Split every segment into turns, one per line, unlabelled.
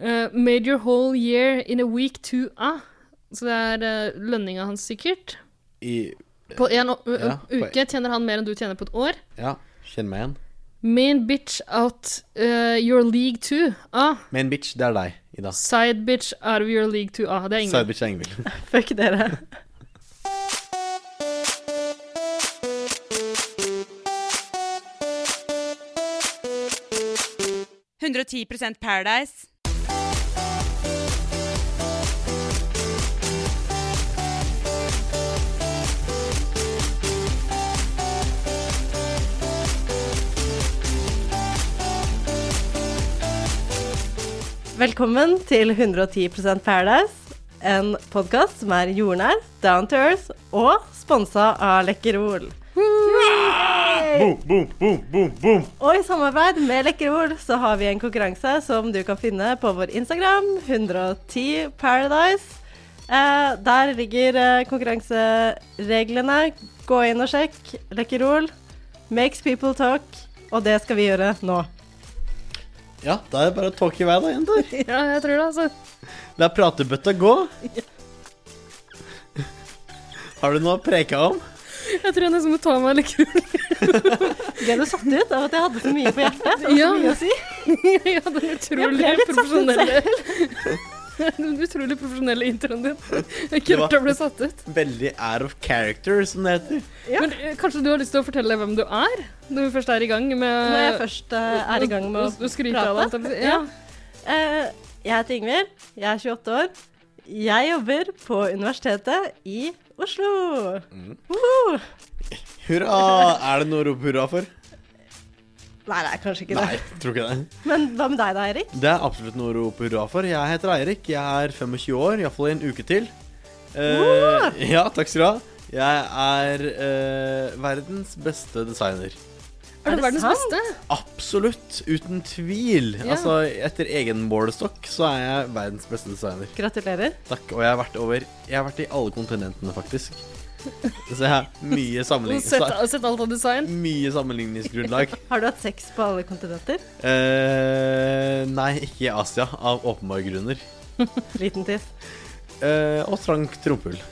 Eh, made your whole year in a week to a. Så det er eh, lønninga hans, sikkert.
I
På én
Ja, på-
uke tjener han mer enn du tjener på et år.
Ja, kjenn meg igjen.
Main bitch out eh, your league to a.
Main bitch, det er deg, Ida.
Side bitch out of your league to a. Det er ingen.
Side bitch er Ingvild.
Fuck dere.
Paradise.
Velkommen til 110 Paradise, en podkast som er jordnær, down to earth og sponsa av Lekkerol.
Ah! Boom, boom, boom, boom, boom.
Og i samarbeid med Lekkerol så har vi en konkurranse som du kan finne på vår Instagram, 110 Paradise. Eh, der ligger eh, konkurransereglene. Gå inn og sjekk. Lekkerol makes people talk, og det skal vi gjøre nå.
Ja, da er det bare å talke i vei, da, jenter.
Ja, jeg tror det, altså.
La pratebøtta gå. Har du noe å preke om?
Jeg tror jeg nesten må ta meg litt kul.
Ble du satt ut av at jeg hadde så mye på hjertet? Det var
Ja.
så mye å si.
ja, den utrolig
Jeg ble litt satt ut
profesjonelle Den utrolig profesjonelle introen din. Kult å bli satt ut.
Veldig out of character, som det heter.
Ja.
Men eh, kanskje du har lyst til å fortelle hvem du er, når vi først er i gang med
Når jeg først eh, er i gang med å
skryte av
prate.
deg. holdt jeg på å si. Ja.
Eh, jeg heter Ingvild, jeg er 28 år. Jeg jobber på Universitetet i Oslo. Woho!
Hurra! Er det noe å rope hurra for?
Nei, det er kanskje ikke
Nei,
det.
tror ikke det.
Men hva med deg da, Erik?
Det er absolutt noe å rope hurra for. Jeg heter Eirik. Jeg er 25 år, iallfall i en uke til. Eh, ja, takk skal du ha. Jeg er eh, verdens beste designer.
Er
det
det verdens
sant?
beste?
Absolutt, uten tvil.
Ja.
Altså, etter egen målestokk så er jeg verdens beste designer.
Gratulerer.
Takk. Og jeg har vært over Jeg har vært i alle kontinentene, faktisk. Så jeg har mye, sammenlign
Sett,
sa-
sett alt av design.
mye sammenligningsgrunnlag.
Har du hatt sex på alle kontinenter?
Eh, nei, ikke i Asia, av åpenbare grunner.
Liten tiss.
Eh, og trangt rumpehull.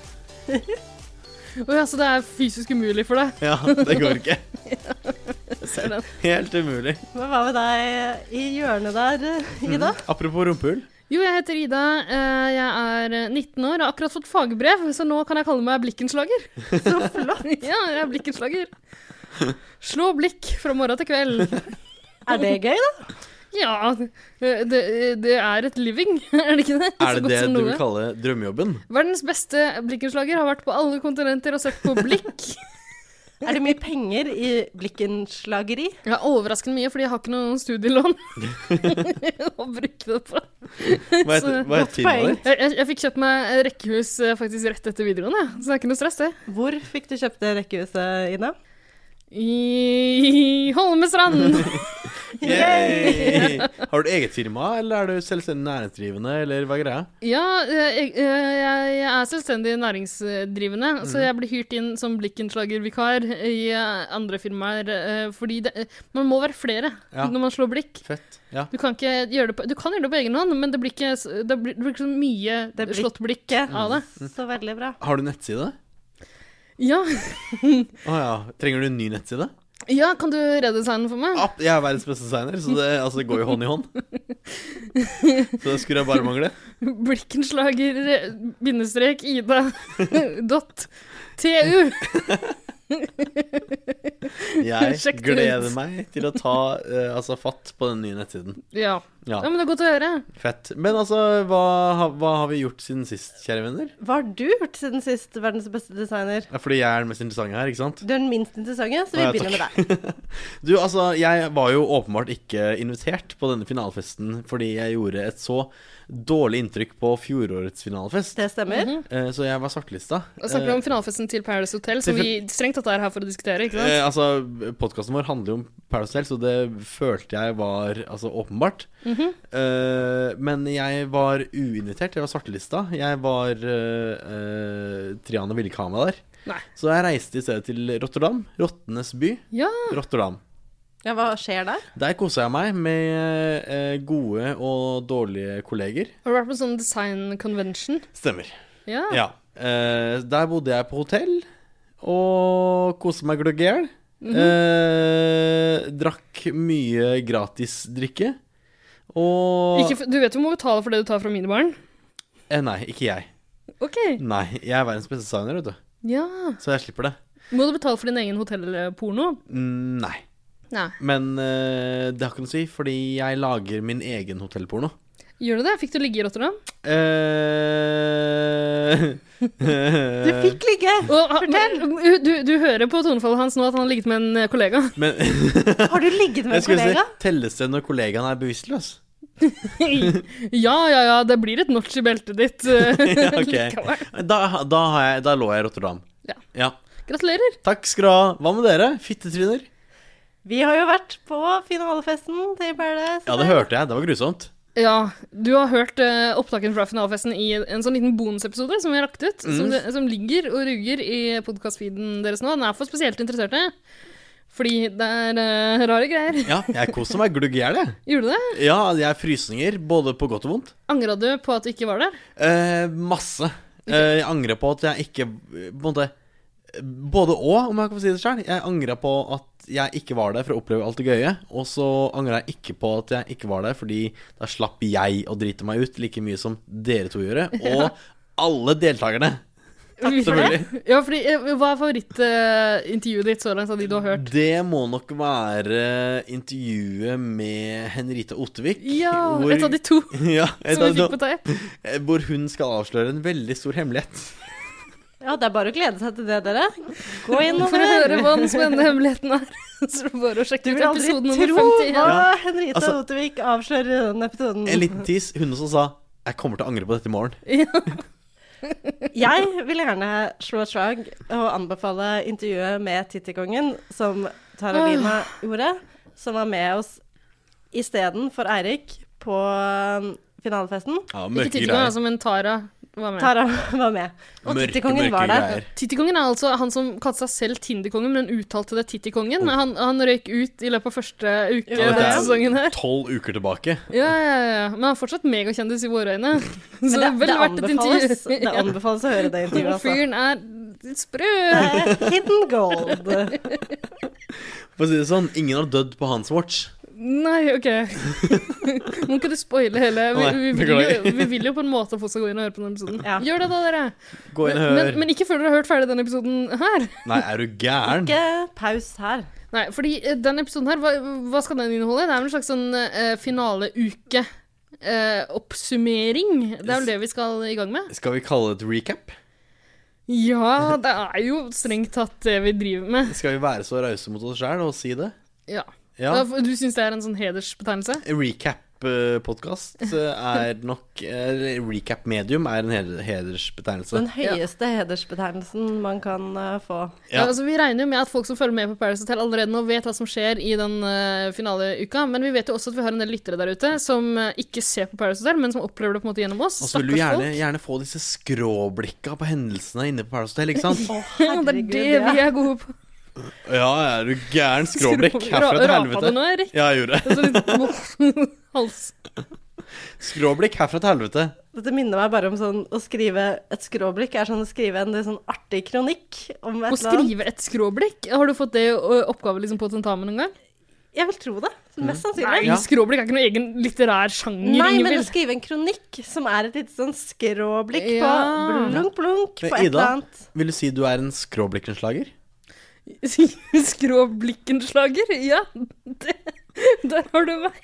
Å ja, så det er fysisk umulig for deg.
Ja, det går ikke.
ser den.
Helt umulig.
Men hva med deg eh, i hjørnet der, eh, Ida?
Apropos rumpehull.
Jo, jeg heter Ida. eh, Jeg er eh, 19 år og har akkurat fått fagbrev, så nå kan jeg kalle meg blikkenslager.
Så flott.
Ja, jeg er blikkenslager. Slå blikk fra morgen til kveld.
Er det gøy, da?
Ja, eh, det, det er et living, er det ikke det?
Er
Så
det
godt
det
som
du
noe.
vil kalle drømmejobben?
Verdens beste blikkenslager har vært på alle kontinenter og sett på blikk.
Er det mye penger i blikkenslageri?
Jeg har overraskende mye, fordi jeg har ikke noe studielån å bruke det på.
Hva heter, hva
Godt
heter firmaet
poeng.
ditt?
Jeg, jeg, jeg fikk kjøpt meg rekkehus eh, faktisk rett etter videregående, jeg. så det er ikke noe stress, det.
Hvor fikk du kjøpt det rekkehuset, Ida?
I Holmestrand!
Yay! Har du eget firma, eller er du selvstendig næringsdrivende, eller hva er greia?
Ja, eh, jeg, eh, jeg, jeg er selvstendig næringsdrivende,
Mhm.
så jeg blir hyrt inn som blikkenslagervikar i eh, andre firmaer, eh, fordi det, eh, man må være flere
Ja.
når man slår blikk.
Fett. Ja.
Du kan ikke gjøre det på, du kan gjøre det på egen hånd, men det blir ikke, s- det blir, det blir ikke så mye
Det blir
slått blikk
ikke. Mhm.
av det.
Så veldig bra.
Har du nettside?
Ja.
Å ja. Trenger du en ny nettside?
ja, kan du redesigne den for meg?
App, jeg er verdens beste designer, så det, altså, det går jo hånd i hånd. Så det skulle jeg bare mangle.
Blikkenslager eh, bindestrek Ida dot tu.
Jeg
Sjekk det ut.
gleder meg til å ta eh, altså, fatt på den nye nettsiden.
Ja.
Ja,
ja, men det er godt å høre.
Fett. Men altså, hva, ha- hva har vi gjort siden sist, kjære venner?
Hva har du gjort siden sist, verdens beste designer?
Ja, Fordi jeg er den mest interessante her, ikke sant?
Du er den minst interessante, så vi
Ja,
begynner med deg.
Du, altså, jeg var jo åpenbart ikke invitert på denne finalefesten fordi jeg gjorde et så dårlig inntrykk på fjorårets finalefest.
Det stemmer.
Eh, Så jeg var Eh, svartelista.
Da snakker vi om finalefesten til Paradise Hotel, som vi strengt tatt er her for å diskutere. ikke sant?
Eh, altså, Podkasten vår handler jo om Paradise Hotel, så det følte jeg var altså, åpenbart.
Mhm.
Eh, men jeg var uinvitert. Jeg var svartelista. Jeg var eh, eh, Triana ville ikke ha meg der.
Nei.
Så jeg reiste i stedet til Rotterdam. Rottenes by.
Ja,
Rotterdam.
Ja, hva skjer der?
Der kosa jeg meg med eh, gode og dårlige kolleger.
Har du vært på sånn design convention?
Stemmer.
Ja.
Ja. Eh, der bodde jeg på hotell og koste meg gløgg i hjel. eh, drakk mye gratisdrikke. Og
Ikke, f- du vet jo må betale for det du tar fra minibaren.
eh, Nei, ikke jeg.
Ok.
Nei, Jeg er verdens beste designer, vet du.
Ja.
Så jeg slipper det.
Må du betale for din egen hotellporno?
Mm, Nei.
Nei.
Men eh, det har ikke noe å si, fordi jeg lager min egen hotellporno.
Gjør du det? Fikk du ligge i Rotterdam?
Eh,
Du fikk ligge!
Og, men, du, du hører på tonefallet hans nå at han har ligget med en eh, kollega.
Men
Har du ligget med
jeg
en
skulle si,
kollega?
telles det når kollegaen er bevisstløs?
ja, ja, ja, det blir et notch i beltet ditt. ja,
ok. Da, da, har jeg, da lå jeg i Rotterdam.
Ja. Gratulerer.
Takk skal du ha. Hva med dere? Fittetryner?
Vi har jo vært på finalefesten til Paradise.
Ja, det hørte jeg. Det var grusomt.
Ja, du har hørt eh, opptaken fra finalefesten i en sånn liten bonusepisode som vi har lagt ut,
Mm.
som, det- som ligger og ruger i podkast-feeden deres nå. Den er for spesielt interesserte. Fordi det er eh, rare greier.
Ja, jeg koser meg glugg i hjel, jeg.
Gjorde du det?
Ja, jeg har frysninger, både på godt og vondt.
Angra du på at du ikke var der?
Eh, masse. Eh, jeg angrer på at jeg ikke eh, På en måte Både og, om jeg kan få si det sjøl. Jeg angra på at jeg ikke var der for å oppleve alt det gøye. Og så angra jeg ikke på at jeg ikke var der, fordi da slapp jeg å drite meg ut like mye som dere to gjorde. Og alle deltakerne. Selvfølgelig.
Ja, fordi, eh, hva er favorittintervjuet ditt så langt av de du har hørt?
Det må nok være intervjuet med Henrita Ottevik.
Ja, et av de to
ja, et
som vi
av de
fikk på teip.
to- eh, hvor hun skal avsløre en veldig stor hemmelighet.
Ja, det er bare å glede seg til det, dere. Gå inn og
For å høre hva den spennende hemmeligheten er, så er det bare å
Du
sjekke ut
vil aldri
episode nummer
tro hva
51.
Henrita
Altså-
Otevik avslører i denne episoden.
En liten tis. Hun også sa 'Jeg kommer til å angre på dette i morgen'.
Jeg vil gjerne slå et slag og anbefale intervjuet med Tittikongen, som Taralina gjorde, som var med oss istedenfor Eirik på eh, finalefesten.
Ja,
Ikke Tittikongen, altså, men Tara var med.
Tara var med. Og Tittikongen var der.
Tittikongen er altså han som kalte seg selv Tinderkongen, men uttalte det Tittikongen.
Oh.
Han, han røyk ut i løpet av første uke av
Ja, det
denne
er-
sesongen her.
Tolv uker tilbake.
Ja, ja, ja. Men han er fortsatt megakjendis i våre øyne. Så det,
Men det,
er
det,
vel verdt et
anbefales,
intervju.
det anbefales å høre det intervjuet,
Ja.
altså.
Fyren er sprø.
Det er Hidden gold.
For å si det sånn, ingen har dødd på hans watch.
Nei, OK. Må ikke du spoile hele. Vi,
Nei,
vi, vil
beklager.
jo, vi vil jo på en måte at folk skal gå inn og høre på denne episoden.
Ja.
Gjør det, da, dere.
Gå inn og hør.
Men, men ikke før dere har hørt ferdig denne episoden her.
Nei, er du gæren?
Ikke paus her.
Nei, fordi eh, denne episoden her, hva, hva skal den inneholde? Det er vel en slags sånn eh, finaleuke. eh, oppsummering. Det er vel det vi skal i gang med?
Skal vi kalle det et recap?
Ja, det er jo strengt tatt det vi driver med.
Skal vi være så rause mot oss sjæl og si det?
Ja.
Ja.
Du syns det er en sånn hedersbetegnelse?
Recap-podkast eh, er nok eller Recap-medium er en heder- hedersbetegnelse.
Den høyeste hedersbetegnelsen man kan eh, få.
Ja.
Ja.
altså, vi regner jo med at folk som følger med på Paris Hotel allerede nå vet hva som skjer i den eh, finaleuka, men vi vet jo også at vi har en del lyttere der ute som eh, ikke ser på Paris Hotel, men som opplever det på en måte gjennom oss.
Og så vil du gjerne, gjerne få disse skråblikka på hendelsene inne på Paradise Hotel, ikke sant?
Å,
Ja, det er
herregud,
det
ja.
vi er gode på.
Ja, er du gæren? Skråblikk herfra til
Ra- Rapa du
helvete.
nå, altså, Erik?
Ja, jeg gjorde det.
Så litt hals.
Skråblikk herfra til helvete.
Dette minner meg bare om sånn å skrive et skråblikk er sånn å skrive en litt sånn artig kronikk om et
Å
eller annet.
skrive et skråblikk? Har du fått det ø, oppgave liksom på tentamen en gang?
Jeg vil tro det.
Mm.
Mest
Nei,
sannsynlig.
Ja.
skråblikk er ikke noen egen litterær sjanger.
Nei, men å
Ingvild.
skrive en kronikk som er et lite sånn skråblikk på
Ja.
blunk, blunk på
Men
et
Ida?
eller annet.
Vil du si du er en skråblikkenslager?
Skråblikkenslager? Ja, det, der har du meg.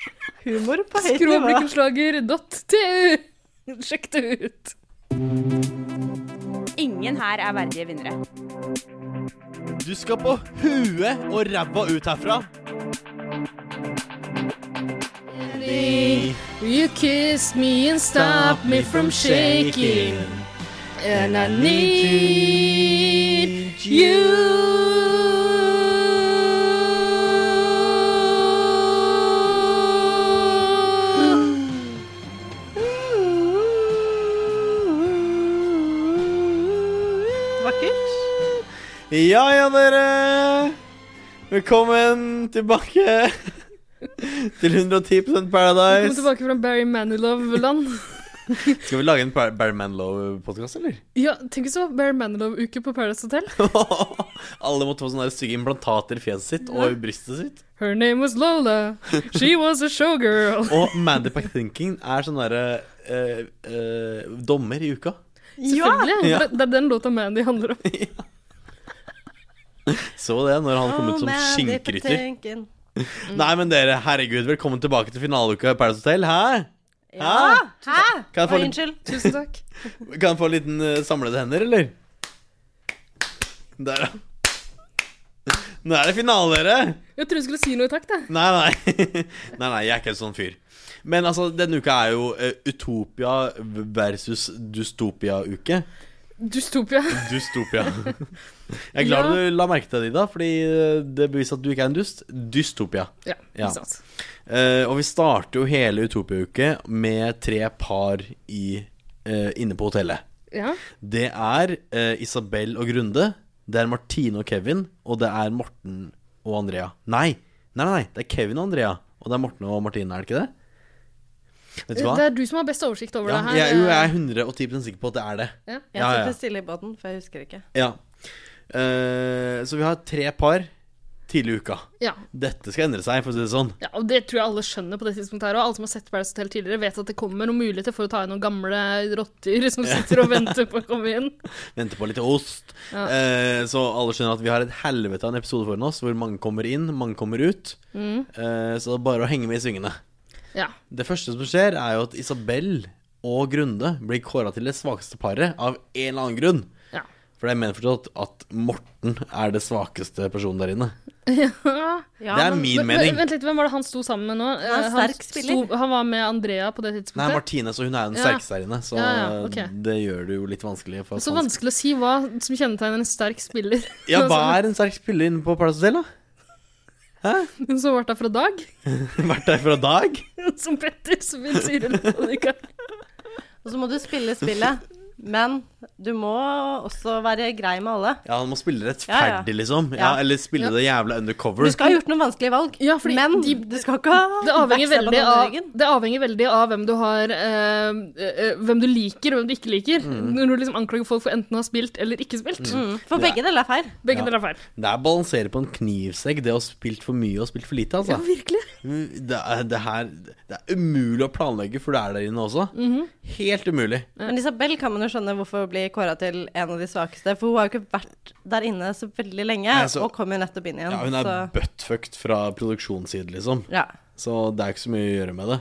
Humor på høyt nivå.
Skråblikkenslager.tu. Sjekk det ut.
Ingen her er verdige vinnere.
Du skal på huet og ræva ut herfra.
You kissed me and stopped me from shaking, and I need you.
Vakkert.
Ja ja, dere. Velkommen tilbake til 110
Kom
Paradise.
tilbake fra Barry Manilow-land.
Skal vi lage en Bar- Barry Manilow-podkast, eller?
Ja, tenk hvis det var Barry Manilow-uke på Paradise Hotel.
Alle måtte få sånne der stygge implantater i fjeset sitt og i brystet sitt.
Her name was Lola. She was a showgirl.
Og Mandy Pack Thinking er sånn derre eh, eh, dommer i uka.
Selvfølgelig.
Ja.
Det, det er den låta Mandy handler om.
Så det når han kom ut som skinnekrytter. Nei, men dere, herregud, velkommen tilbake til finaleuka i Paradise Hotel. Hæ? Ah,
Ja! Hæ?
Kan jeg få
Oi,
litt-
unnskyld.
Tusen takk.
Kan jeg få en liten eh, samlede hender, eller? Der, ja. Nå er det finale, dere!
Jeg trodde du skulle si noe i takt, jeg.
Nei, nei. nei, nei, jeg er ikke en sånn fyr. Men altså, denne uka er jo eh, Utopia versus Dystopia-uke.
Dystopia.
Dystopia. Jeg er glad
Ja.
du la merke til det, Ida, fordi eh, det beviser at du ikke er en dust. Dystopia.
Ja, ikke
Ja.
sant.
Eh, og vi starter jo hele Utopia-uke med tre par i, eh, inne på hotellet.
Ja.
Det er eh, Isabel og Grunde, det er Martine og Kevin, og det er Morten og Andrea. Nei, nei, nei, det er Kevin og Andrea, og det er Morten og Martine, er det ikke det? Vet du hva?
Det er du som har best oversikt over
ja,
det her. eh.
jeg, jo, jeg er 110 sikker på at det er det.
Ja.
Ja,
Jeg
ja.
sitter stille i båten, for jeg husker ikke.
Ja. Eh, så vi har tre par tidlig i uka.
Ja.
Dette skal endre seg, for å si det sånn.
Ja, og Det tror jeg alle skjønner på det tidspunktet. her, Og alle som har sett Paradise Hotel tidligere, vet at det kommer noen muligheter for å ta inn noen gamle rotter som sitter og venter på å komme inn.
Vente på litt ost.
Ja.
Eh, så alle skjønner at vi har et helvete av en episode foran oss, hvor mange kommer inn, mange kommer ut.
Mm.
Eh, så det er bare å henge med i svingene.
Ja.
Det første som skjer, er jo at Isabel og Grunde blir kåra til det svakeste paret av en eller annen grunn.
ja.
For det er mener forstått at Morten er det svakeste personen der inne.
Ja,
det er
men-
min
Men-
mening.
Vent litt, Hvem var det han sto sammen med nå? Eh,
er en sterk spiller.
sto- han var med Andrea på det tidspunktet.
Nei, Martine, så hun er jo den
Ja.
sterkeste der inne. Så
Ja, ja, ok.
det gjør det jo litt vanskelig. For at
Så
han-
vanskelig altså. å si hva som kjennetegner en sterk spiller.
Ja, hva er en sterk spiller inne på Palace Hotel, da?
Hun som ble der fra dag,
Vært der fra dag?
som Petter som vil si det litt, Annika.
Og så må du spille spillet. Men du må også være grei med alle.
Ja, han må spille
Ja, ja.
rettferdig, liksom. Ja,
Ja.
eller spille
Ja.
det jævla
Du
undercover.
skal ha gjort noen vanskelige valg,
Ja, fordi
men
de-
du skal ikke ha
Det avhenger,
backstabba
veldig
noen i
av,
ryggen.
det avhenger veldig av hvem du har eh, eh, Hvem du liker og hvem du ikke liker.
Mm.
Når du liksom anklager folk for enten å ha spilt eller ikke spilt.
Mm, For
Det er-
begge deler er feil.
Begge
Ja.
deler er feil.
Det er balansere på en knivsegg, det å ha spilt for mye og spilt for lite, altså.
Ja, virkelig.
Mm, Det er, det, her, det er umulig å planlegge, for du er der inne også.
Mhm.
Helt umulig.
Men Isabel kan man jo skjønne hvorfor blir kåra til en av de svakeste. For hun har jo ikke vært der inne så veldig lenge,
Nei, så-
og kommer jo nettopp inn igjen.
Ja, hun er
så
Altså-
buttfucked fra produksjonssiden, liksom.
ja.
Så det er ikke så mye å gjøre med det.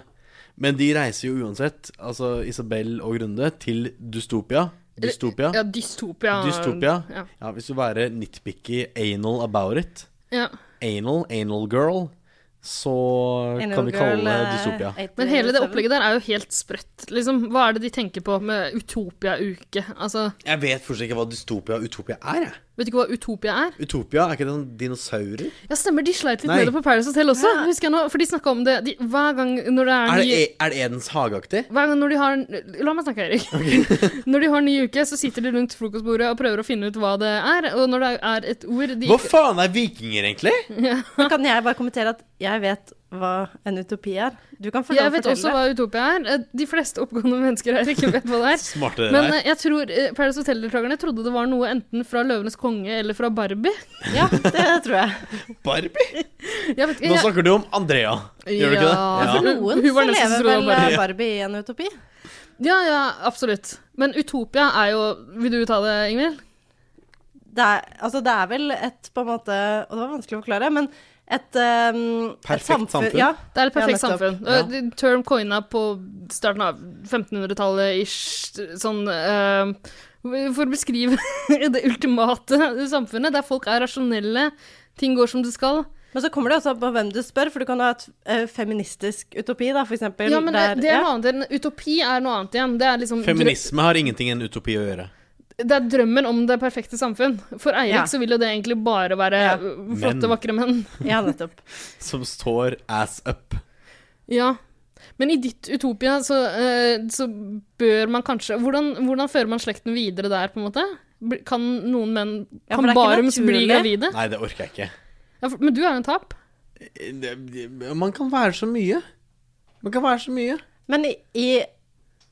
Men de reiser jo uansett, altså Isabel og Grunde, til Dystopia. Dystopia.
Ja, dystopia.
Dystopia.
Ja.
Ja, hvis du være nitpicky anal about it,
ja.
anal, anal girl, så kan vi kalle
eh,
det Dystopia.
eh,
Men hele det opplegget der er jo helt sprøtt. Liksom, hva er det de tenker på med Utopia-uke? Altså,
Jeg vet fortsatt ikke hva Dystopia og Utopia er, jeg.
vet du ikke hva Utopia er?
Utopia, er ikke det sånn dinosaurer?
Ja, stemmer, de sleit litt
Nei.
med det på Paris Hotel også. Husker jeg nå, for de snakka om det de, hver gang når det er,
Er
nye-
det, e- er det Edens hage-aktig?
Hver gang når de har La meg snakke, Erik. når de har ny uke, så sitter de rundt frokostbordet og prøver å finne ut hva det er. Og når det er et ord de
Hva faen er vikinger, egentlig?
Men kan jeg bare kommentere at jeg vet hva en utopi er? Du kan få lov
Jeg
å
vet også
fortelle.
hva utopia er. Eh, De fleste oppegående mennesker her ikke vet hva det er.
Smartere enn
Men
deg.
eh, jeg tror eh, Paradise Hotel-deltakerne trodde det var noe enten fra 'Løvenes konge' eller fra Barbie.
Ja, det tror jeg.
Barbie?
Jeg vet ikke,
Nå
jeg,
snakker du om Andrea, gjør du ikke
Ja. Altså,
det? Ja.
For Altså, noen
Hun var
så
den som
lever
trodde det var
vel
Barbie.
eh, Barbie i en utopi.
ja, ja, absolutt. Men utopia er jo Vil du ta det, Ingvild?
Det er, altså det er vel et på en måte Og det var vanskelig å forklare, men et, um,
Perfekt
et
samfunn.
Ja,
Det er et perfekt
Ja, nettopp.
samfunn.
Ja.
Eh, de- Term coina på starten av 1500-tallet ish. Sånn eh, For å beskrive det ultimate samfunnet, der folk er rasjonelle, ting går som det skal.
Men så kommer det også på hvem du spør, for du kan ha et eh, feministisk utopi, da, for eksempel.
Ja, men det,
der-
det er
ja.
noe annet. En utopi er noe annet igjen. Det er liksom
Feminisme har ingenting i en utopi å gjøre.
drø- det er drømmen om det perfekte samfunn. For Eirik
Ja.
så vil jo det egentlig bare være
Ja.
eh, flotte,
Menn.
vakre menn.
ja, nettopp.
Som står ass up.
Ja. Men i ditt utopia så, eh, så bør man kanskje hvordan, hvordan fører man slekten videre der, på en måte? Bl- Kan noen menn
Ja, for
Kan
det er ikke
barums bli
naturlig.
gravide?
Nei, det orker jeg ikke.
Ja, for, men du er en tap.
Det, det- Eh, man kan være så mye. Man kan være så mye.
Men i, i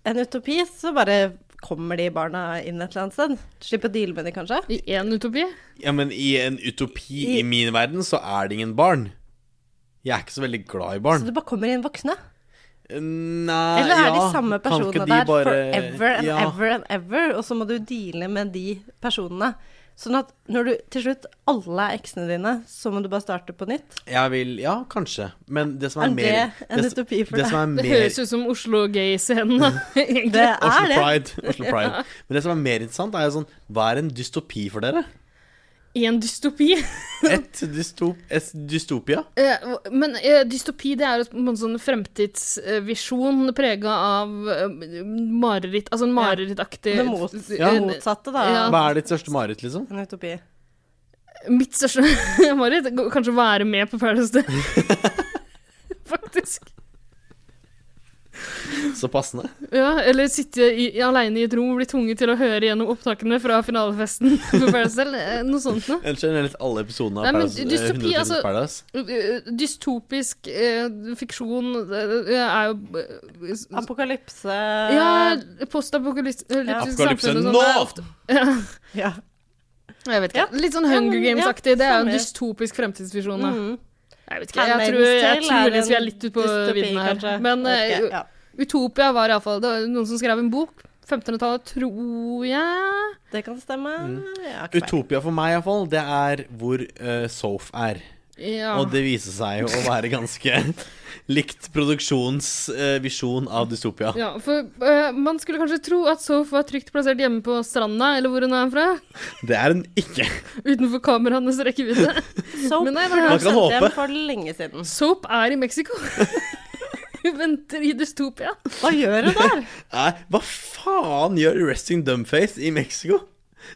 en utopi så bare kommer de barna inn et eller annet sted. Slipper å deale med de, kanskje.
I én utopi.
Ja, men i en utopi i min verden så er det ingen barn. Jeg er ikke så veldig glad i
Så
barn.
du bare kommer inn voksne.
Nei,
Eller er
Eh,
de
ja,
samme
kan ikke
personene
de
der
bare-
forever and
ja.
ever and ever, og så må du deale med de personene. Sånn at når du til slutt alle er eksene dine, så må du bare starte på nytt.
Jeg vil, ja, kanskje. Men det som er,
Er
mer
det en
s-
utopi for
det
deg?
Som er
Det
mer, Mm.
høres ut som Oslo Gay-scenen, da. egentlig.
Det
Oslo
er det.
Pride. Oslo Pride. Men det som er mer interessant, er jo sånn Hva er en dystopi for dere?
I en dystopi.
Et, dystop, et dystopia?
Eh, Men eh, dystopi det er jo på en måte sånn fremtidsvisjon prega av eh, mareritt Altså en marerittaktig eh,
Det mot,
Ja.
det motsatte, da.
Ja.
Hva er ditt største mareritt, liksom?
En utopi.
Mitt største mareritt går kanskje å være med på Paradise Day. Faktisk.
Så passende.
Ja, eller sitte i, aleine i et rom og bli tvunget til å høre gjennom opptakene fra finalefesten på Paradise Day. eh, Noe sånt noe.
Ellers generelt alle episodene
Nei,
av
men
Paradise,
dystopi,
100 000
altså-
Paradise.
Eh, Dystopisk eh, fiksjon eh, er jo eh,
Apokalypse
Ja, postapokalyptisk
Ja.
Apokalypse
samfunn og sånn.
nå!
Det er ofte- Ja.
Ja.
Jeg vet ikke.
Ja.
Litt sånn
Ja, men-
Hunger
ja,
Games-aktig. det er jo en
samme.
dystopisk fremtidsvisjon. da.
Mm.
Jeg vet ikke, jeg
Handmaid's
tror, jeg
Tale
tror
er
liksom vi
en
er litt ute på
dystopi,
vidden her.
kanskje.
Men
Jeg vet ikke,
eh,
ja.
Utopia var iallfall Det var noen som skrev en bok. 1500-tallet, tror jeg.
Det kan stemme.
Mm.
Ja, ikke peiling.
Utopia for meg, iallfall, det er hvor eh, Soph er.
Ja.
Og det viser seg jo å være ganske likt produksjonsvisjon av dystopia.
ja, for eh, man skulle kanskje tro at Soph var trygt plassert hjemme på stranda, eller hvor hun er fra.
Det er hun ikke.
Utenfor kameraenes rekkevidde.
Soap
Men nei, hva-
har
Man kan
sendt hjem
håpe.
for lenge siden.
Soap er i Mexico. Hun venter i dystopia.
Hva gjør hun der?
Nei, hva faen gjør Resting Dumbface i Mexico?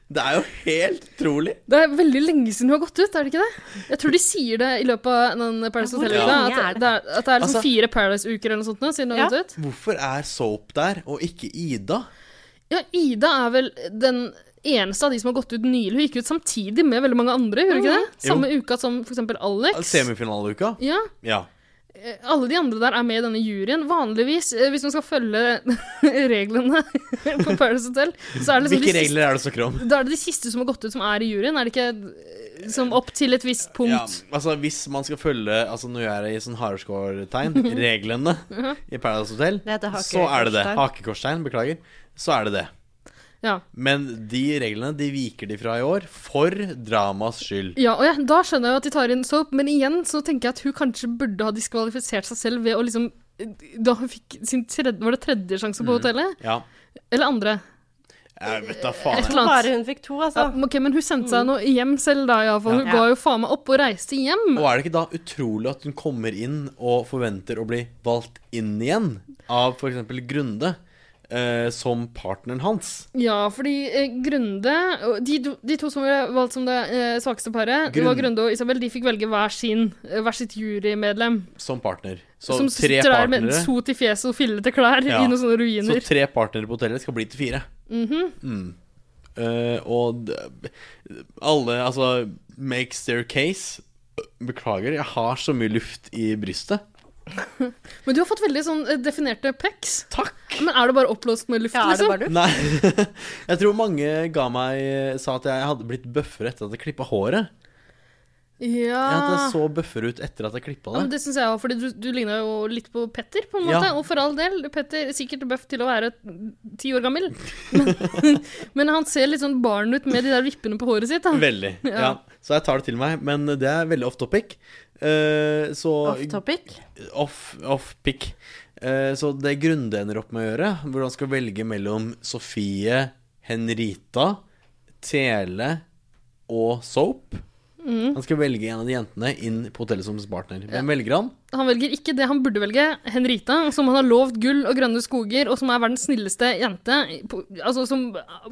Det er jo helt utrolig.
Det er veldig lenge siden hun har gått ut, er det ikke det? Jeg tror de sier det i løpet av den Paradise
Ja, hvor
Hotel-uka.
lenge
At,
er det?
det er- at det er liksom
Altså-
fire Paradise-uker eller noe sånt nå, siden hun har
Ja.
gått ut.
Hvorfor er Soap der, og ikke Ida?
Ja, Ida er vel den eneste av de som har gått ut nylig. Hun gikk ut samtidig med veldig mange andre, gjorde hun ikke det?
Mhm. Jo.
Samme uka som for eksempel Alex.
Semifinaleuka?
Ja,
Ja.
eh, alle de andre der er med i denne juryen. Vanligvis, eh, hvis man skal følge reglene på Paradise Hotel, så er det liksom de
Hvilke
siste,
regler er det du snakker om?
da er det de siste som har gått ut, som er i juryen. Er det ikke eh, som opp til et visst punkt?
Ja, altså Hvis man skal følge Altså nå er jeg i sånn hareskårtegn reglene i Paradise Hotel,
Det heter
så er det det.
hakekorstegn.
Hakekorstegn, beklager. Så er det det.
ja.
Men de reglene de viker de fra i år for dramas skyld.
Ja, og ja, da skjønner jeg jo at de tar inn Soap, men igjen så tenker jeg at hun kanskje burde ha diskvalifisert seg selv ved å liksom Da hun fikk sin tredje Var det tredje sjanse
Mm.
på hotellet?
Ja.
Eller andre?
Jeg vet da
Et
faen. jeg.
eller annet.
Bare hun fikk to,
Ja,
altså.
ok, men hun sendte
Mm.
seg nå hjem selv, da, iallfall. Hun
Ja.
ga jo faen meg opp og reiste hjem.
Og er det ikke da utrolig at hun kommer inn og forventer å bli valgt inn igjen av f.eks. Grunde eh, som partneren hans?
Ja, fordi eh, Grunde og de, do- de to som ble valgt som det eh, svakeste paret, det var
Grund-
Grunde og Isabel, de fikk velge hver, sin, eh, hver sitt jurymedlem.
Som partner. Så
som
tre
sitter der med
partnere.
sot i fjeset og fillete klær
Ja.
i noen sånne
Så
ruiner.
tre partnere på hotellet skal bli til fire.
Mhm.
Mm. Eh, og d- alle Altså, makes their case. Beklager, jeg har så mye luft i brystet.
Men du har fått veldig sånn eh, definerte pecs.
Takk!
Men er det bare oppblåst med luft,
Ja, er det
liksom?
bare du?
Nei, jeg tror mange ga meg sa at jeg hadde blitt bøffere etter at jeg klippa håret.
Ja,
Jeg hadde så bøffere ut etter at
Ah.
jeg
ja
klippa
men
det.
Det syns jeg òg, fordi du, du ligna jo litt på Petter, på en
Ja.
måte. Og for all del, Petter er sikkert bøff til å være ti år gammel. Men, men han ser litt sånn barn ut med de der vippene på håret sitt. Da.
Veldig.
Ja.
Ja. Så jeg tar det til meg. Men det er veldig off topic. Eh, så
Off topic.
off, off pick. Eh, så det Grunde ender opp med å gjøre, hvor han skal velge mellom Sofie, Henrita, Tele og Soap Han skal velge en av de jentene inn på hotellet som partner. Hvem velger han?
Han velger ikke det han burde velge, Henrita, som han har lovt gull og grønne skoger, og som er verdens snilleste jente. På, altså, som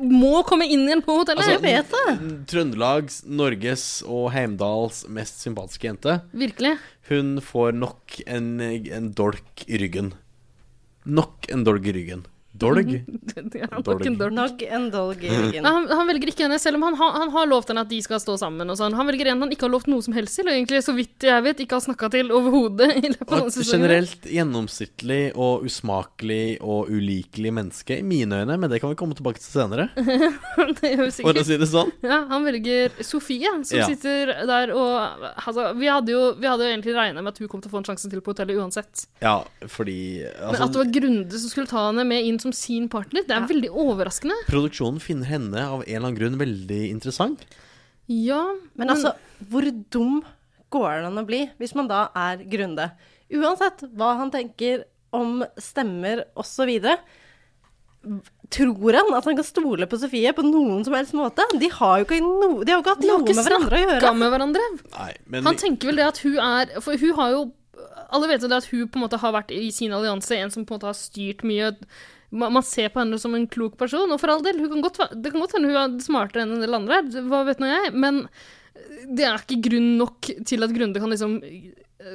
må komme inn igjen på hotellet!
Altså,
vet
n- Trøndelags, Norges og Heimdals mest sympatiske jente.
Virkelig.
Hun får nok en, en dolk i ryggen. Nok en dolk i ryggen. Dolg.
Ja, fucking dork.
Nog en dolg i ryggen.
Nei, han, han velger ikke henne, selv om han, har- han har lovt henne at de skal stå sammen. og sånn. Han velger en han ikke har lovt noe som helst til, og egentlig, så vidt jeg vet, ikke har snakka til overhodet. i løpet av
Og
denne
et
sesongen.
generelt gjennomsnittlig og usmakelig og ulikelig menneske i mine øyne, men det kan vi komme tilbake til senere,
Det gjør vi
for å
sikkert.
si det sånn.
Ja, han velger Sofie, som
Ja.
sitter der og altså, vi, hadde jo, vi hadde jo egentlig regna med at hun kom til å få en sjanse til på hotellet uansett.
Ja, fordi
Men at det
altså,
var Grunde som skulle ta henne med inn som sin partner, det er
Ja.
veldig overraskende.
Produksjonen finner henne av en eller annen grunn veldig interessant.
Ja,
Men altså, hvor dum går det an å bli hvis man da er Grunde? Uansett hva han tenker om stemmer osv. Tror han at han kan stole på Sofie på noen som helst måte? De har jo ikke, no, de har jo ikke hatt
de har
noe
ikke
med hverandre å
snakka
gjøre.
med hverandre.
Nei, men
Han tenker vel det at hun er For hun har jo Alle vet jo det at hun på en måte har vært i sin allianse en som på en måte har styrt mye. Man man ser på henne som en klok person, og for all del, hun kan godt, va- det kan godt hende hun er smartere enn en del andre, her, hva vet nå jeg, men det er ikke grunn nok til at Grunde kan liksom eh,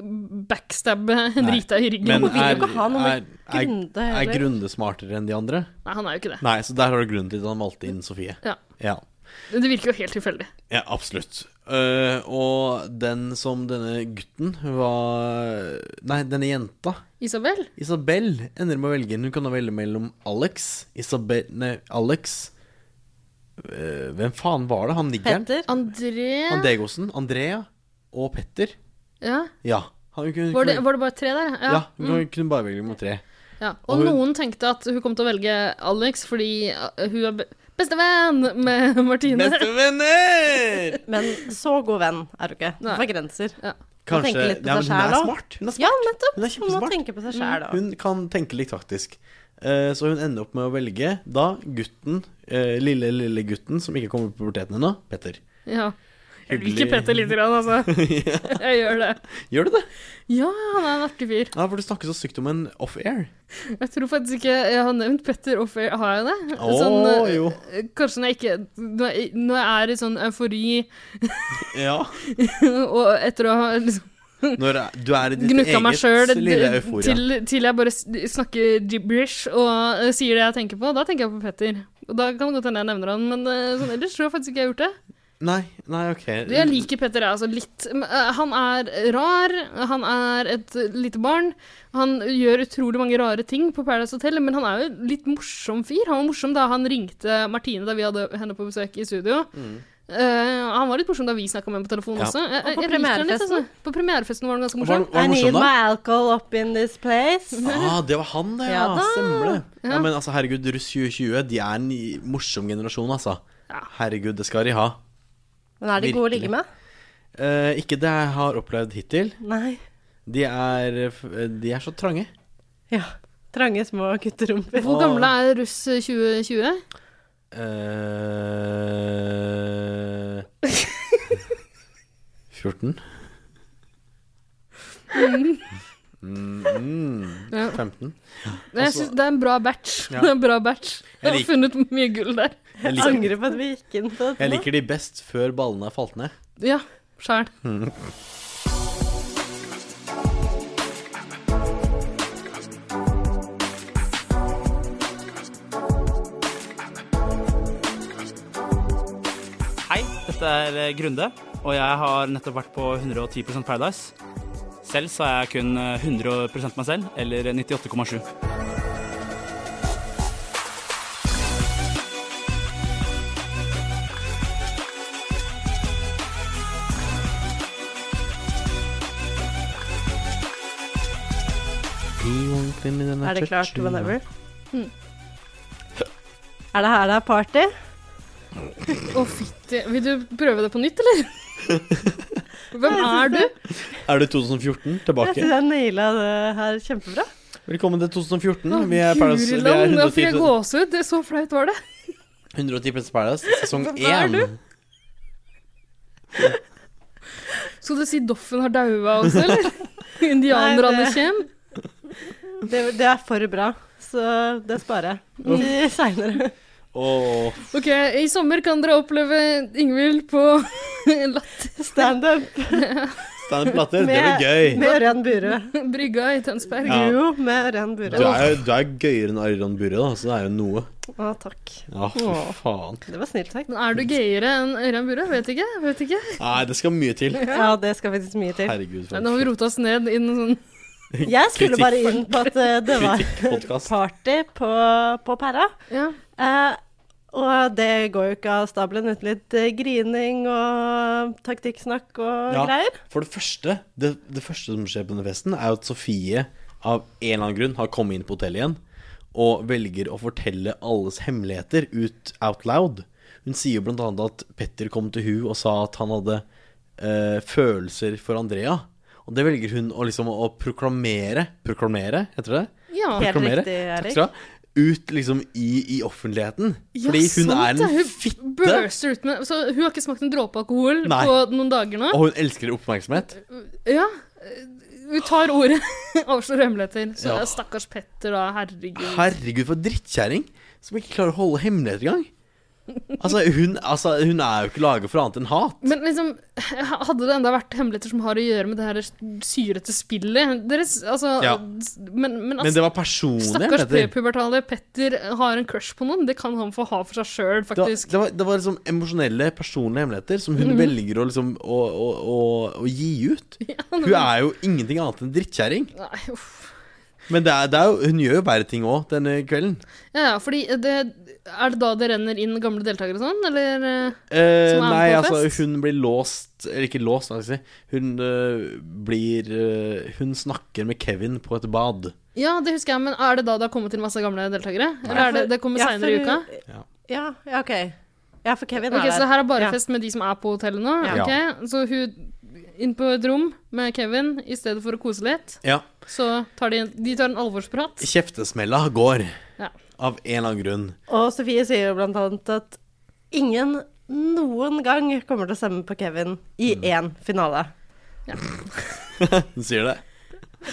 backstabbe Henrita i ryggen.
men
hun vil jo
er,
ikke ha noe
er,
med
er,
Grunde
er
heller.
Grunde smartere enn de andre?
Nei, han er jo ikke det.
Nei, så der har du grunnen til at han valgte inn Sofie.
Ja.
Ja,
Det virker jo helt tilfeldig.
ja absolutt. Eh, og den som denne gutten var Nei, denne jenta,
Isabel?
Isabel, ender med å velge. Hun kan da velge mellom Alex Isabel Nei, Alex Eh, Hvem faen var det? Han niggeren?
Petter?
André
Andegosen? Andrea? Og Petter?
ja.
Ja. Han kunne,
var, det, var det bare tre der?
ja, hun
Mm.
kunne- kunne bare velge mot tre.
Ja,
Og
og
hun-
noen tenkte at hun kom til å velge Alex fordi eh, hun er be- bestevenn med Martine.
Bestevenner!
Men så god venn er du ikke. Du
Nei.
får grenser.
Ja.
Hun
Kanskje
tenker litt på
ja, men
seg
Hun er
selv også.
smart. Hun er, smart.
Ja, nettopp.
Hun er
Hun må
kjempesmart.
tenke på seg sjæl òg.
Hun kan tenke litt taktisk. Eh, Så hun ender opp med å velge da gutten, eh, lille, lille gutten som ikke kommer på puberteten ennå, Petter.
Ja. Jeg
Hyggelig.
liker Petter lite grann, altså. Jeg gjør det.
Gjør du det?
Ja, han er en artig fyr.
Ja, for du snakker så sykt om en off-air.
Jeg tror faktisk ikke jeg har nevnt Petter off air. Har jeg det?
Å,
eh,
jo.
Kanskje når jeg ikke Når jeg, når jeg er i sånn eufori
Ja.
og etter å ha liksom
Når du er i ditt
gnukka meg
eget
sjøl
lille euforia.
til, til jeg bare s- snakker gibberish og eh, sier det jeg tenker på, da tenker jeg på Petter. Og da kan det godt hende jeg nevner han, men eh, sånn ellers tror jeg faktisk ikke jeg har gjort det.
Nei, nei, ok.
Jeg liker Petter jeg, altså, litt. Men, eh, Han er rar, han er et eh, lite barn. Han gjør utrolig mange rare ting på Paradise Hotel, men han er jo en litt morsom fyr. Han var morsom da han ringte Martine da vi hadde henne på besøk i studio. Eh, han var litt morsom da vi snakka med ham på telefonen
Mm. Ja.
også. Jeg,
Og på
jeg liker han litt,
premierefesten.
altså. På premierefesten var han ganske
Var-
morsom.
Var
I
det
need
morsom,
my
da?
alcohol up in this place.
Ah, det var han, det. Ja,
Ja da.
Stemmer det. Ja.
Ja.
Men altså, herregud, russ 2020, de er en i- morsom generasjon, altså.
Ja.
Herregud, det skal de ha.
Men er de gode å ligge
Virkelig.
med?
Eh, ikke det jeg har opplevd hittil.
Nei.
De er, f- eh, de er så trange.
Ja. Trange, små gutterumper.
Hvor gamle er russ 2020?
eh 14? Mm,
Ja.
15?
Jeg synes det er en bra batch.
Altså- Ja.
Det er en bra batch.
Jeg
Jeg har
lik-
funnet mye gull der.
Jeg liker,
Angrer på at vi gikk inn på
jeg
nå.
liker de best før ballene er falt ned.
Ja, sjæl.
Hei, dette er eh, Grunde, og jeg har nettopp vært på 110 Paradise. Selv så er jeg kun eh, 100 meg selv, eller 98,7.
Er
Er det klart whenever? Er det her det er party?
Å, fytti. Vil du prøve det på nytt, eller? Hvem er du?
Er det 2014
Jeg syns
tilbake?
jeg naila det her kjempebra.
Velkommen til
Å,
2014. Vi er, Paradise, vi er
Guriland, nå fikk jeg
110,
gåsehud. Det- Så flaut var det.
110 Prince Paradise, sesong
Hvem er
1.
du? Skal du si Doffen har daua også, eller? Indianerne
Nei, det-
kjem.
Det, det er for bra, så det sparer jeg til seinere.
Åh,
Ok, i sommer kan dere oppleve Ingvild på Latter.
Standup.
Standup-latter, det blir gøy.
Med Ørjan Burøe.
Brygga i Tønsberg.
Ja.
Jo, med Ørjan
Du
Burøe.
er jo du er gøyere enn Arian Burre, da, så det er jo noe.
Å, takk.
Ja, fy
Åh.
faen.
Det var snilt sagt.
Men er du gøyere enn Ørjan Burøe? Vet ikke. vet ikke.
Nei, det skal mye til.
Ja, det skal faktisk mye til.
Herregud,
Nei,
for
nå har vi rota oss ned i noe sånn
Jeg skulle
Kritikk.
bare inn på at eh, det var
Kritikk-podcast.
party på, på pæra.
Ja.
Eh, og det går jo ikke av stabelen uten litt eh, grining og taktikksnakk og
Ja.
greier.
For det første, det, det første som skjer på denne festen, er jo at Sofie av en eller annen grunn har kommet inn på hotellet igjen og velger å fortelle alles hemmeligheter ut out loud. Hun sier blant annet at Petter kom til hun og sa at han hadde eh, følelser for Andrea. Og det velger hun å, liksom, å proklamere Proklamere, heter det det?
ja.
Helt
Proklamere,
riktig, Erik.
takk skal du ha, Ut liksom i, i offentligheten.
Ja,
Fordi hun
sant
er
det.
en
Hun
fitte,
burster ut med Så hun har ikke smakt en dråpe alkohol
Nei.
på noen dager nå?
og hun elsker oppmerksomhet.
Ja. Hun tar ordet. Avslører hemmeligheter. Så
Ja.
stakkars Petter, da. Herregud.
Herregud, for drittkjerring som ikke klarer å holde hemmeligheter engang. Altså, hun, altså, hun er jo ikke laget for annet enn hat.
Men liksom, hadde det enda vært hemmeligheter som har å gjøre med det her syrete spillet deres, altså,
Ja.
Men, men,
Men
altså
det var personlige
Stakkars
hemmeligheter.
prepubertale Petter har en crush på noen. Det kan han få ha for seg sjøl,
Det var,
faktisk. Mhm.
det, var, det var liksom emosjonelle, personlige hemmeligheter som hun velger å, liksom, å, å, å, å gi ut. Hun er jo ingenting annet enn drittkjerring.
Nei, uff.
Men det er, det er jo, hun gjør jo verre ting òg denne kvelden.
Ja, ja, fordi det, Er det da det renner inn gamle deltakere og sånn, eller eh,
Eh,
Som er med
nei,
på
altså,
fest?
hun blir låst Eller ikke låst, hva skal jeg si. Hun eh, blir eh, Hun snakker med Kevin på et bad.
Ja, det husker jeg, men er det da det har kommet inn masse gamle deltakere? Eller
Ja,
er det,
for-
det kommer
ja,
seinere i uka?
for-
Ja.
Ja, ja, OK. Ja, for Kevin
Ok,
er
Så det her er
Ja.
bare fest med de som er på hotellet nå?
Ja.
ok? Så hun inn på et rom med Kevin i stedet for å kose litt.
Ja
Så tar de, de tar en alvorsprat.
Kjeftesmella går.
Ja.
Av en eller annen grunn.
Og Sofie sier jo blant annet at ingen noen gang kommer til å stemme på Kevin i
Mm.
én finale.
Hun sier det.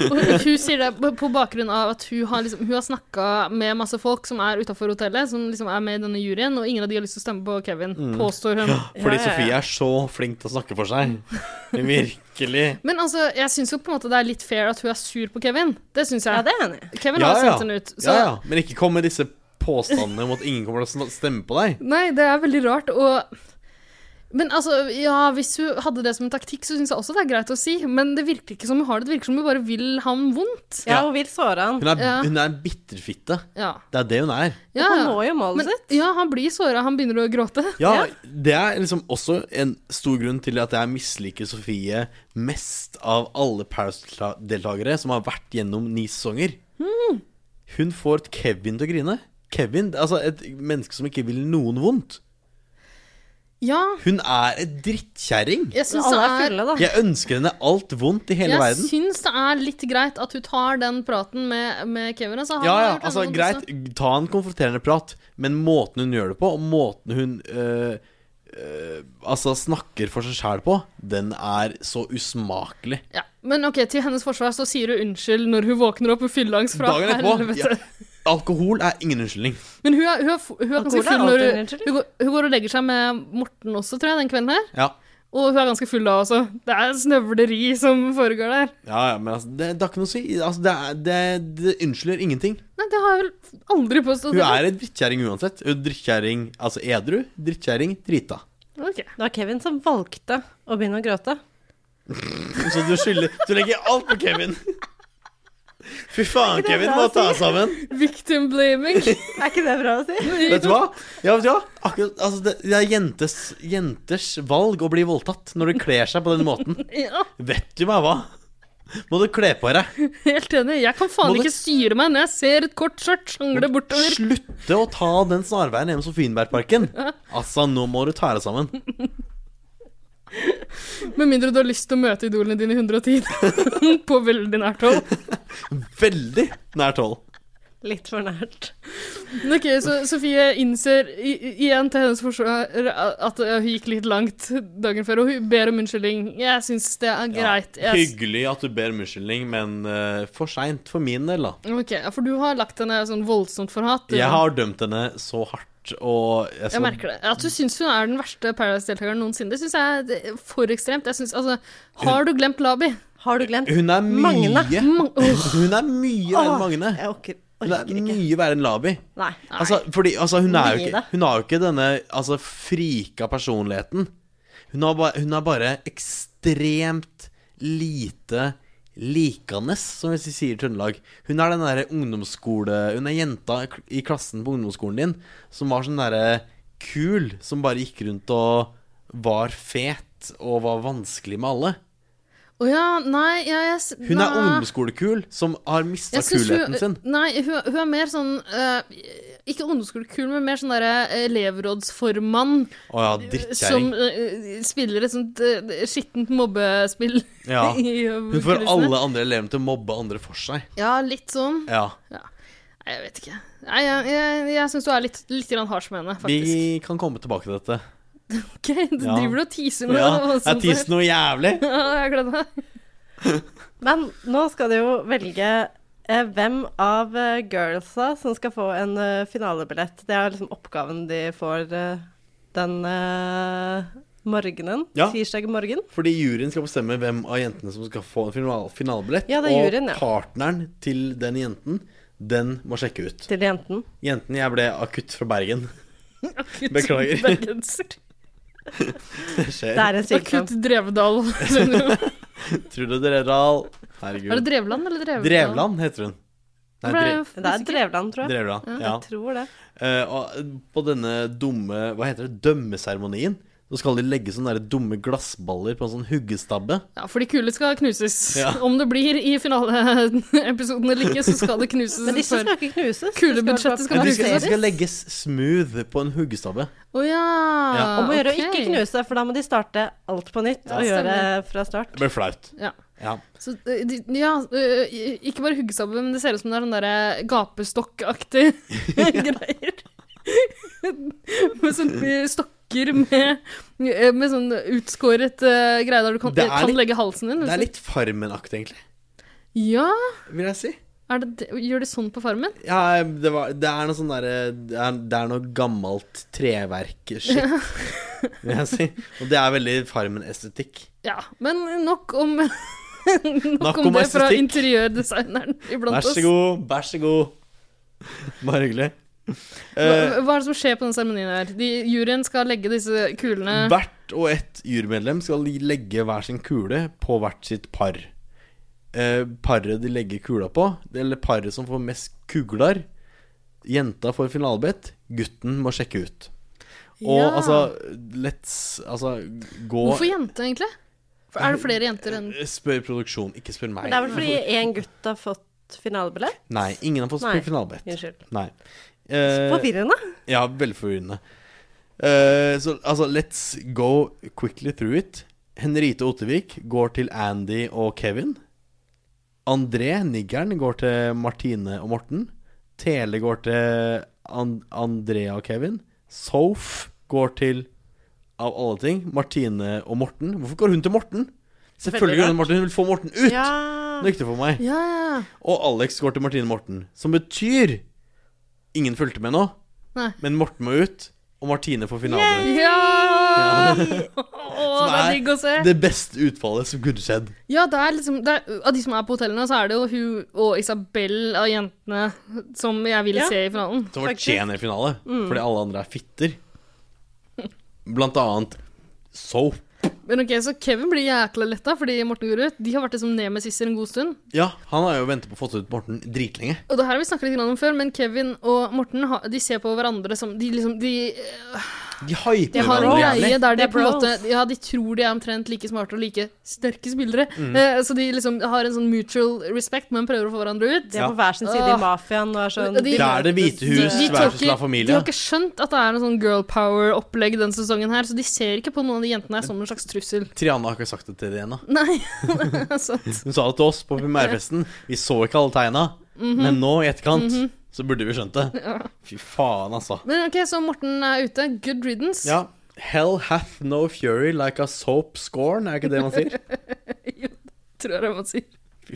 Og hun sier det på- på bakgrunn av at hun har, liksom, hun har snakka med masse folk som er utafor hotellet, som liksom er med i denne juryen, og ingen av de har lyst til å stemme på Kevin, påstår hun.
Fordi
Ja, ja,
Sofie
ja.
er så flink til å snakke for seg. Virkelig.
Men altså, jeg syns jo på en måte det er litt fair at hun er sur på Kevin. Det syns jeg.
Ja, det er jeg enig i.
Kevin
Ja,
har
ja.
sendt henne ut. Så
Ja, ja. Men ikke kom med disse påstandene om at ingen kommer til å sn- stemme på deg.
Nei, det er veldig rart, og Men altså, ja, hvis hun hadde det som en taktikk, så syns jeg også det er greit å si, men det virker ikke som hun har det. Det virker som hun bare vil ham vondt.
Ja,
Ja.
hun vil såre han.
Hun er,
Ja.
hun er en bitterfitte.
Ja.
Det er det hun er.
ja,
Hun
ja.
når jo målet
Men,
sitt.
ja, han blir såra, han begynner å gråte.
Ja,
Ja.
Det er liksom også en stor grunn til at jeg misliker Sofie mest av alle Paris-deltakere som har vært gjennom ni sesonger. Hun får et Kevin til å grine. Kevin, altså Et menneske som ikke vil noen vondt.
Ja,
Hun er et drittkjerring.
jeg syns
Alle
det
er
er
fulle, da.
Jeg ønsker henne alt vondt i hele
jeg
verden.
syns det er litt greit at hun tar den praten med, med Kevin. Altså, han
Ja,
har
ja,
gjort henne
altså
vondt
greit,
også.
ta en konfronterende prat, men måten hun gjør det på, og måten hun øh, øh, altså snakker for seg sjæl på, den er så usmakelig.
Ja. Men ok, til hennes forsvar så sier hun unnskyld når hun våkner opp med fylleangst fra
Dagen etterpå.
helvete.
Ja, alkohol er ingen unnskyldning.
Men hun er, hun er, f- hun er ganske
Alkohol er
full når
alltid en
hun,
unnskyldning.
hun, går, hun går og legger seg med Morten også, tror jeg, den kvelden her.
Ja,
Og hun er ganske full da også. Det er snøvleri som foregår der.
ja, ja men altså, det, det har ikke noe å si. Altså, det, er, det, det unnskylder ingenting.
Nei, det har jeg vel aldri påstått.
Hun er en drittkjerring uansett. Hun er Drittkjerring altså edru, drittkjerring drita.
Ok.
Det var Kevin som valgte å begynne å gråte.
Så du skylder Du legger alt på Kevin. Fy faen,
det
Kevin,
bra
må
å
ta deg sammen.
Victim blaming.
Er ikke det bra å si?
Vet du hva? Ja, vet du hva? Akkurat, altså, det, det er jentes, jenters valg å bli voldtatt når de kler seg på den måten.
Ja,
Vet du meg hva? Må du kle på deg.
helt enig. Jeg kan faen
Må du-
ikke styre meg når jeg ser et kort skjørt sjangle bortover.
Slutte å ta den snarveien hjem Sofienbergparken. Altså, nå må du ta deg sammen.
Med mindre du har lyst til å møte idolene dine i 110 på veldig nært hold.
Veldig nært hold.
Litt for nært.
Men Ok, så Sofie innser i, i- igjen til hennes forsvar at eh, hun gikk litt langt dagen før, og hun ber om unnskyldning. Jeg syns det er greit.
Ja,
Jeg,
hyggelig at du ber om unnskyldning, men eh, for seint for min del, da.
ok, ja, For du har lagt henne sånn voldsomt for hat. du.
Jeg har dømt henne så hardt. hardt, og jeg
Jeg
skal
merker det. At du syns hun er den verste Paradise-deltakeren noensinne, det syns jeg er det- for ekstremt. Jeg synes, altså, har du glemt Labi?
Har du glemt
Hun er mye
Magne?
Ma- Åh,
Hun er mye verre
Åh,
enn Magne.
Jeg orker,
Hun er
orker ikke.
mye verre enn Labi.
Nei.
Altså, fordi, altså, hun, er jo
Mye,
ikke,
da.
hun har jo ikke denne altså, frika personligheten. Hun er, bare, hun er bare ekstremt lite likandes, som vi sier i Trøndelag. Hun er den derre ungdomsskole... Hun er jenta i klassen på ungdomsskolen din som var sånn derre kul, som bare gikk rundt og var fet og var vanskelig med alle.
Å ja, nei, ja, jeg s-
Hun er
nei.
ungdomsskolekul, som har mista
Jeg synes
kulheten sin.
Hun, nei, hun, hun er mer sånn eh, Ikke ungdomsskolekul, men mer sånn derre elevrådsformann
Å ja,
som
drittkjerring.
eh, spiller et sånt eh, skittent mobbespill.
Ja.
i, eh,
Hun får
kulissene.
alle andre elevene til å mobbe andre for seg.
Ja, litt sånn.
Ja.
Nei, jeg vet ikke. Nei, jeg jeg, jeg syns du er litt, litt grann hard med henne, faktisk.
Vi kan komme tilbake til dette.
Ok, Du
Ja.
driver og teaser med
Ja,
henne. altså.
jeg
sånn
tiste noe jævlig.
jeg gleder meg.
Men nå skal du jo velge eh, hvem av eh, girlsa som skal få en eh, finalebillett. Det er liksom oppgaven de får eh, den eh, morgenen.
Ja.
Tirsdag morgen.
Fordi juryen skal bestemme hvem av jentene som skal få en final finalebillett.
Ja, det er juryen, ja.
Og partneren til den jenten, den må sjekke ut.
Til jenten.
Jenten jeg ble akutt fra Bergen.
Akutt
Beklager.
bergenser.
Det skjer.
Det er en sykdom.
Akutt Drevdal. er
Trude Drevdal. Herregud.
det Drevland eller Drevdal?
Drevland heter hun. Nei,
Ble
Dre
jeg
Det er
usikker.
Drevland, tror jeg.
Drevland. Ja.
Jeg tror det.
Eh, og på denne dumme Hva heter det? Dømmeseremonien. Så skal de legge sånne der dumme glassballer på en sånn huggestabbe.
Ja, for de kule skal knuses.
Ja.
Om det blir i finaleepisoden eller ikke, så skal det knuses.
Men disse
for-
skal ikke knuses. de
Kulebudsjettet
bare
skal
Men de
brukes.
skal, de
plasseres.
skal legges smooth på en huggestabbe.
Å ja.
Ja.
Om å gjøre å
ok.
ikke knuse, for da må de starte alt på nytt og gjøre
Stemmer.
fra start.
Det blir flaut.
Ja.
Ja.
Så, eh, de, ja, eh, ikke bare huggestabbe, men det ser ut som det er den derre gapestokkaktig greier. med sånne stokker med, med sånn utskåret uh, greie der du kan,
Det er
kan
litt-
legge halsen din.
Det
hvis
er
du-
litt Farmen-aktig, egentlig.
Ja,
Vil jeg si.
er det, det- gjør de sånn på farmen?
Ja, det, var, det er noe sånn derre det, er- det er noe gammelt treverk-shit, vil jeg si. Og det er veldig Farmen-estetikk.
Ja, men nok om Nok, om,
om
det fra
estetikk.
interiørdesigneren iblant
Vær
oss.
så god, vær så god. Bare hyggelig. Eh,
Hva, hva er det som skjer på den seremonien her? De, juryen skal legge disse kulene
Hvert og ett jurymedlem skal de legge hver sin kule på hvert sitt par. Eh, paret de legger kula på, eller paret som får mest kugler Jenta får finalebett, gutten må sjekke ut. Og
Ja.
altså, let's Altså, gå Eh,
Hvorfor jente, egentlig? For Er det flere jenter enn
Spør produksjon, ikke spør meg.
Men det er vel fordi én gutt har fått finalebillett?
Nei, ingen har fått
Nei.
spille finalebett.
Unnskyld.
Nei. Eh,
Forvirrende.
Ja, veldig forvirrende. Eh, så altså, let's go quickly through it. Henrite Ottervik går til Andy og Kevin. André, niggeren, går til Martine og Morten. Tele går til An Andrea og Kevin. Soph går til, av alle ting, Martine og Morten. Hvorfor går hun til Morten? Selvfølgelig går hun til Morten. Hun vil få Morten ut!
Ja.
Det er viktig for meg.
Ja, ja, ja.
Og Alex går til Martine Morten, som betyr Ingen fulgte med nå,
Nei.
men Morten må ut, og Martine får finale.
Ja! Å, det er digg å se.
Det beste utfallet som kunne skjedd.
Ja, det er liksom det er, Av de som er på hotellene, så er det jo hun og Isabel av jentene som jeg vil
Ja.
se i finalen.
Som
Faktisk.
fortjener finale,
Mm.
fordi alle andre er fitter. Blant annet Soap.
Men ok, Så Kevin blir jækla letta fordi Morten går ut. De har vært liksom nemesisser en god stund.
Ja, han har jo ventet på å få ut Morten dritlenge.
Og det her har vi snakket litt grann om før, men Kevin og Morten har- de ser på hverandre som De liksom de,
De
de
hyper
har en
hverandre
greie
jævlig.
der
Det
de
er
på en måte
bros.
Ja, de tror de er omtrent like smarte og like sterke spillere.
Mm.
Eh, så de liksom har en sånn mutual respect, men prøver å få hverandre ut.
De er
Ja.
på hver sin side
Åh.
i mafiaen og er sånn
Og de-
Det er Det hvite hus,
de tar
versus
ikke-
La
De
Familia.
har ikke skjønt at det er en sånn girl power-opplegg den sesongen her, så de ser ikke på noen av de jentene her som en slags trussel.
Triana har ikke sagt det til deg ennå.
Nei, det er sant.
Hun sa det til oss på primærfesten. Vi så ikke alle tegna, men nå i etterkant så burde vi skjønt det.
Mhm. Ja.
Fy faen, altså.
Men ok, så Morten er ute. Good riddance.
Ja. Hell hath no fury like a soap scorn, er ikke det man sier?
Tror jeg det er hva man sier.
Fy Fy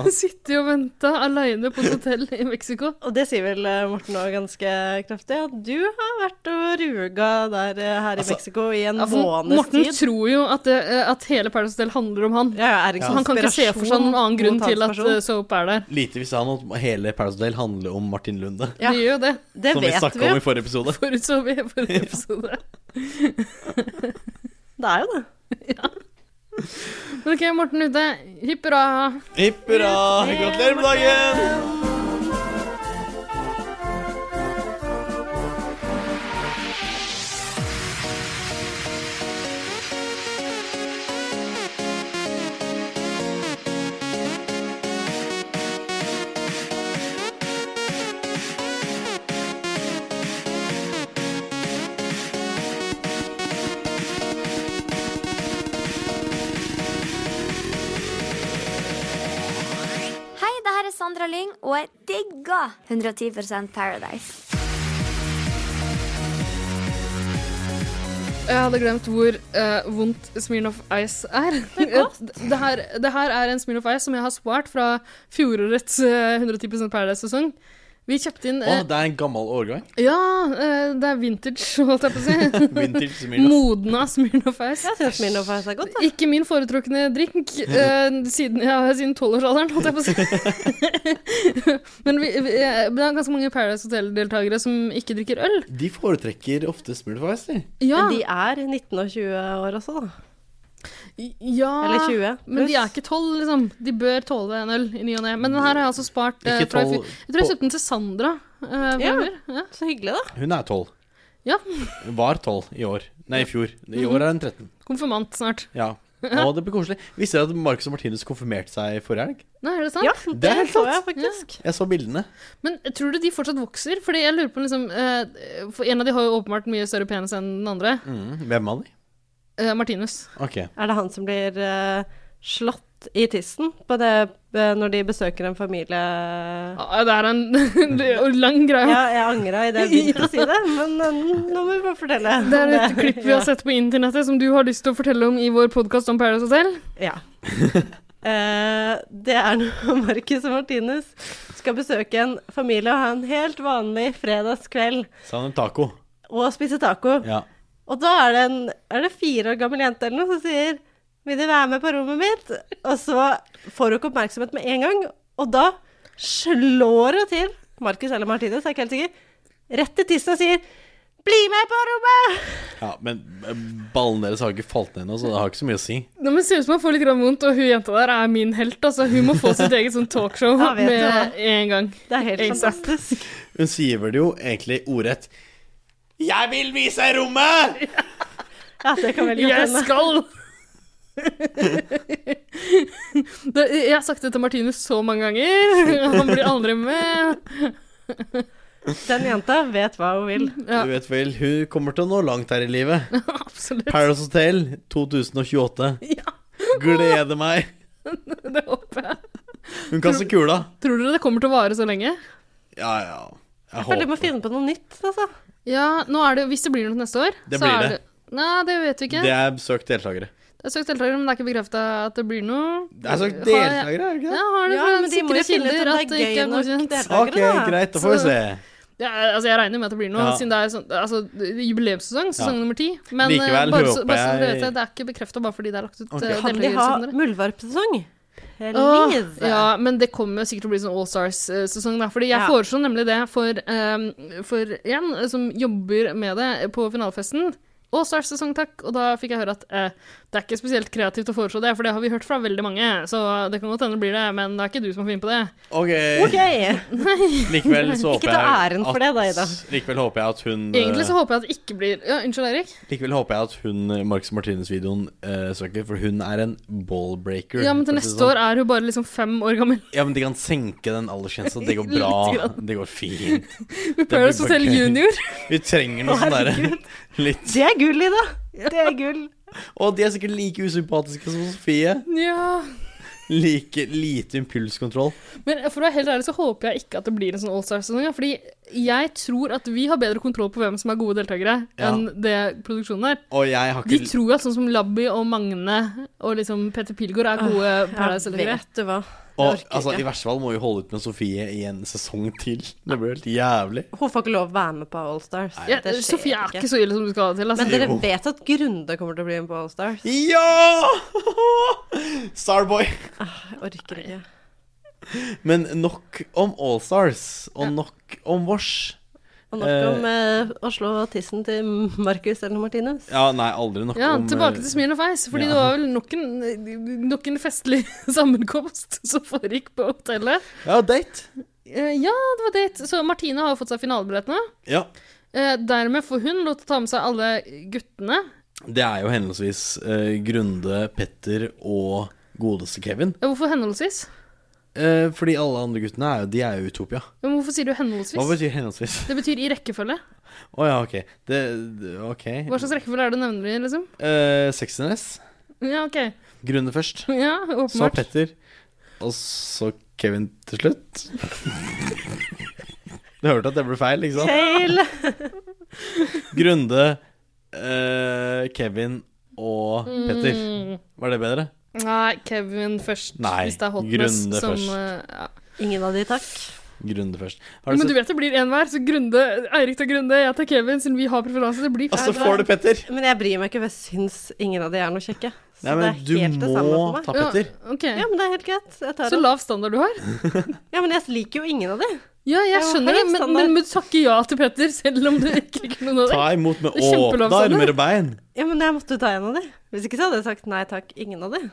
ass.
Sitte og vente aleine på et hotell i Mexico.
Og det sier vel eh, Morten òg ganske kraftig, at du har vært og ruga der eh, her i
Altså,
Mexico i en
Ja, for
måneds
Morten
tid.
tror jo at, det, eh, at hele Paradise Hotel handler om han.
Ja, ja, er
Så han kan ikke se for seg noen annen grunn til at eh, Soap er der.
Lite visste han at hele Paradise Hotel handler om Martin Lunde.
Ja.
Det gjør jo det.
Det
som vi
vet
snakka
vi
om
jo.
i forrige episode.
Forut så vi forrige episode.
Det er jo det.
Men OK, Morten ute. Hipp hurra.
Hipp hurra! Gratulerer med dagen!
Hei, det her er Sandra Lyng, og jeg digger 110 Paradise.
Jeg hadde glemt hvor eh, vondt Smirnoff Ice er. Det, det, her, det her er en Smirnoff Ice som jeg har spart fra fjorårets eh, 110 Paradise-sesong. Vi kjøpte inn
Å,
eh,
det er en gammel årgang.
Ja, eh, det er vintage, holdt jeg på å si.
Vintage Smirnoff.
Modna Smirnoff Ice.
Jeg syns Mino faktisk er godt. Da.
Ikke min foretrukne drink eh, siden, ja, siden 12-årsalderen, holdt jeg på å si. Men vi, vi, eh, det er ganske mange Paradise Hotel-deltakere som ikke drikker øl.
De foretrekker ofte Smirnoff Ice, de.
Ja,
Men de er 19 og 20 år også, da.
ja
Eller 20
Ah, Men de er
pluss.
ikke 12, liksom. De bør tåle en øl i ny og ne. Men den her har jeg altså spart eh,
Ikke
fra i fjor.
12
Jeg tror jeg kjøpte den til Sandra. eh,
Ja.
før. ja.
Så hyggelig, da.
Hun er tolv.
Ja.
Var tolv i år. Nei, i fjor. I år er hun 13.
Konfirmant snart.
Ja. Å, det blir koselig. Visste dere at Marcus og Martinus konfirmerte seg forrige helg?
Nei, er det sant?
Ja,
Det er
det
helt
så jeg faktisk.
Jeg så bildene.
Men tror du de fortsatt vokser? Fordi jeg lurer på liksom eh, For en av de har jo åpenbart mye større penis enn den andre.
Mm, hvem av de?
Eh, Martinus.
Ok.
Er det han som blir eh, slått i tissen på det, eh, når de besøker en familie
Ah, det er en lang greie.
Ja, jeg angra idet jeg begynte å si det, men eh, nå må vi bare fortelle.
Det er et klipp vi har sett på internettet som du har lyst til å fortelle om i vår podkast om Paradise Hotel.
Ja. Eh, det er når Marcus og Martinus skal besøke en familie og ha en helt vanlig fredagskveld
Sa han en taco?
og spise taco.
Ja.
Og da er det en er det fire år gammel jente eller noe som sier 'Vil du være med på rommet mitt?' Og så får hun ikke oppmerksomhet med en gang, og da slår hun til Marcus eller Martinus, er ikke helt sikker, rett i tissen og sier 'Bli med på rommet!'
ja men ballene deres har ikke falt ned ennå, så det har ikke så mye å si.
Nå, men Ser ut som han får litt grann vondt, og hun jenta der er min helt. altså. Hun må få sitt eget sånn talkshow
Ja, vet du hva?
med en gang.
Det er helt
Ikke sant?
fantastisk.
Hun sier vel det jo egentlig ordrett. Jeg vil vise rommet!
Ja, det kan veldig
Jeg
godt hende.
skal! det, jeg har sagt det til Martinus så mange ganger. Han blir aldri med.
Den jenta vet hva hun vil.
Ja.
Du vet vel, hun kommer til å nå langt her i livet.
Absolutt.
Paradise Hotel 2028.
Ja,
Gleder meg.
det håper jeg.
Hun kaster kula.
Tror dere det kommer til å vare så lenge?
Ja, ja. Jeg
Jeg føler vi må
håper
finne på noe nytt, altså.
Ja, nå er det, Hvis det blir noe neste år,
Det
så
blir
er
det.
Nei, det vet vi ikke.
Det er søkt deltakere.
Det er søkt deltakere, men det er ikke bekrefta at det blir noe.
Det er søkt
Har jeg-
deltakere, er det ikke
Ja,
det?
har det
Ja,
fra
men
sikre
de må jo finne ut
kilder
om
at det
det er
ikke
gøy
er
nok
godkjent.
deltakere.
Ok,
da.
greit, da får vi
Så-
se.
Ja, altså, jeg regner med at det blir noe,
Ja.
siden det er sånn, altså, jubileumssesong, sesong
Ja.
nummer ti. Men eh,
Likevel
bare, så,
håper
bare så dere
jeg-
vet det, det er ikke bekrefta bare fordi det er lagt ut eh,
Ok.
okay.
Kan de ha muldvarpsesong?
Åh,
Please!
ja, men det kommer sikkert til å bli sånn All Stars-sesong. da, Fordi jeg
Ja.
foreslo nemlig det for, ehm, for en som jobber med det på finalefesten. All Stars-sesong, takk. Og da fikk jeg høre at eh, det er ikke spesielt kreativt å foreslå det, for det har vi hørt fra veldig mange. Så det kan godt hende det blir det, men det er ikke du som har funnet på det.
Ok,
OK.
likevel så
Ikke
håper jeg
ta æren for det da, Ida.
at- Likevel håper jeg at hun eh,
Egentlig så håper jeg at det ikke blir Ja, unnskyld, Erik.
Likevel håper jeg at hun eh, Marcus Martinus-videoen eh, søker, for hun er en ballbreaker.
Ja, men til
for å si det
neste
sånn.
år er hun bare liksom fem år gammel.
Ja, men de kan senke den aldersgrensa. Det går
Litt
bra.
grann.
Det går fint.
Paradise
bare
Hotel
gøy.
Junior.
Vi trenger noe sånn derre
Herregud.
litt
Det er gull, Ida! Det er gull.
Og de er sikkert like usympatiske som Sofie.
Ja.
Like lite impulskontroll.
Men for å være helt ærlig så håper jeg ikke at det blir en sånn Allstar-sesong. ja, Fordi jeg tror at vi har bedre kontroll på hvem som er gode deltakere,
Ja.
enn det produksjonen er.
Og jeg har
De
ikke
tror jo at sånn som Labby og Magne og liksom Petter Pilgaard er gode Paradise-deltakere.
du hva.
Og
orker
altså,
ikke.
i verste fall må vi holde ut med Sofie i en sesong til. Det blir helt jævlig.
Hun får ikke lov å være med på Allstars.
Ja, Sofie er ikke så ille som du skal ha det til. Altså.
Men dere vet at Grunde kommer til å bli med på Allstars?
Ja! Starboy.
Jeg orker ikke.
Men nok om Allstars, og nok om Vårs.
Og nok om eh, Oslo og tissen til Marcus eller Martinus.
Ja, nei, aldri nok
Ja,
om
tilbake
eh,
til smil og feis, fordi
ja.
det var vel nok en, nok en festlig sammenkomst som foregikk på hotellet.
Ja, date.
Eh, ja, det var date. Så Martine har jo fått seg finalebillettene.
Ja.
Eh, dermed får hun lov til å ta med seg alle guttene.
Det er jo henholdsvis eh, Grunde, Petter og godeste Kevin.
Ja, hvorfor henholdsvis?
Eh, fordi alle andre guttene er jo, de er jo Utopia.
Ja, Men hvorfor sier du
Hva
henholdsvis?
betyr henholdsvis?
Det betyr i rekkefølge.
Å ja, ok. Det, det ok.
Hva slags rekkefølge er det du nevner i, liksom?
Eh, Sexiness.
Ja, OK.
Grunde først.
Ja,
Så
åpenbart.
Petter. Og så Kevin til slutt. Du hørte at det ble feil, ikke sant?
Feil!
Grunde, eh, Kevin og
Mm.
Petter. Var det bedre?
Nei, Kevin først,
Nei,
hvis det er hotness
Grunde
som
først.
eh, ja.
Ingen av de, takk.
Grunde først. Har du
Men du
sett
vet det blir én hver, så Grunde, Eirik tar Grunde, jeg tar Kevin, siden vi har preferanse. Det blir
Og så Altså, får du Petter.
Men jeg bryr meg ikke, for jeg syns ingen av de er noe kjekke. Så
Nei, men du
det er helt det samme
må
for meg.
ta Petter.
Ja, ok.
Ja, men det er helt greit. Jeg tar
Så
den.
lav standard du har?
Ja, men jeg liker jo ingen av de.
Ja, jeg
Ja,
skjønner
høy
det, men,
standard.
men du takker ja til Petter selv om du ikke liker noen av
Ta
dem?
imot med
Det er kjempelavstand,
åpne armer og bein.
Ja, men jeg måtte jo ta en av de. Hvis ikke så hadde jeg sagt nei takk, ingen av de.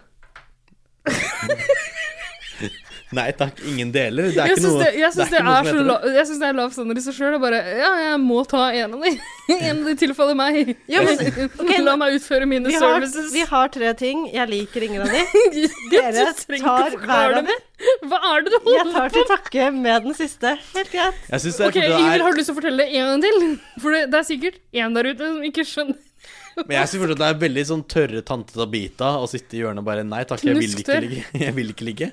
Nei takk, ingen deler. Det er
Jeg
ikke
syns
noe
det, jeg syns det,
noe
er
som
så
heter
la- jeg syns det er lav standard i seg sjøl. Bare ja, jeg må ta en av de. En av de tilfaller meg.
Ja, men, ok,
La meg utføre mine
Vi har,
services.
vi har tre ting. Jeg liker ingen av de.
Dere
Dere tar hver av de.
Hva er det du
Jeg
holder på
tar til takke med den siste. Helt greit.
Jeg syns det er
Ok,
fordi det
Ingvild,
er-
har du lyst til å fortelle det en gang til? For det, det er sikkert en der ute som ikke skjønner.
Men jeg synes fortsatt det er veldig sånn tørre tante Tabita å sitte i hjørnet og bare Nei takk, jeg vil ikke
Knusktørr.
ligge. Jeg vil ikke ligge.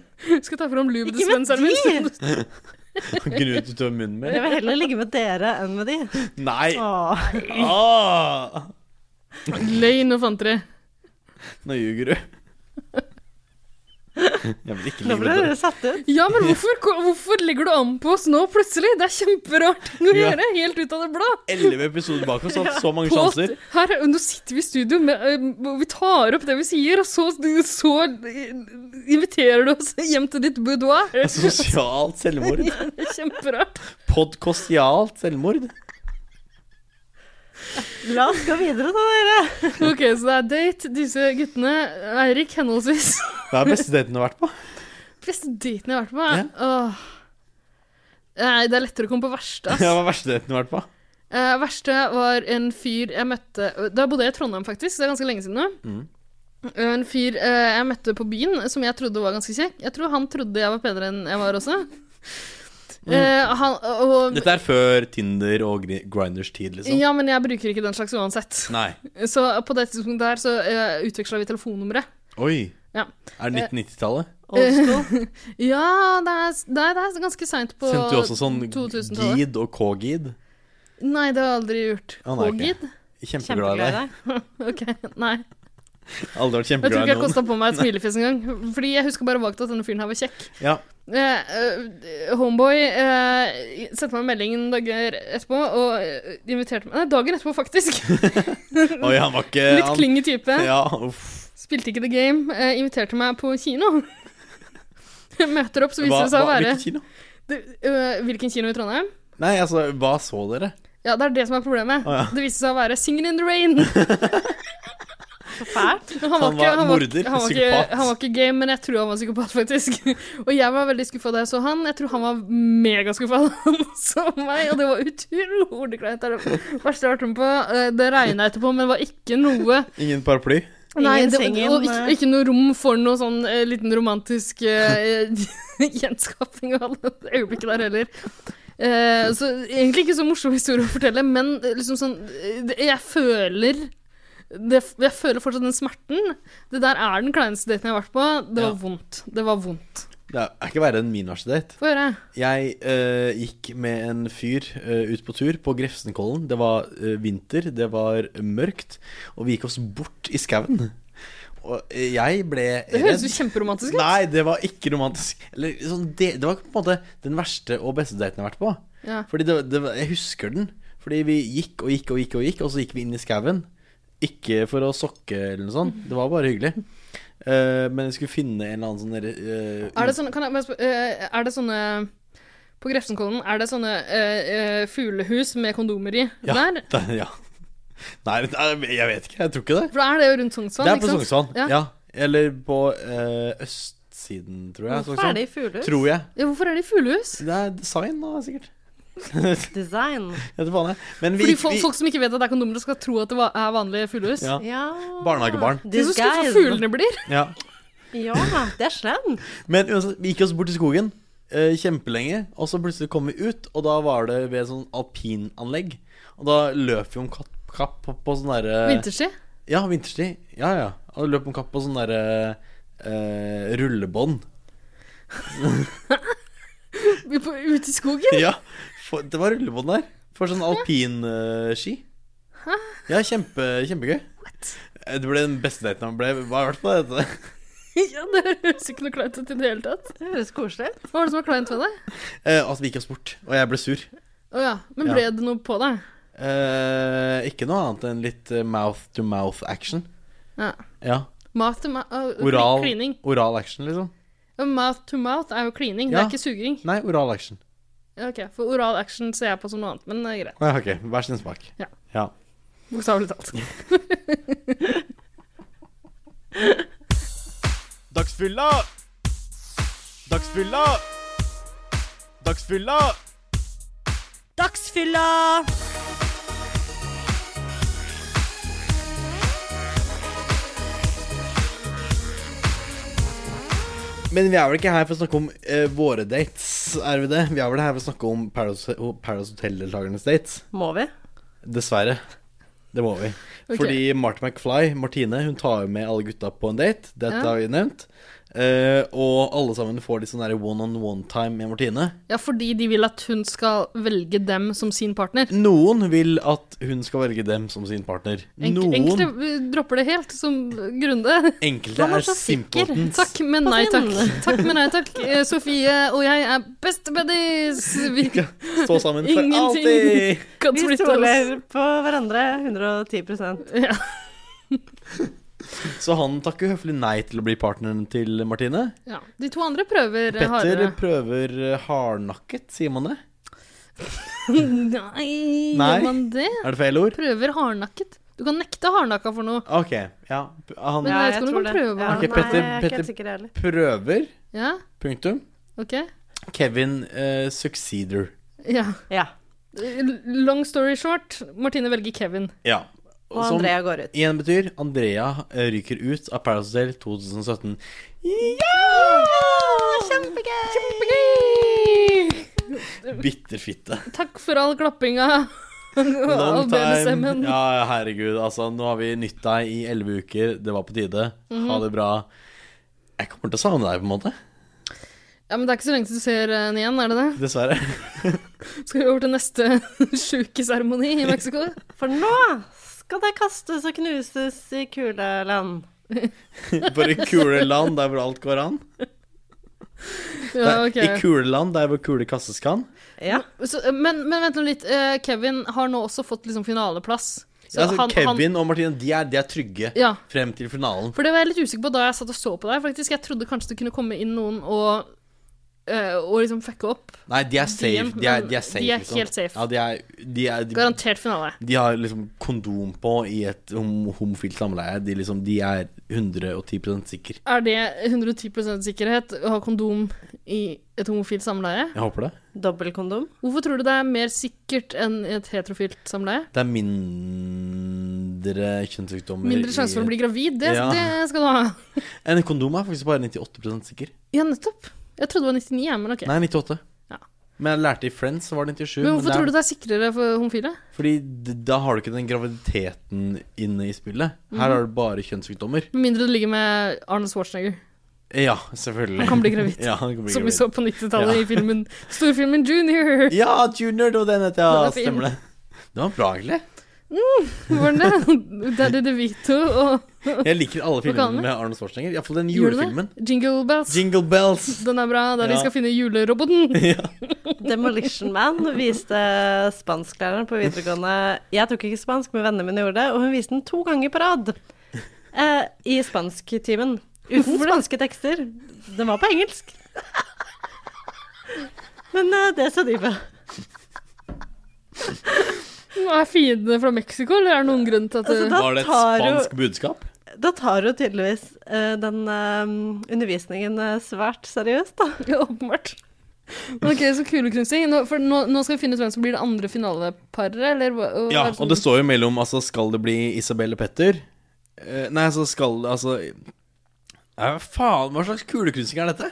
Skal jeg ta fram
Ikke med
lubedispenseren min.
de!
Og Grut utover munnen min.
Jeg vil heller ligge med dere enn med de.
Nei!
Åh.
Ah!
Løgn og fanteri.
Nå ljuger du. Jeg vil ikke
Nå
ligge
ble
med
dere
dere.
satt ut.
Ja, men hvorfor, hvorfor legger du an på oss nå plutselig? Det er kjemperart å
Ja.
gjøre, helt ut av det blå.
Elleve episoder bak oss, hatt så mange
På at-
sjanser.
Her, nå sitter vi i studio, med, eh, og vi tar opp det vi sier, og så, så eh, inviterer du oss hjem til ditt boudoir.
Altså, Sosialt selvmord.
Det er Kjemperart.
Podkostialt selvmord.
La oss gå videre da, dere.
Ok, så det er date, disse guttene. Eirik, henholdsvis.
Hva er beste daten du har vært på?
Beste daten jeg har vært på. er- Åh. Nei, det er lettere å komme på verste, ass.
Ja, hva er verste daten du har vært på?
Eh, verste var en fyr jeg møtte Da bodde jeg i Trondheim, faktisk. så Det er ganske lenge siden nå.
Mm.
Eh, En fyr eh, jeg møtte på byen, som jeg trodde var ganske kjekk. Jeg tror han trodde jeg var penere enn jeg var også.
Mm.
Eh, han, og,
Dette er før Tinder og Gri- Grinders tid, liksom.
ja, men jeg bruker ikke den slags uansett.
Nei.
Så på det tidspunktet der så uh, utveksla vi telefonnummeret.
Oi.
Ja. Eh,
Er det 1990-tallet?
Old school.
Ja, det er, det er, det er ganske seint på
Sendte du også sånn
2000-tallet.
Gid og K-Gid?
Nei, det har jeg aldri gjort.
Å, nei, ok.
Pågid?
Kjempeglad i
Kjempeglad i
deg.
deg.
Ok, nei. Jeg
Aldri vært
tror
kjempeglad
ikke
i
jeg
noen.
kosta på meg et smilefjes engang. Fordi jeg husker bare vagt at denne fyren her var kjekk.
Ja.
Eh, eh, homeboy eh, sendte meg en melding noen dager etterpå og eh, inviterte meg Nei, dagen etterpå, faktisk.
Oi, han var ikke
Litt
han-
klingy type.
Ja, uff.
Spilte ikke the game. eh, inviterte meg på kino. Jeg Møter opp, så viser
Hva-
det seg å
hva-
være
Hvilken kino?
Det- eh, Hvilken kino i Trondheim?
Nei, altså, hva så dere?
Ja, det er det som er problemet.
Å, ja.
Det viste seg å være 'Singing in the Rain'.
Så fælt.
Han var,
Han
ikke, han,
var
var,
morder,
han, var ikke,
psykopat.
han var ikke game, men jeg tror han var psykopat, faktisk. Og jeg var veldig skuffa da jeg så han. Jeg tror han var megaskuffa da han så meg, og det var utrolig kleint. Det er det verste jeg har vært med på. Eh, Det regna etterpå, men det var ikke noe
Ingen paraply?
Nei, det,
sengen,
og ikke,
eh.
ikke noe rom for noe sånn eh, liten romantisk eh, gjenskaping av det øyeblikket der heller. Eh, så egentlig ikke så morsom historie å fortelle, men eh, liksom sånn eh, det- Jeg føler det, jeg føler fortsatt den smerten. Det der er den kleineste daten jeg har vært på. Det var
Ja.
vondt. Det var vondt.
Det er er ikke verre enn min verste date.
Få høre.
Jeg eh, gikk med en fyr eh, ut på tur på Grefsenkollen. Det var eh, vinter, det var mørkt, og vi gikk oss bort i skauen. Og jeg ble
Det høres jo kjemperomantisk ut.
Nei, det var ikke romantisk. Eller, sånn, det, det var på en måte den verste og beste daten jeg har vært på.
Ja.
Fordi det, det, var- Jeg husker den. Fordi vi gikk og gikk og gikk, og gikk Og så gikk vi inn i skauen. Ikke for å sokke eller noe sånt. Det var bare hyggelig. Eh, men jeg skulle finne en eller annen sånn derre, eh,
Er det sånne, kan jeg, bare spør- eh, er det sånne På Grefsenkollen, er det sånne eh, eh, fuglehus med kondomer i
ja,
der?
det- ja. Nei, men det er- jeg vet ikke. Jeg tror ikke det.
For da er det jo rundt Sognsvann.
Det er på
ikke sant?
Sognsvann. Ja.
liksom, Ja.
Eller på eh, østsiden, tror jeg.
Hvorfor er
Sognsvann.
det i fuglehus?
Tror jeg.
Ja, hvorfor er det fuglehus?
Det er design, da, sikkert.
Design.
Jeg vet faen, jeg. Men vi,
Fordi
gikk-
folk,
vi
folk som ikke vet at det er kondomer, skal tro at det va- er vanlige fuglehus.
Ja.
Ja.
Barnehagebarn.
Det er så skuffa
Disguise.
fuglene blir.
ja.
Ja, det er slem.
Men uansett, vi gikk oss bort til skogen eh, kjempelenge, og så plutselig kom vi ut, og da var det ved et sånn alpinanlegg. Og da løp vi om kapp, kapp på, på sånn derre
Vinterstid.
Ja, vinterstid. Ja, ja. Og løp om kapp på sånn derre eh, rullebånd.
Vi på- Ute i skogen.
Ja, for, det var rullebånd der. For sånn alpinski. ja, kjempe, kjempegøy. Eh, Det ble den beste daten han ble. Hva har vært på dette?
Ja, Det høres ikke noe kleint ut i det hele tatt.
Det høres koselig ut.
Hva var det som var kleint ved det?
Eh, at vi gikk oss bort, og jeg ble sur.
Å ja. Men ble det noe på deg?
Eh, ikke noe annet enn litt eh, mouth to mouth action.
Ja.
Ja,
Mouth to mouth uh,
oral,
Klining.
oral action, liksom.
Ja, Mouth to mouth er jo klining, det
Ja.
er ikke suging.
Nei, oral action.
Ja, Ok, For oral action ser jeg på som noe annet, men det er greit.
Å, ja, ok, hver sin smak.
Ja.
ja.
Bokstavelig talt.
Dagsfylla! Dagsfylla! Dagsfylla!
Dagsfylla!
Men vi er vel ikke her for å snakke om eh, våre dates, er vi det? Vi er vel her for å snakke om Paradise, Paradise Hotel-deltakernes dates.
Må vi?
Dessverre. Det må vi.
Ok.
Fordi Martha McFly, Martine, hun tar jo med alle gutta på en date. Dette
Ja.
har vi nevnt. Eh, og alle sammen får litt sånn der one on one time med Martine.
Ja, fordi de vil at hun skal velge dem som sin partner.
Noen vil at hun skal velge dem som sin partner.
Enk
Noen
Enkelte eh, dropper det helt, som Grunde.
enkelte
Man var
er
så sikker.
simpletons.
Takk, men nei takk.
Hva
Takk, men nei takk. Eh, Sofie og jeg er bestebuddies! Vi
Ja, Stå sammen for
Ingenting.
alltid!
kan
Vi
splitte oss.
stoler på hverandre 110
Ja.
Så han takker høflig nei til å bli partneren til Martine.
Ja. De to andre prøver eh,
Petter
hardere.
prøver eh, hardnakket, sier man det?
Nei,
Nei.
gjør man det?
Er det feil ord?
Prøver hardnakket. Du kan nekte hardnakka for noe.
Ok, ja. Han
Men jeg vet ikke om du kan prøve
Ja,
Ok,
nei,
Petter-
jeg er ikke
Petter-
helt sikker heller.
prøver,
Ja,
punktum.
ok.
Kevin eh, Succeeder.
Ja.
Ja.
L- Long story short, Martine velger Kevin.
Ja.
Og
Sånn.
Andrea går ut.
igjen betyr Andrea eh, ryker ut av Paradise Hotel 2017. Ja! Kjempegøy! Bitterfitte.
Takk for all klappinga. Og all
Long time.
BDSM-en.
Ja, herregud. Altså, nå har vi nytt deg i elleve uker. Det var på tide. Ha det bra. Jeg kommer til å savne deg, på en måte.
Ja, men det er ikke så lenge til du ser henne igjen, er det det?
Dessverre.
Skal vi over til neste sjukeseremoni i Mexico?
For nå skal det kastes og knuses i kuleland.
Bare i kule land der hvor alt går an.
Ja,
I
ok.
kule land der hvor kule kastes kan.
Ja.
Så, men, men vent nå litt. eh, Kevin har nå også fått liksom finaleplass. Så
altså,
han- han-
Kevin og Martine, de er, de er trygge
Ja,
frem til finalen.
for det var jeg litt usikker på da jeg satt og så på deg, faktisk. Jeg trodde kanskje det kunne komme inn noen og, eh, og liksom fucke opp.
Nei, de er safe.
Diem,
De er,
men
de er, safe,
de er
liksom.
helt safe.
Ja, de, er, de, er, de,
Garantert finale.
de har liksom kondom på i et hom homofilt samleie. De, liksom, de er 110 sikre.
Er det 110 sikkerhet å ha kondom i et homofilt samleie?
Jeg håper det.
Dobbeltkondom.
Hvorfor tror du det er mer sikkert enn i et heterofilt samleie?
Det er mindre kjønnssykdommer
Mindre sjanse for å bli gravid, det,
Ja.
det skal du ha.
i En kondom er faktisk bare 98 sikker.
Ja, nettopp. Jeg trodde det var 99, ja, men ok.
Nei, 98.
Ja.
Men jeg lærte i Friends, så var det 97.
Men hvorfor tror du
det?
det er sikrere for homofile?
er- Fordi d- da har du ikke den graviditeten inne i spillet.
Mhm.
Her har du bare kjønnssykdommer.
Med mindre du ligger med Arne Schwarzenegger,
Ja, selvfølgelig.
Han kan bli gravid.
ja, han kan bli
som vi
gravid.
så på 90-tallet
Ja.
i filmen storfilmen Junior.
Ja, Junior og den heter
Den
ja,
er fin.
stemmer det. Det var bra, egentlig.
Hvordan det? Daddy DeVito og
Jeg liker alle
kaller den
filmene
det?
med Arne Schwarzenegger. Iallfall den
gjør du det?
julefilmen.
Jingle Bells.
Jingle Bells.
Den er bra, der
Ja.
de skal finne juleroboten.
Demolition Man viste spansklæreren på videregående Jeg tok ikke spansk, men vennene mine gjorde det, og hun viste den to ganger på rad eh, i spansktimen. Uten spanske tekster. Den var på engelsk. Men eh, det sa de på.
Er fiendene fra Mexico, eller er det noen grunn til at
Altså,
det-
da
Var det et
tar jo-
spansk budskap?
Da tar hun tydeligvis eh, den eh, undervisningen eh, svært seriøst, da.
Ja, åpenbart. Ok, så kuleknusing. Nå, for nå, nå skal vi finne ut hvem som blir det andre finaleparet, eller hva? hva
Ja,
er som-
og det står jo mellom altså, Skal det bli Isabel og Petter? Eh, nei, altså skal det Altså ja, Faen, hva slags kuleknusing er dette?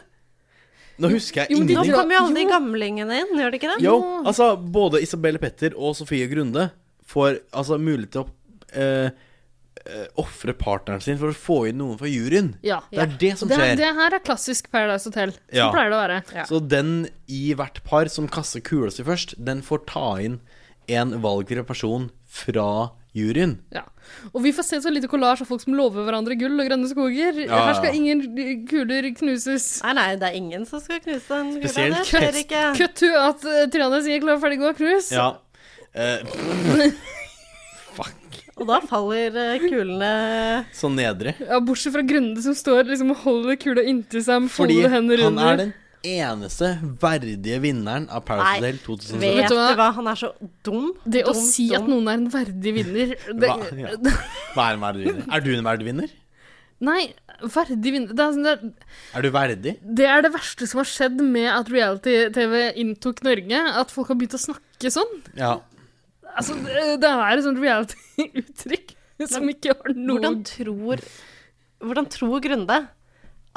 Nå husker jeg
Jo, men de
Nå
ingenting.
drar-
kommer jo alle de
Jo.
gamlingene inn, gjør de ikke det?
Jo,
Ah.
altså, både Isabel Petter og Sofie Grunde får altså mulighet til å eh, eh, ofre partneren sin for å få inn noen fra juryen.
Ja,
Det er
ja.
det som
Det, her-
skjer.
det her er klassisk Paradise Hotel. Som
Ja.
pleier det å være.
Så den i hvert par som kaster kula si først, den får ta inn en valgfri person fra juryen.
Ja. Og vi får se så lite kollasj av folk som lover hverandre gull og grønne skoger.
Ja,
Her skal
ja.
ingen kuler knuses.
Nei, nei, det er ingen som skal knuse den kula.
Spesielt
Det
test-
skjer ikke.
Cut to at uh, Triana sier 'klar, ferdig, gå', knus.
Ja. Eh,
Og da faller eh, kulene
så nedre.
Ja, bortsett fra Grunde som står liksom og holder kula inntil seg med
Fordi
folde
han
hender under.
er den eneste verdige vinneren av
Nei,
Paradise Hotel 2017.
Vet
Vet
du
du
hva?
hva, han er så dum.
Det å
dum,
si
dum.
at noen er en verdig vinner
Hva?
det,
Ja. Hva er en verdig vinner? Er du en verdig vinner?
Nei, verdig vinner det er, sånn der-
Er du verdig?
det er det verste som har skjedd med at reality-TV inntok Norge. At folk har begynt å snakke sånn.
Ja.
Altså, det, det er et sånt reality-uttrykk som ikke har noe
Hvordan tror, hvordan tror Grunde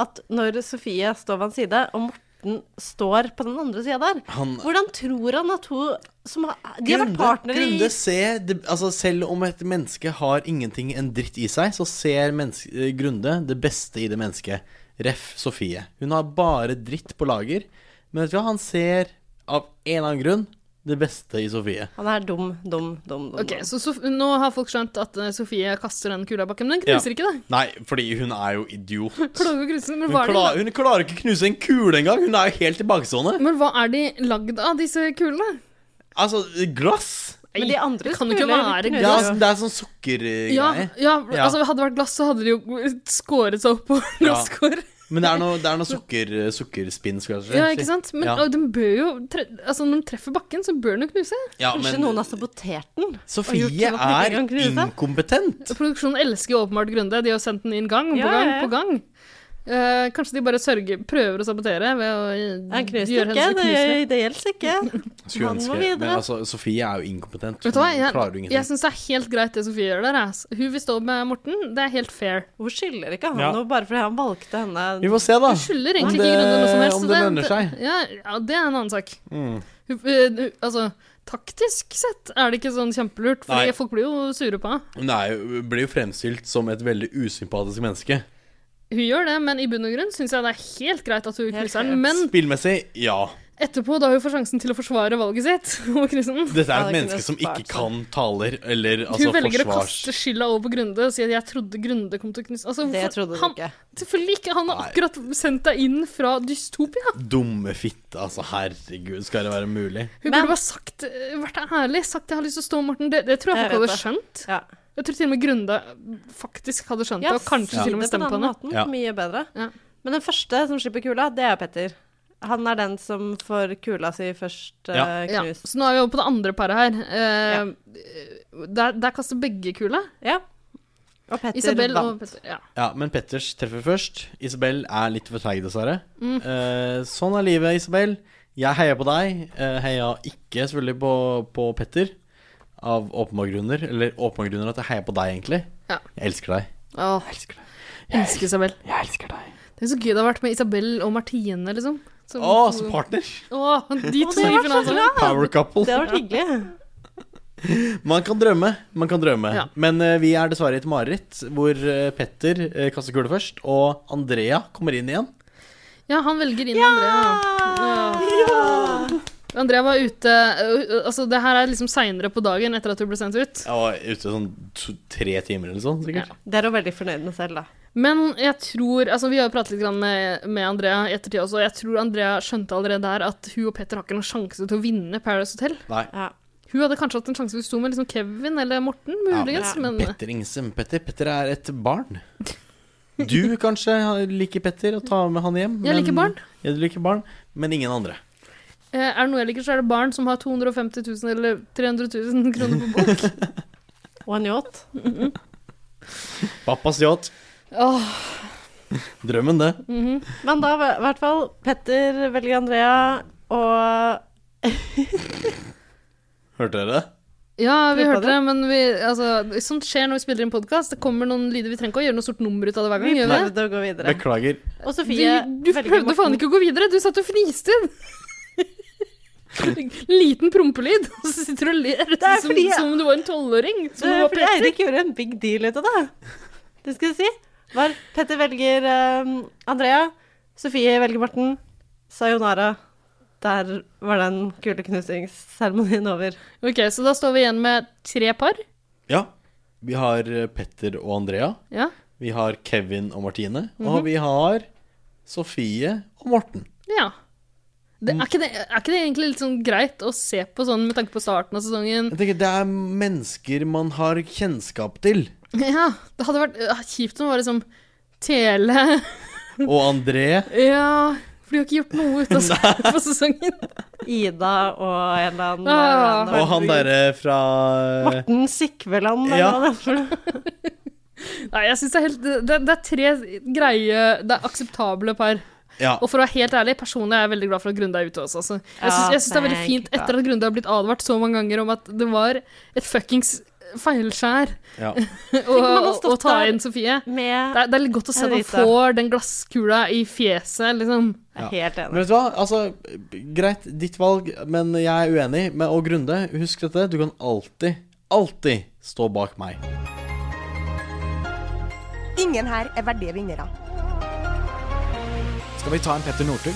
at når Sofie står ved hans side, og Morten står på den andre sida der
Han-
Hvordan tror han at hun som har, De har vært
Grunde-
partnere i
Grunde ser det, altså Selv om et menneske har ingenting en dritt i seg, så ser menneske, eh, Grunde det beste i det mennesket. Ref. Sofie. Hun har bare dritt på lager. Men vet du hva, han ser av en eller annen grunn det beste i Sofie.
Han er dum, dum, dum. dum.
Ok,
dum.
så Sof Nå har folk skjønt at eh, Sofie kaster den kula bak, men den knuser ikke, da.
Nei, fordi hun er jo idiot.
Klager og knuser, men
Hun,
hva er,
kla
de,
hun klarer ikke å knuse en kule engang. Hun er jo helt tilbakestående.
men hva er de lagd av, disse kulene?
Altså, glass.
Men de andre
kan jo ikke
skulle
være
knulle.
Ja,
glass.
altså, det er sånn sukkergreie.
Ja, ja,
Ja.
altså hadde det vært glass, så hadde de jo skåret seg opp på
Ja.
glasskår.
Men det er noe, det er noe sukker, eh, sukkerspinn, skulle jeg si.
Ja, ikke sant? Men
Ja.
og den bør jo tre altså, Når den treffer bakken, så bør den jo knuse.
Ja,
Kanskje
men-
noen har sabotert den? og
Sofie
gjort sånn at
er
den ikke kan knuse?
inkompetent.
Produksjonen elsker jo åpenbart Grunde. De har sendt den inn gang på
Ja,
gang
ja, ja.
på gang. Eh, kanskje de bare sørger, prøver å sabotere ved å eh,
Han knuser
gjøre
ikke.
henne så
Det,
knusende.
det gjelder ikke.
Skulle
Han må
ønske
videre.
Men altså, Sofie er jo inkompetent.
Vet du hva,
Hun klarer jo
jeg, jeg
ingenting.
syns det er helt greit det Sofie gjør der. ass. Hun vil stå med Morten, det er helt fair.
Hun skylder ikke han
Ja.
noe bare fordi han valgte henne.
Vi får se, da.
Hun skylder
Om
egentlig
det-
ikke Grunde noe som helst.
Om
så
det
er-
lønner seg. Mm.
Ja, ja, det er en annen sak. Hun, eh, hun- altså, taktisk sett er det ikke sånn kjempelurt, fordi
Nei.
folk blir jo sure på henne.
Hun er jo- blir jo fremstilt som et veldig usympatisk menneske.
Hun gjør det, men i bunn og grunn syns jeg det er helt greit at hun
Helt
knuser
greit.
den. Men
Spillmessig, ja.
etterpå, da hun får sjansen til å forsvare valget sitt og knuse den
Dette er
Ja,
et
det
menneske
kunne
som
spart
ikke
seg.
kan taler
Hun
eller altså
velger å
forsvars...
kaste skylda over på Grunde og si at 'jeg trodde Grunde kom til å knuse'. Altså,
Det
hvorfor-
trodde du
han,
ikke.
Selvfølgelig ikke. Han har
Nei.
akkurat sendt deg inn fra dystopia.
Dumme fitte, altså. Herregud, skal det være mulig?
Hun
Men-
burde bare sagt, eh, vært ærlig, sagt 'jeg har lyst til å stå med Morten'. Det, det tror jeg
Jeg
folk
vet
hadde skjønt.
Ja.
Jeg tror til og med Grunde faktisk hadde skjønt det, og kanskje
si
til og med
det på
stemt på
den
henne.
Måten,
Ja.
Mye bedre.
Ja.
Men den første som slipper kula, det er Petter. Han er den som får kula si først eh,
Ja.
Ja.
knust.
Så nå er vi over på det andre paret her. Eh, der, der kaster begge kula.
Ja. Og Petter
Isabel og
vant.
Petter. Ja.
Ja, men Petters treffer først. Isabel er litt for treig, dessverre.
Mm.
Eh, sånn er livet, Isabel. Jeg heier på deg. Eh, heia ikke selvfølgelig på, på Petter. Av åpenbare grunner. Eller åpenbare grunner at jeg heier på deg, egentlig.
Ja.
Jeg elsker deg.
Åh,
Jeg elsker deg.
elsker Isabel.
Jeg elsker deg.
Det er så gøy det har vært med Isabel og Martine, liksom. Som
Å,
to-
som partner!
Åh, de
Å,
to
det
i
var så
finalen.
Power
Det
couple.
hadde vært hyggelig.
Man kan drømme. Man kan drømme.
Ja.
Men eh, vi er dessverre i et mareritt hvor eh, Petter eh, kaster kule først, og Andrea kommer inn igjen.
Ja, han velger inn Andrea. Ja. Andrea var ute ø- ø- Altså, det her er liksom seinere på dagen etter at hun ble sendt ut.
Jeg var ute sånn to, tre timer eller sånn, sikkert.
Det er hun veldig fornøyd med selv, da.
Men jeg tror Altså, vi har jo pratet litt grann med, med Andrea i ettertid også, og jeg tror Andrea skjønte allerede der at hun og Petter har ikke noen sjanse til å vinne Paradise Hotel.
Nei.
Ja.
Hun hadde kanskje hatt en sjanse hvis hun sto med liksom Kevin eller Morten, muligens,
Ja,
men
Petter Ingsen. Petter, Petter er et barn. Du kanskje liker Petter og tar med han hjem.
Jeg liker barn.
Ja, du liker barn, men ingen andre.
Eh, Er det noe jeg liker, så er det barn som har 250 000 eller 300 000 kroner på bok.
One yacht.
Pappas yacht.
Åh,
Drømmen, det.
Men da, i hvert fall, Petter velger Andrea, og
Hørte dere det?
ja, vi
Klippa
hørte
det.
det, men vi, altså, sånt skjer når vi spiller inn podkast. Det kommer noen lyder vi trenger ikke å gjøre noe stort nummer ut av det hver gang.
vi
gjør vi det?
prøvde å gå videre.
Beklager.
Og Sofie
Du, du
velger
prøvde faen
Morten.
ikke å gå videre, du satt og fniste. Liten prompelyd, og så sitter du og ler
er
som,
fordi jeg-
som om du var en tolvåring. Som
Det
om
er
du var
fordi
Petter.
Eirik gjorde en big deal ut av det. Det skal jeg si. Var Petter velger ehm, Andrea, Sofie velger Morten, Sayonara. Der var den kuleknusingsseremonien over.
Ok, Så da står vi igjen med tre par.
Ja. Vi har eh, Petter og Andrea.
Ja.
Vi har Kevin og Martine.
Mhm.
Og vi har Sofie og Morten.
ja. Det, er, ikke det, er ikke det egentlig litt sånn greit å se på sånn med tanke på starten av sesongen?
Jeg tenker Det er mennesker man har kjennskap til.
Ja, det hadde vært øh, kjipt om det var liksom Tele
Og André
Ja, for de har ikke gjort noe ut av seg på sesongen.
Ida og en eller annen
Ah.
og han derre fra
Morten Sikveland, eller
Ja.
hva det er for noe.
Nei, jeg synes det er helt det, det er tre greie Det er akseptable par.
Ja.
Og for å være helt ærlig, personlig er jeg veldig glad for at Grunde er ute også. Altså. Jeg
Ja,
syns- jeg syns det er veldig
thank
fint
God.
etter at Grunde har blitt advart så mange ganger om at det var et fuckings feilskjær
ja.
å
om han har
å
stått
ta
der.
inn Sofie. Det
Med
er, det er litt godt å se at han
Henriette.
får den glasskula i fjeset, liksom.
Jeg er helt
Men
enig.
vet du hva? Altså, greit, ditt valg, men jeg er uenig. Men, og Grunde, husk dette. Du kan alltid, alltid stå bak meg.
Ingen her er verdige vinnere.
Skal vi ta en Petter Northug?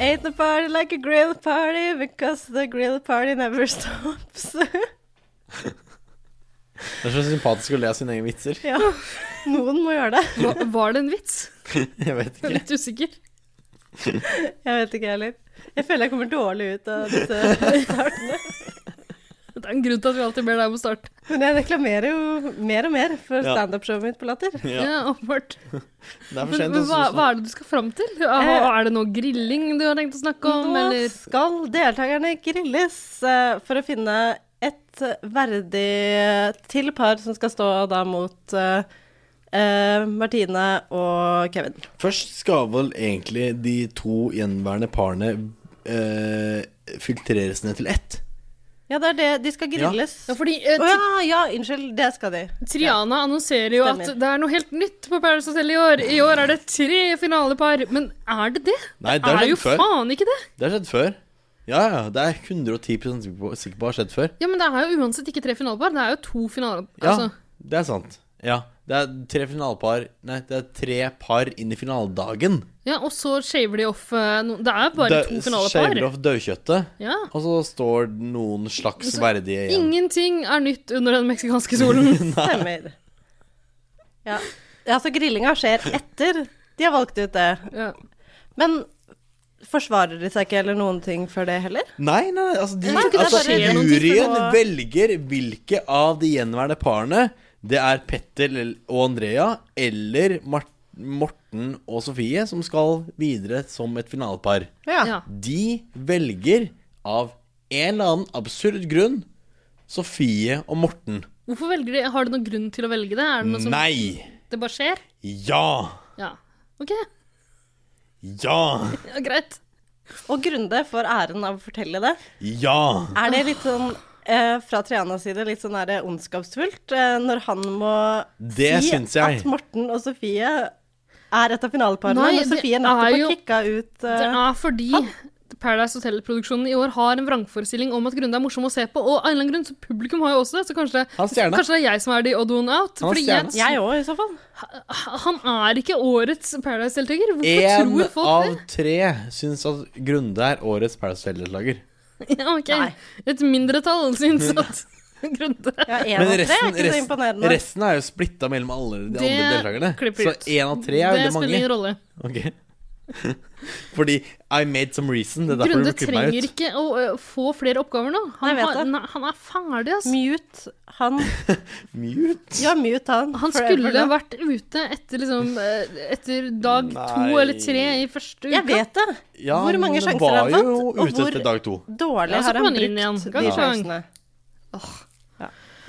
Ain't the party like a grill party because the grill party never stops.
Det er så sympatisk å le av sine egne vitser.
ja, noen må gjøre det.
Hva, var det en vits?
Jeg vet
Jeg er
ikke.
litt usikker.
Jeg vet ikke, jeg heller. Jeg føler jeg kommer dårlig ut av disse startene.
Det er en grunn til at vi alltid ber deg om å starte.
Men jeg reklamerer jo mer og mer for
Ja.
standup-showet mitt på Latter.
Ja, åpenbart.
Det er for
Men,
sent.
men hva,
altså,
hva er det du skal fram til? Er det noe grilling du har tenkt å snakke om,
Eh, Nå
eller
skal deltakerne grilles eh, for å finne et verdig eh, til par som skal stå da mot eh, eh, Martine og Kevin.
sånn. Først skal vel egentlig de to gjenværende parene eh, filtreres ned til ett.
Ja, det er det. De skal grilles.
Ja,
Å
fordi eh,
ja, ja, unnskyld. Det skal de.
Triana annonserer jo at
Stemmer.
det er noe helt nytt på Paradise Hotel i år. I år er det tre finalepar. Men er det det?
Nei, det
Det
har
er
skjedd
jo
før.
faen ikke det!
Det har skjedd før. Ja, ja. Det er 110 sikker på- sikker på har skjedd før.
Ja, Men det er jo uansett ikke tre finalepar. Det er jo to finalepar.
Ja,
Altså,
det er sant. Ja. Det er tre finalepar Nei, det er tre par inn i finaledagen.
ja, og så shaver de off eh, no, Det er bare
Dau-
to
Shaver
finalepar.
off daukjøttet,
Ja.
og så står noen slags
Altså,
Så
verdige igjen.
Ingenting er nytt under den meksikanske solen.
Stemmer. Ja. ja, så grillinga skjer etter de har valgt ut det.
ja.
Men forsvarer de seg ikke eller noen ting for det heller?
Nei, nei, nei, altså, de,
Nei, det er
altså
bare noen
juryen
tilfeller.
velger hvilke av de gjenværende parene det er Petter eller- og Andrea eller Mar- Morten og Sofie som skal videre som et finalepar.
Ja.
De velger av en eller annen absurd grunn Sofie og Morten.
Hvorfor velger de Har det noen grunn til å velge det? Er det noe som
Nei!
Det bare skjer?
Ja!
Ja. OK,
Ja!
ja, greit.
Og Grunde får æren av å fortelle det.
Ja!
Er det litt sånn eh, fra Trianas side litt sånn der ondskapsfullt eh, når han må
Det
si
syns jeg.
at Morten og Sofie er et av finaleparene,
Nei,
når
det
Sofie
er
nettopp
jo-
har kicka ut
Det
eh,
er fordi Paradise Hotel-produksjonen i år har en vrangforestilling om at Grunde er morsom å se på. Og av en eller annen grunn, så publikum har jo også det, så kanskje det,
Han er stjerne.
kanskje det er jeg som er the odd one out.
Han er
fordi jeg,
Jeg òg, i så fall.
han er ikke årets Paradise-deltaker. Hvorfor
Én
tror folk
av
det?
tre syns at Grunde er årets Paradise Hotel-deltaker.
Ja, ok.
Nei.
Et mindretall syns at Grunde
Ja, én
Men
av tre er
resten,
ikke så
resten,
imponerende.
resten er jo splitta mellom alle de
Det
andre deltakerne.
klipper
Så
ut.
én av tre er
Det
veldig
spiller
mange.
ingen rolle.
Ok. Fordi I made some reason. Det er derfor
Grunde
du klipper meg
trenger
ut.
ikke å ø, få flere oppgaver nå. Han,
Nei, jeg vet
har-
det.
nei, han er ferdig, ass.
Mute han.
Mute.
Ja, mute han.
Han
Forever
skulle
now.
vært ute etter, liksom, ø, etter dag to
Nei.
eller tre i første uke.
Jeg vet det.
Ja,
Hvor mange
men
sjanser
var
han fant,
jo
og
ute
hvor-
etter dag to.
Dårlig
Ja, så
har
kom
han
han inn igjen.
brukt
Gang
de
på gang.
sjansene. Ja.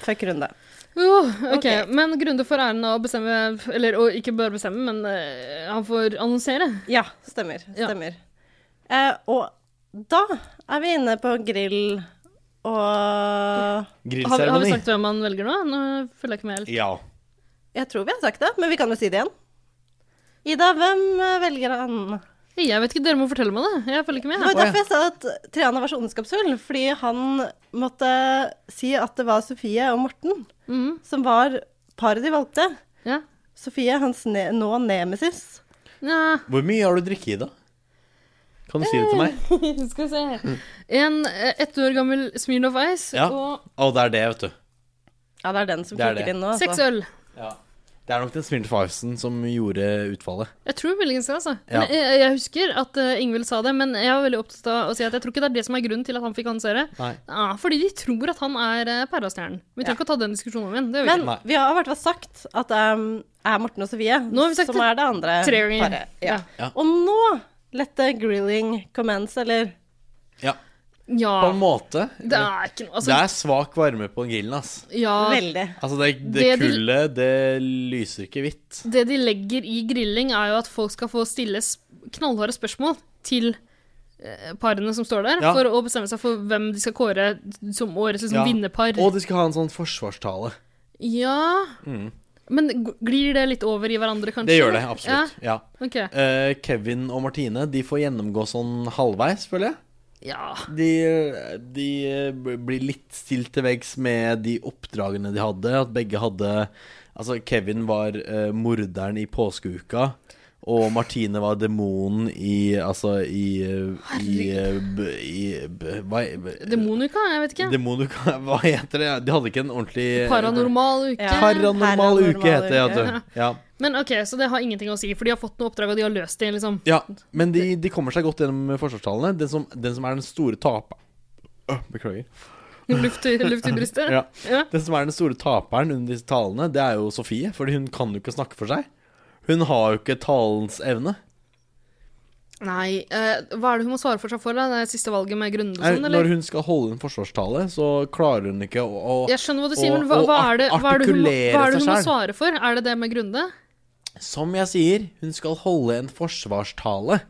Fuck runde.
Jo, Uh, ok,
Ok.
Men Grunde får æren av å bestemme, eller å ikke bare bestemme, men eh, han får annonsere.
Ja, stemmer.
Ja.
Stemmer. Eh, og da er vi inne på grill og
Har vi, har vi
Grillseremoni.
sagt hvem han velger nå? Nå følger jeg ikke med helt.
Ja.
Jeg tror vi har sagt det, men vi kan jo si det igjen. Ida, hvem eh, velger han?
Jeg vet ikke, dere må fortelle meg det. Jeg følger ikke
Det
med.
var
jeg.
jo derfor jeg sa at Triana var så ondskapsfull, fordi han måtte si at det var Sofie og Morten
Mhm,
som var paret de valgte.
ja.
Sofie, hans ne nå nemesis.
ja.
Hvor mye har du drukket i, da? Kan du si det til
Eh.
meg?
Skal vi se. En eh, ett år gammel Smirnov Ice
Mm. Ja.
og
Å, det er det, vet du.
Ja, det er den som
Det er
klikker
det.
inn nå. altså.
seks øl.
Det er nok den Smirnoff Ivesen som gjorde utfallet.
Jeg tror muligens det, altså.
Ja.
Men Jeg, jeg husker at eh, Ingvild sa det, men jeg var veldig opptatt av å si at jeg tror ikke det er det som er grunnen til at han fikk annonsere.
Nei.
Ja, fordi de tror at han er uh, Pæra-stjernen. Vi trenger ikke å ta den diskusjonen om igjen. Det gjør vi
Men
Nei.
vi har i hvert fall sagt at det er Morten og Sofie
Nå har vi sagt
som
det
er det andre
Tre ganger.
paret. Ja.
Ja.
Ja.
Og nå lette grilling commence, eller
Ja,
Ja,
på en måte.
det er ikke noe altså,
det er svak varme på grillen, ass.
ja,
veldig.
Altså, det, det,
Det de-
kullet, det lyser ikke hvitt.
Det de legger i grilling, er jo at folk skal få stille s- knallharde spørsmål til eh, parene som står der,
Ja.
for å bestemme seg for hvem de skal kåre som årets liksom,
Ja.
vinnerpar.
Og de skal ha en sånn forsvarstale.
Ja Men g- glir det litt over i hverandre, kanskje?
Det gjør det, absolutt. Ja.
Ja, ok.
Eh, Kevin og Martine de får gjennomgå sånn halvveis, føler jeg.
ja.
De, de eh, blir litt stilt til veggs med de oppdragene de hadde. At begge hadde Altså, Kevin var eh, morderen i påskeuka. Og Martine var demonen i Altså i eh, I, eh, b- i, b- hva,
Demonuka? Jeg vet ikke.
Demonuka? Hva heter det? De hadde ikke en ordentlig
Paranormal uke.
Ja.
Paranormal
Paranormal
uke heter det. vet
uke.
du. Ja.
Men ok, Så det har ingenting å si, for de har fått noe oppdrag, og de har løst det, liksom.
Ja, men de, de kommer seg godt gjennom forsvarstalene. Den som, den som er den store taperen Beklager.
Luft i, luft i brystet.
Ja.
Ja.
Den som er den store taperen under disse talene, det er jo Sofie. Fordi hun kan jo ikke snakke for seg. Hun har jo ikke talens evne.
Nei, eh, hva er det hun må svare for seg for? da? Det er siste valget med Grunde og
Nei,
sånn, eller?
Når hun skal holde en forsvarstale, så klarer hun ikke å, å
Jeg skjønner hva du sier,
og-
men hva,
og
hva er det, hva er det hun, må, hva
artikulere
er det hun må
seg selv.
svare for? Er det det med Grunde?
Som jeg sier, hun skal holde en forsvarstale.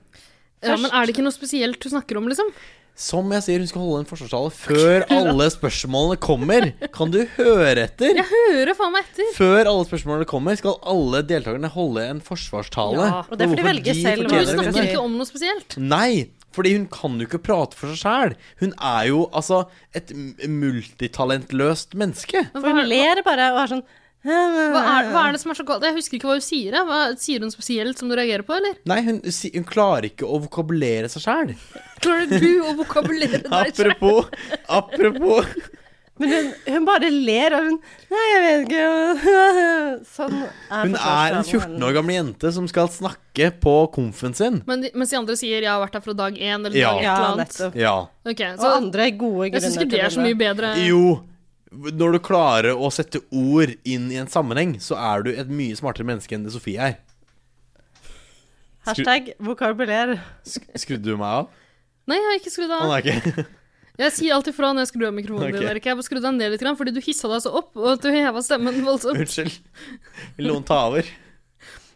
Ja, men er det ikke noe spesielt hun snakker om, liksom?
Som jeg sier, hun skal holde en forsvarstale før alle spørsmålene kommer. Kan du høre etter?
Jeg hører faen meg etter!
Før alle spørsmålene kommer, skal alle deltakerne holde en forsvarstale.
Ja,
og det får de velge selv hva
Men hun
fortjener å
det mener.
snakker
vinne.
ikke om noe spesielt.
Nei, fordi hun kan jo ikke prate for seg sjæl. Hun er jo altså et m- multitalentløst menneske.
Men
For hun
hva,
ler bare og er sånn
hva, er, hva er det som er så galt? Jeg husker ikke hva hun sier. jeg. Hva, sier hun spesielt som du reagerer på, eller?
Nei, hun, si- hun klarer ikke å vokabulere seg sjæl.
Klarer du å vokabulere deg selv?
Apropos, apropos
Men hun, hun bare ler, og hun Nei, jeg vet ikke Sånn er
Hun er en 14 år gammel jente som skal snakke på konfen sin.
Men de, mens de andre sier 'jeg har vært her fra dag én' eller
Ja.
dag et
Ja,
eller annet.
nettopp.
Ja.
Ok,
Og
så
andre gode grunner
jeg syns ikke det er så mye bedre.
Jo. Når du klarer å sette ord inn i en sammenheng, så er du et mye smartere menneske enn det Sofie er.
Hashtag vokabuler.
Sk- Skrudde du meg av?
Nei, jeg har ikke skrudd
Han
av.
er ikke
Jeg sier alltid fra når jeg skrur av mikrofonen
Ok.
din, Erik. Jeg bare skrudde den ned litt, grann, fordi du hissa deg så opp, og at du heva stemmen voldsomt.
Unnskyld. Vil noen ta over?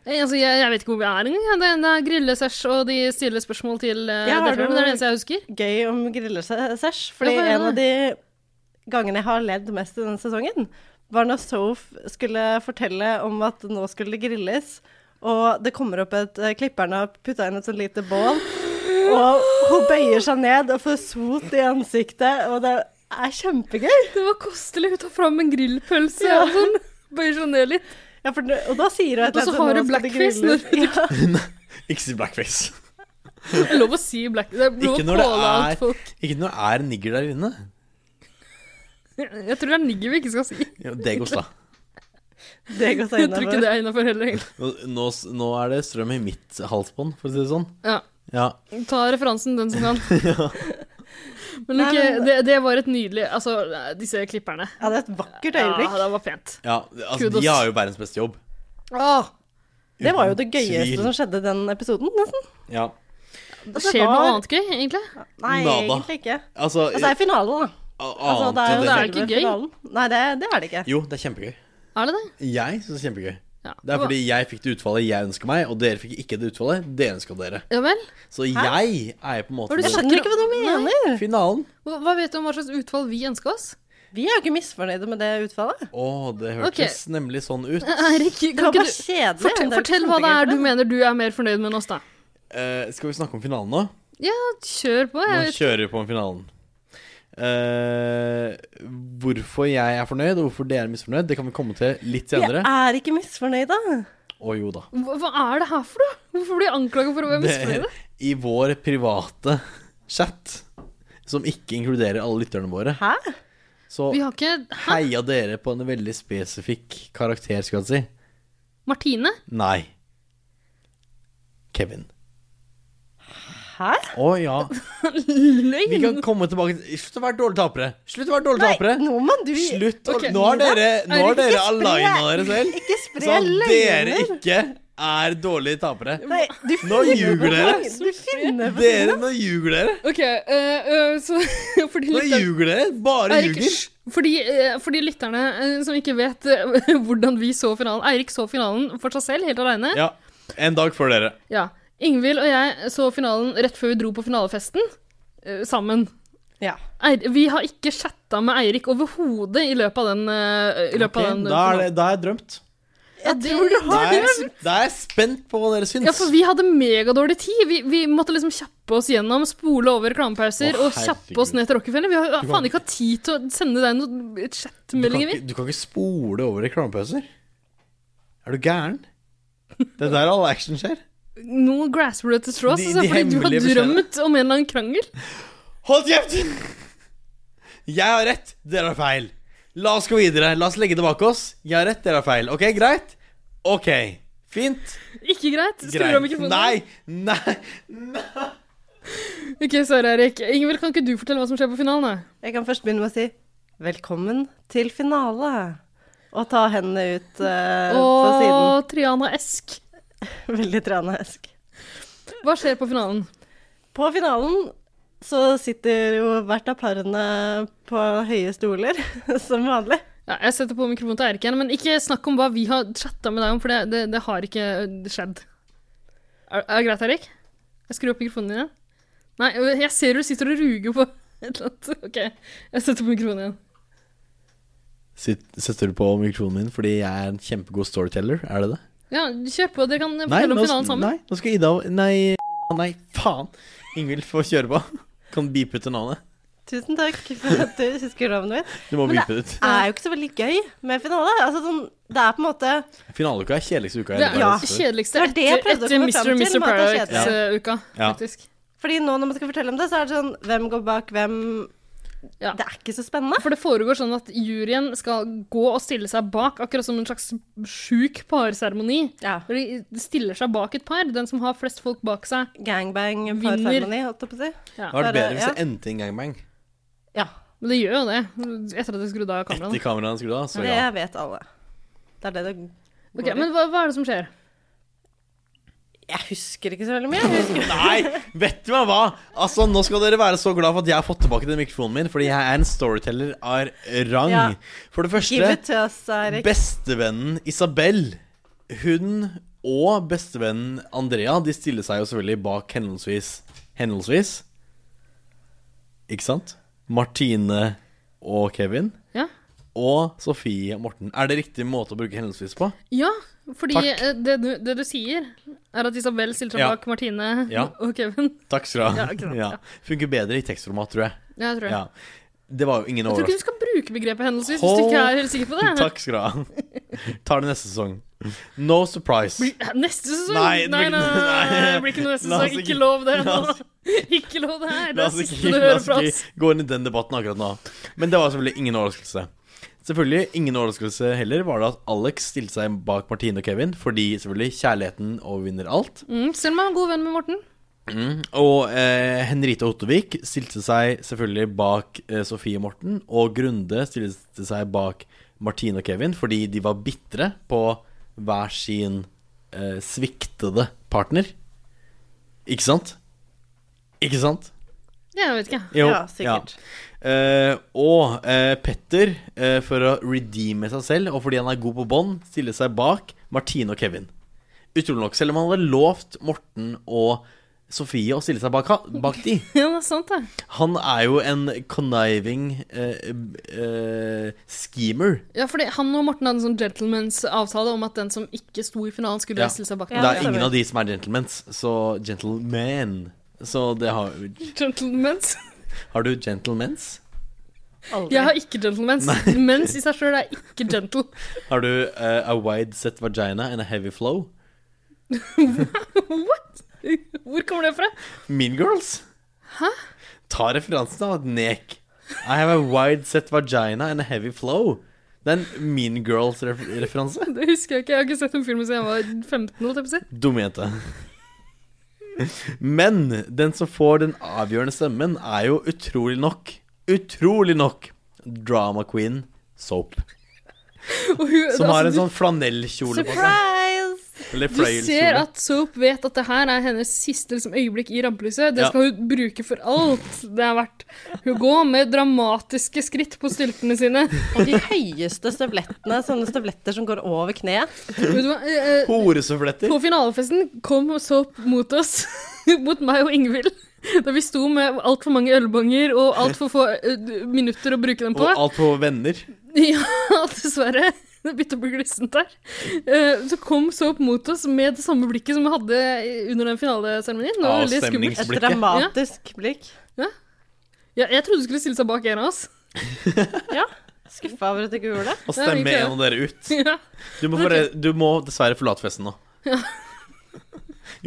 Jeg, altså, jeg, jeg vet ikke hvor vi er engang. jeg. Det, det er grillesesj, og de stiller spørsmål til uh,
Ja, har
deltakerne.
du-
Det er det eneste jeg husker.
Gøy om grillesesj, fordi
Ja, hva er det?
en av de gangene jeg har ledd mest i denne sesongen, var når Soph skulle fortelle om at nå skulle det grilles, og det kommer opp et eh, Klipperen har putta inn et sånt lite bål, Og hun bøyer seg ned og får sot i ansiktet, og det er kjempegøy.
Det var kostelig. Hun tar fram en grillpølse og sånn. Bøyer seg ned litt.
Ja, for, det- og da sier hun et
Og så
eller annet,
har
nå
du
skal det
blackface
grilles.
når du-
ja.
Ikke si blackface.
Det er lov å si black. Det er lov
Ikke
å
når det
calle
er-
out folk.
Ikke når det er en nigger der inne.
Jeg tror det er nigger vi ikke skal si.
Ja, det går slag.
Det går seg
Jeg tror ikke
innafor.
det er innafor heller. egentlig.
Nå, nå, s- nå er det strøm i mitt halsbånd, for å si det sånn.
Ja.
Ja.
Ta referansen, den som kan. Men ok, det, det var et nydelig Altså, disse klipperne.
Ja, det er et vakkert
Ja,
øyeblikk.
det var pent.
ja altså,
Kudos.
de har jo verdens beste jobb.
Åh,
Det var jo det
Uten
gøyeste
tvil.
som skjedde den episoden, nesten.
Ja.
skjer det noe
var-
annet gøy, egentlig?
Nei,
Nada.
egentlig ikke.
Altså,
Altså, det er finalen, da. Altså,
annet enn
det er
det.
jo ikke
selve
gøy.
finalen. Nei, det, det er det ikke.
Jo, det er kjempegøy.
Er det det?
Jeg syns det er kjempegøy.
Ja.
Det er fordi jeg fikk det utfallet jeg ønsker meg, og dere fikk ikke det utfallet dere ønska dere.
Ja vel?
Så jeg er på en måte
Var du
den
så-
Skjønner ikke hva du mener.
finalen.
Hva, hva vet du om hva slags utfall vi ønska oss?
Vi er jo ikke misfornøyde med det utfallet.
Å, det hørtes
Ok.
nemlig sånn ut.
Eirik,
Det
kan ikke
var bare
du
kjedelig.
Fortell,
Det er jo
fortell hva det
kjempegøy
er du
for deg.
mener du er mer fornøyd med enn oss, da.
Eh, skal vi snakke om finalen nå?
Ja, kjør på.
Nå
Jeg vet.
kjører vi på med finalen. Eh, hvorfor jeg er fornøyd, og hvorfor dere er misfornøyd, det kan vi komme til litt senere.
Vi er ikke misfornøyde.
Å jo da.
Hva, hva er det her for noe? Hvorfor blir jeg anklaga for å være misfornøyd?
Det- I vår private chat, som ikke inkluderer alle lytterne våre,
Hæ?
så
Vi har ikke Hæ?
heia dere på en veldig spesifikk karakter, skal jeg si.
Martine?
Nei. Kevin.
Hæ?
Å ja. Vi
Løgn?
kan komme tilbake til Slutt å være dårlige tapere! Slutt å være dårlige tapere!
Nå må du
Slutt! å-
Ok.
Nå har dere, nå har
Eirik,
dere
ikke
aligna dere selv.
Ikke spre
Så at Sånn, dere
løgner.
ikke er dårlige tapere.
Nei, du
Nå ljuger dere.
Du finner på
Dere, nå ljuger dere!
OK, eh, eh, så fordi
Nå
lytterne
ljuger dere! Bare
Eirik,
ljuger.
hysj. fordi, eh, fordi lytterne eh, som ikke vet eh, hvordan vi så finalen Eirik så finalen for seg selv, helt aleine.
Ja. En dag før dere.
Ja. Ingvild og jeg så finalen rett før vi dro på finalefesten eh, sammen.
Ja.
Eir vi har ikke chatta med Eirik overhodet i løpet av den, eh, i løpet av den
da, er det,
finalen.
da er jeg drømt.
Ja, det, tror du
Da er jeg, da er jeg spent på hva dere syns.
Ja, for vi hadde megadårlig tid. Vi, vi måtte liksom kjappe oss gjennom, spole over reklamepauser
Å,
og kjappe oss
herregud.
ned til Rockefeller. Vi har jo
kan-
faen ikke hatt tid til å sende deg noen
du, kan
chatmeldinger,
ikke,
vi.
du kan ikke spole over reklamepauser. Er du gæren? Det er der all action skjer.
Noe grassroots straws,
De-
altså,
de
fordi du har
hemmelige beskjedene.
drømt om en eller annen krangel.
Hold kjeft! Jeg har rett, dere har feil. La oss gå videre. La oss legge det bak oss. Jeg har rett, dere har feil. Ok, greit? Ok. Fint.
Ikke greit? Skrur av
Greit.
mikrofonen.
Nei, nei.
Ok, Sara Erik. Ingvild, kan ikke du fortelle hva som skjer på finalen? da?
Jeg kan først begynne med å si velkommen til finale. Og ta hendene ut eh, på siden.
Og Triana Esk.
Veldig tranesk.
Hva skjer på finalen?
På finalen så sitter jo hvert av parene på høye stoler, som vanlig.
Ja, jeg setter på mikrofonen til Eirik igjen, men ikke snakk om hva vi har chatta med deg om, for det, det, det har ikke skjedd. Er, er det greit, Eirik? Jeg skrur opp mikrofonen din igjen. Nei, øh, jeg ser du sitter og ruger på et eller annet. Ok, jeg setter på mikrofonen igjen.
Sitt- Setter du på mikrofonen min fordi jeg er en kjempegod storyteller? Er det det?
Ja, kjør på. Dere kan fortelle om
nå,
finalen sammen.
nei, nå skal Ida Nei, nei, faen. Ingvild får kjøre på. Kan beepe ut navnet.
Tusen takk for at du husker navnet mitt.
Du må
Men
beepe det ut.
Det er jo ikke så veldig gøy med finale. Altså, sånn, det er på en måte
Finaleuka er kjedeligste uka i
Det er
hele
Ja.
ja.
verden.
kjedeligste
Det var det jeg
etter,
prøvde
etter
å komme
Mr.
frem
og
til,
Mr.
med at det er
Paradise-uka,
Ja.
faktisk.
Fordi nå når man skal fortelle om det, så er det sånn Hvem går bak hvem?
Ja.
Det er ikke så spennende.
For det foregår sånn at juryen skal gå og stille seg bak, akkurat som en slags sjuk parseremoni.
Ja.
Hvor de stiller seg bak et par. Den som har flest folk bak seg.
Gangbang,
Vinner.
parfemoni, holdt jeg på å si.
Det hadde vært bedre hvis
Ja.
det endte i en gangbang.
Ja.
Men det gjør jo det. Etter at de skrudde av
Etter
kameraene.
kameraene skrudde av, så
Det
ja.
vet alle. Det er det det går
Ok,
i.
men hva, hva er det som skjer?
Jeg husker ikke så veldig mye. Jeg husker
Nei, vet du meg hva? Altså, Nå skal dere være så glad for at jeg har fått tilbake den mikrofonen min, fordi jeg er en storyteller av rang.
Ja.
For det
Give
første,
it to us, Eirik.
bestevennen Isabel, hun og bestevennen Andrea, de stiller seg jo selvfølgelig bak henholdsvis Henholdsvis Ikke sant? Martine og Kevin.
Ja.
og Sofie Morten. Er det riktig måte å bruke henholdsvis på?
Ja, fordi
Takk.
eh, det du, det du sier, er at Isabel stiller seg
Ja.
bak Martine
Ja.
og Kevin.
Takk skal du
Ja,
ha.
ikke sant,
Ja.
ja.
Funker bedre i tekstformat, tror jeg.
Ja, jeg tror det.
Ja. Det var jo ingen
Jeg tror ikke
overraskelse.
du skal bruke begrepet henholdsvis hvis du ikke er helt sikker på det.
Takk skal du ha. Tar det neste sesong. No surprise.
Blir- Neste sesong?
Nei, det
nei,
blir-
nei, nei, det blir ikke noe neste
La oss
sesong. Ikke
ikke-
lov det.
la oss-
Ikke lov det her. Det
La
er
oss
siste
ikke,
du
la
hører
oss
fra oss.
ikke gå inn i den debatten akkurat nå. Men det var selvfølgelig ingen overraskelse. Selvfølgelig ingen overraskelse heller var det at Alex stilte seg bak Martine og Kevin, fordi selvfølgelig kjærligheten overvinner alt.
Mm, Selma er en god venn med Morten.
Mm. Og eh, Henrite Ottervik stilte seg selvfølgelig bak eh, Sofie Morten, og Grunde stilte seg bak Martine og Kevin fordi de var bitre på hver sin eh, sviktede partner. Ikke sant? Ikke sant?
Jeg vet ikke.
Jo,
Ja, sikkert.
Eh, og eh, Petter, eh, for å redeeme seg selv, og fordi han er god på bånd, stiller seg bak Martine og Kevin. Utrolig nok, selv om han hadde lovt Morten og Sofie å stille seg bak, ha- bak de.
Ja, det er sant, det.
Han er jo en conniving eh, eh, schemer.
Ja, fordi Han og Morten hadde en sånn gentleman's avtale om at den som ikke sto i finalen, skulle
Ja.
stille seg bak.
Det
den.
er ingen av de som er gentlemans, så gentlemen. Så det har,
Gentlemen's?
har du gentlemens?
Aldri.
Jeg har ikke gentlemen's. Mens i seg sjøl er ikke gentle.
Har du eh, a wide set vagina and a heavy flow?
What? Hvor kommer det fra?
Mean Girls? Hæ? Ta referansen av Nek. I have a wide set vagina and a heavy flow. Det er en Mean Girls-referanse.
Det husker jeg ikke. Jeg har ikke sett en film siden jeg var 15. holdt jeg på å si.
Dumme jente. Men den som får den avgjørende stemmen, er jo utrolig nok Utrolig nok drama queen Soap.
Og hun-
Som
altså,
har en
du-
sånn flanellkjole på seg.
Surprise!
Eller
Du ser
fløyelskjole.
at Soap vet at det her er hennes siste liksom, øyeblikk i rampelyset. Det
Ja.
skal hun bruke for alt det er verdt. Hun går med dramatiske skritt på styltene sine.
Og de høyeste støvlettene, sånne støvletter som går over kneet.
Vet du hva? Eh, eh,
Horesufletter.
På finalefesten kom Soap mot oss. mot meg og Ingvild. Da vi sto med altfor mange ølbonger og altfor få eh, d- minutter å bruke dem på.
Og alt på venner.
Ja, dessverre. Det begynte å bli glissent der. Eh, Så kom Soap mot oss med det samme blikket som vi hadde under den finaleseremonien. Det var veldig skummelt.
Et
Avstemningsblikket.
dramatisk blikk.
Ja, jeg trodde du skulle stille seg bak en av oss.
Ja. Skuffa over at du ikke gjorde det.
Og stemme
Ja,
en av dere ut.
Ja.
Du må, forre- du må dessverre forlate festen nå.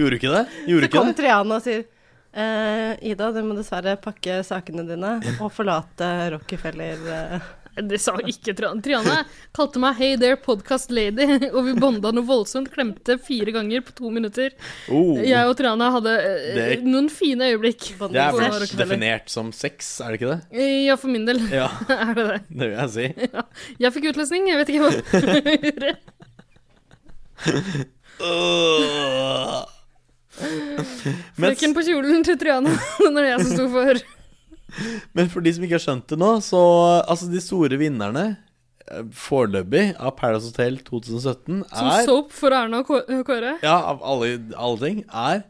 Gjorde du ikke det? Gjorde du
Så
ikke
kom
det?
Triana og sier eh, Ida, du må dessverre pakke sakene dine og forlate Rockefeller. eh,
Det sa ikke Triana. Triana kalte meg 'Hey there, podcast lady', og vi bonda noe voldsomt. Klemte fire ganger på to minutter.
Oh,
Jeg og Triana hadde eh,
Det-
noen fine øyeblikk.
bånd-
det er
Hvordan
vel
var det kvelden?
definert som sex, er det ikke det?
Eh, Ja, for min del
Ja,
er det det.
det vil jeg si.
Ja. Jeg fikk utløsning, jeg vet ikke hva.
Øh.
Frøken
Men,
på kjolen til Triana, når det er jeg som sto for.
men for de som ikke har skjønt det nå, så altså de store vinnerne eh, foreløpig av Paradise Hotel 2017
Som
er
soap for Erna og Kå- Kåre.
Ja, av alle, alle ting, er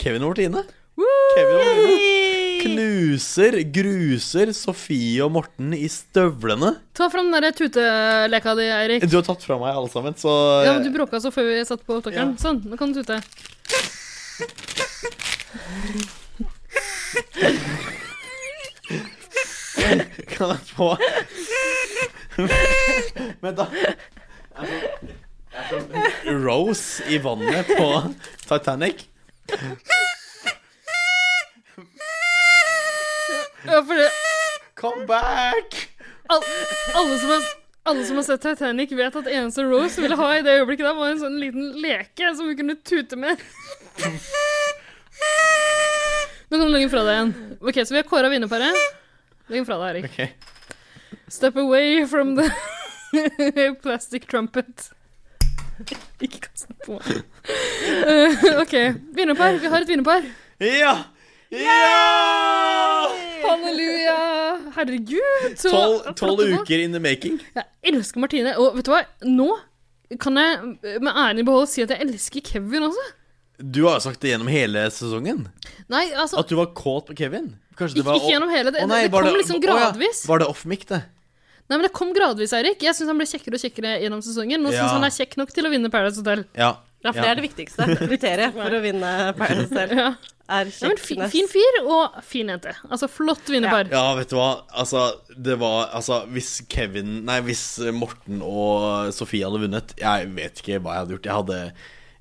Kevin og Martine.
Woo!
Kevin og Martine knuser, gruser Sofie og Morten i støvlene.
Ta fram den der tuteleka di, Eirik.
Du har tatt fra meg alle sammen, så
Ja, men Du bråka så før vi satt på opptakeren. Sånn, nå kan du tute.
eh, kan jeg få Vent, da. Rose i vannet på Titanic.
Ja, for det,
Come back!
all, alle, som har, alle som har sett Titanic, vet at eneste Rose ville ha i det øyeblikket der, var en sånn liten leke som hun kunne tute med. Nå kan du legge den fra deg igjen. Ok, Så vi har kåra vinnerparet. Legg den fra deg, Erik.
Ok.
Step away from the plastic trumpet. Ikke kast den på meg. Eh, OK. Vinnerpar. Vi har et vinnerpar.
Ja! Ja!
Halleluja! Herregud! så
Tolv tolv
flotte folk.
uker in the making.
Jeg elsker Martine. Og vet du hva? Nå kan jeg med æren i behold si at jeg elsker Kevin også.
Du har jo sagt det gjennom hele sesongen.
Nei, altså
At du var kåt på Kevin. Kanskje det
Ikke-
var
ikke gjennom hele det.
Å nei,
Det
var
kom liksom
å ja,
gradvis.
Var det off mic, det?
Nei, men Det kom gradvis, Eirik. Jeg syns han ble kjekkere og kjekkere gjennom sesongen. Nå
Ja.
syns han er kjekk nok til å vinne Paradise Hotel.
Ja.
Ja, for det er det viktigste kriteriet for å vinne Paradise Hotel.
Ja.
Er
Ja, men fin,
kjekkness.
fin fyr og fin jente. Altså flott vinnerpar.
Ja, vet du hva. Altså, det var Altså, hvis Kevin Nei, hvis Morten og Sofie hadde vunnet Jeg vet ikke hva jeg hadde gjort. Jeg hadde,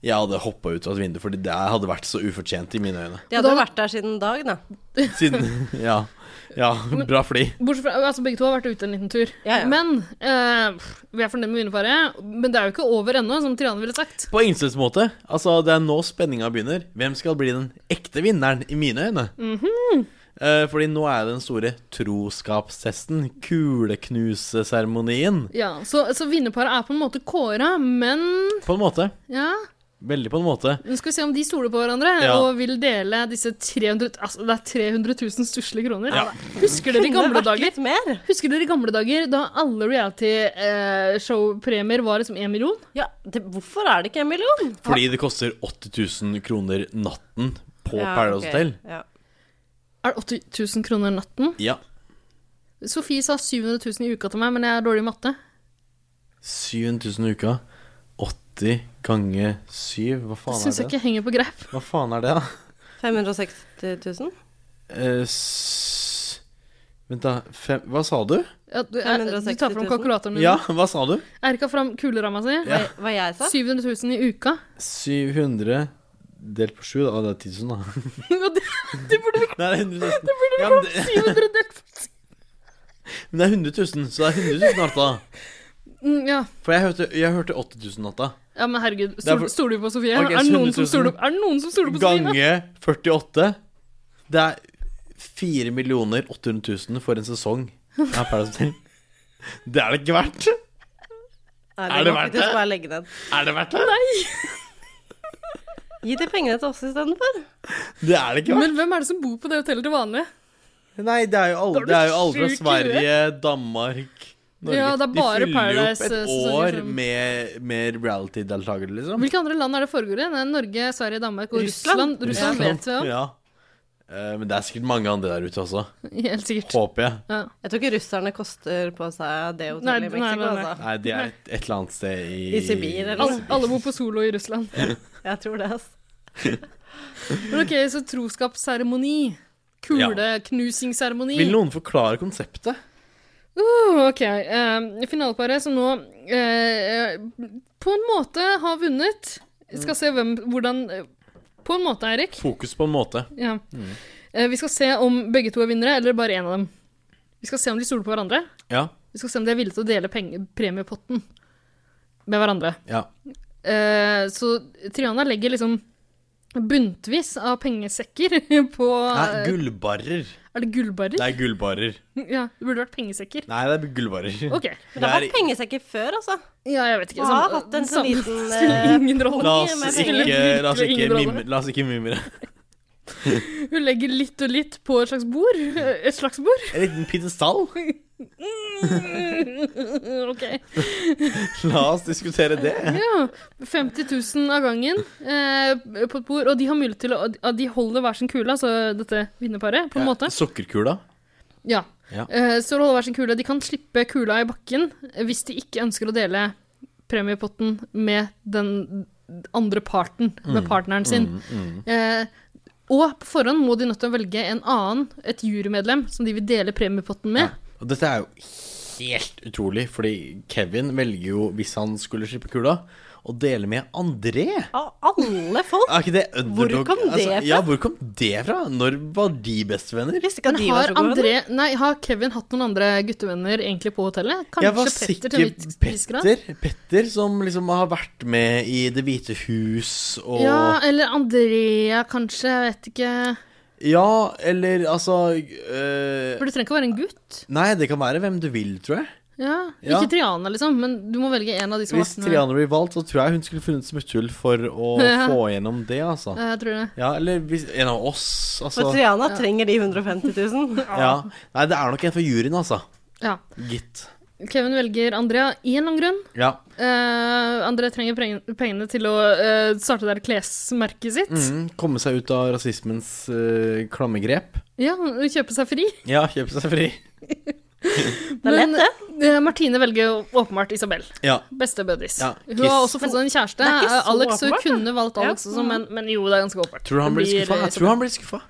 jeg hadde hoppa ut av et vindu, Fordi det hadde vært så ufortjent i mine øyne.
De hadde jo vært der siden dag, da.
Siden Ja. ja bra fly.
Bortsett fra, altså Begge to har vært ute en liten tur.
Ja, ja.
Men eh, pff, vi er fornøyd med vinnerparet. Men det er jo ikke over ennå, som Triane ville sagt.
På ingen slags måte. Altså, det er nå spenninga begynner. Hvem skal bli den ekte vinneren, i mine øyne? Eh, fordi nå er det den store troskapstesten. Kuleknuseseremonien.
Ja, Så, så vinnerparet er på en måte kåra, men
På en måte.
ja
Veldig på en måte.
Nå skal vi se om de stoler på hverandre
Ja.
og vil dele disse 300 Altså, det er 300 000 stusslige kroner.
Ja.
Husker dere i
Kunne
gamle
vært
dager?
litt mer.
Husker dere i gamle dager da alle reality-show-premier var liksom én million?
Ja, det, hvorfor er det ikke en million?
Fordi det koster 80 000 kroner natten på
Ja,
Paradise
ok.
Hotel.
Ja.
Er det 80 000 kroner natten?
Ja.
Sofie sa 700 000 i uka til meg, men jeg er dårlig i matte.
7000 i uka. 80 ganger 7 Hva faen
Syns
er
jeg
det?
ikke henger på greip.
Hva faen er det, da?
560 000?
Eh, s Vent, da. Fem, hva sa du?
Ja, du, er, du tar
560
fram
000.
kalkulatoren din.
Ja, hva sa du?
Erika fram kuleramma si.
Ja.
Hva jeg sa?
700 000 i uka.
700 delt på 7, da. Ah, Det er 10 000, da.
Og det, det burde vi
Nei, det er 100 000. Ja, men, det,
700 delt
men det er 100 000, så det er 100 000 natta.
Mm, Ja.
For jeg hørte, jeg hørte 80 000 natta.
ja, men herregud.
er
Stol-
for-
Stoler du på Sofie?
Ok,
er, det noen
700
som stoler,
000.
er det noen som stoler på Sofie?
Gange 48. Det er 4 800 000 for en sesong. av Paradise Hotel. Det er det ikke verdt! Er det
nok
verdt
til å
det?
bare legge ned?
Er det verdt det? Nei.
Gi de pengene til oss istedenfor.
Det er det ikke
da?
verdt.
Men hvem er det som bor på det hotellet til vanlig?
Nei, det er jo
Da
alle,
blir
det er jo alle fra
sjuk i
Sverige, Danmark Norge.
Ja, det er bare
De fyller jo opp et
Paradise-sesonger
år
som-
med, med reality-deltakere, liksom.
Hvilke andre land er det foregår i? Det er Norge, Sverige, Danmark og Russland.
Russland.
Russland, vet vi om.
Liksom. Ja. Eh, men det er sikkert mange andre der ute også.
Helt sikkert.
Håper jeg.
Ja.
Jeg tror ikke russerne koster på seg
Nei,
det hotellet i
nei, nei,
Mexico,
nei.
altså.
Nei, de er et, et eller annet sted i
I Sibir eller
Alle, alle bor på solo i Russland.
Jeg tror det, altså.
Men ok, Så troskapsseremoni. Kuleknusingsseremoni.
Vil noen forklare konseptet?
Oh, ok. Eh, finaleparet som nå eh, på en måte har vunnet Skal se hvem Hvordan eh, På en måte, Eirik.
Fokus på en måte.
Ja. Eh, vi skal se om begge to er vinnere, eller bare én av dem. Vi skal se om de stoler på hverandre.
Ja.
Vi skal se om de er villige til å dele penge, premiepotten med hverandre.
ja.
Eh, så Triana legger liksom buntvis av pengesekker på eh,
Nei, gullbarrer.
Er det gullbarrer?
Det er gullbarrer.
Ja, det burde vært pengesekker.
Nei, det er gullbarrer.
OK.
Men det har
Det
vært
er-
pengesekker før, altså.
Ja, jeg vet ikke.
Og har hatt en sånn liten eh,
Ingen rolle.
La oss
Mye med
penger.
ikke, la oss ikke,
Ingen rolle.
mimre, la oss ikke mimre.
Hun legger litt og litt på et slags bord. Et slags bord?
En liten pidestall?
OK.
La oss diskutere det.
Ja. 50 000 av gangen eh, på et bord. Og de har mulighet til å og De holder hver sin kule, altså dette vinnerparet, på en måte.
Sokkerkula.
Ja.
Ja.
Eh, så holder hver sin kule. De kan slippe kula i bakken eh, hvis de ikke ønsker å dele premiepotten med den andre parten, med partneren sin. Eh, og på forhånd må de nødt til å velge en annen, et jurymedlem, som de vil dele premiepotten med.
Og dette er jo helt utrolig, fordi Kevin velger jo, hvis han skulle slippe kula, å dele med André.
eh, Av alle folk!
Er ikke det underdog? Altså,
kom det fra?
Ja, hvor kom det fra? Når var de bestevenner?
Jeg visste ikke at
Men
de var
har,
så gode.
André, nei, har Kevin hatt noen andre guttevenner egentlig på hotellet?
Jeg var
Kanskje Petter
sikker
til en viss- viss grad?
Petter, Petter som liksom har vært med i Det hvite hus og
Ja, eller Andrea, kanskje. Jeg vet ikke.
Ja, eller altså øh,
For du trenger ikke å være en gutt.
Nei, det kan være hvem du vil, tror jeg.
Ja.
Ja.
Ikke Triana, liksom, men du må velge en av de som har
Hvis
vært med.
Triana blir valgt, så tror jeg hun skulle funnet smutthull for å
Ja.
få gjennom det, altså.
Ja, Jeg Eh, tror det.
Ja, eller hvis, en av oss, altså.
For Triana trenger de 150 000.
Ja. Nei, det er nok en fra juryen, altså.
Ja.
Gitt.
Kevin velger Andrea av en eller annen grunn.
Ja.
Eh, André trenger preng- pengene til å eh, starte der klesmerket sitt.
Mm, komme seg ut av eh, rasismens øh, klamme grep.
Ja, Kjøpe seg fri.
Ja, kjøpe seg fri.
Det er lett, det.
eh, Martine velger jo åpenbart Isabel.
Ja.
Beste buddies.
Ja,
Hun
kiss.
har også fått seg en kjæreste.
Men det er
eh,
ikke så
Alex hun
åpenbart, da.
kunne valgt Alex,
Ja.
også, men, men jo, det er ganske åpenbart.
Tror du han
Det
blir skuffa?
eh,
Jeg tror han blir skuffa.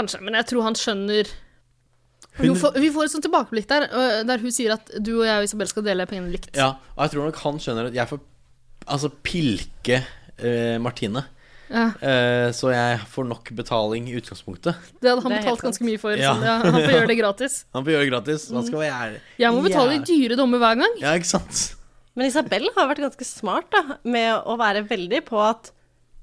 Kanskje, men jeg tror han skjønner
Hun-
Jo, for, Vi får et sånt tilbakeblikk der, øh, der hun sier at du og jeg og Isabel skal dele pengene likt.
Ja, og jeg tror nok han skjønner at jeg får altså, pilke eh, Martine.
Ja.
Eh, så jeg får nok betaling i utgangspunktet.
Det hadde han
Det er helt
betalt ganske mye for.
Ja.
Så ja, han får gjøre det gratis.
Han får gjøre det gratis. Han skal være ærlig.
Jeg må betale
Ja.
i dyre dommer hver gang.
Ja, ikke sant?
Men Isabel har vært ganske smart da, med å være veldig på at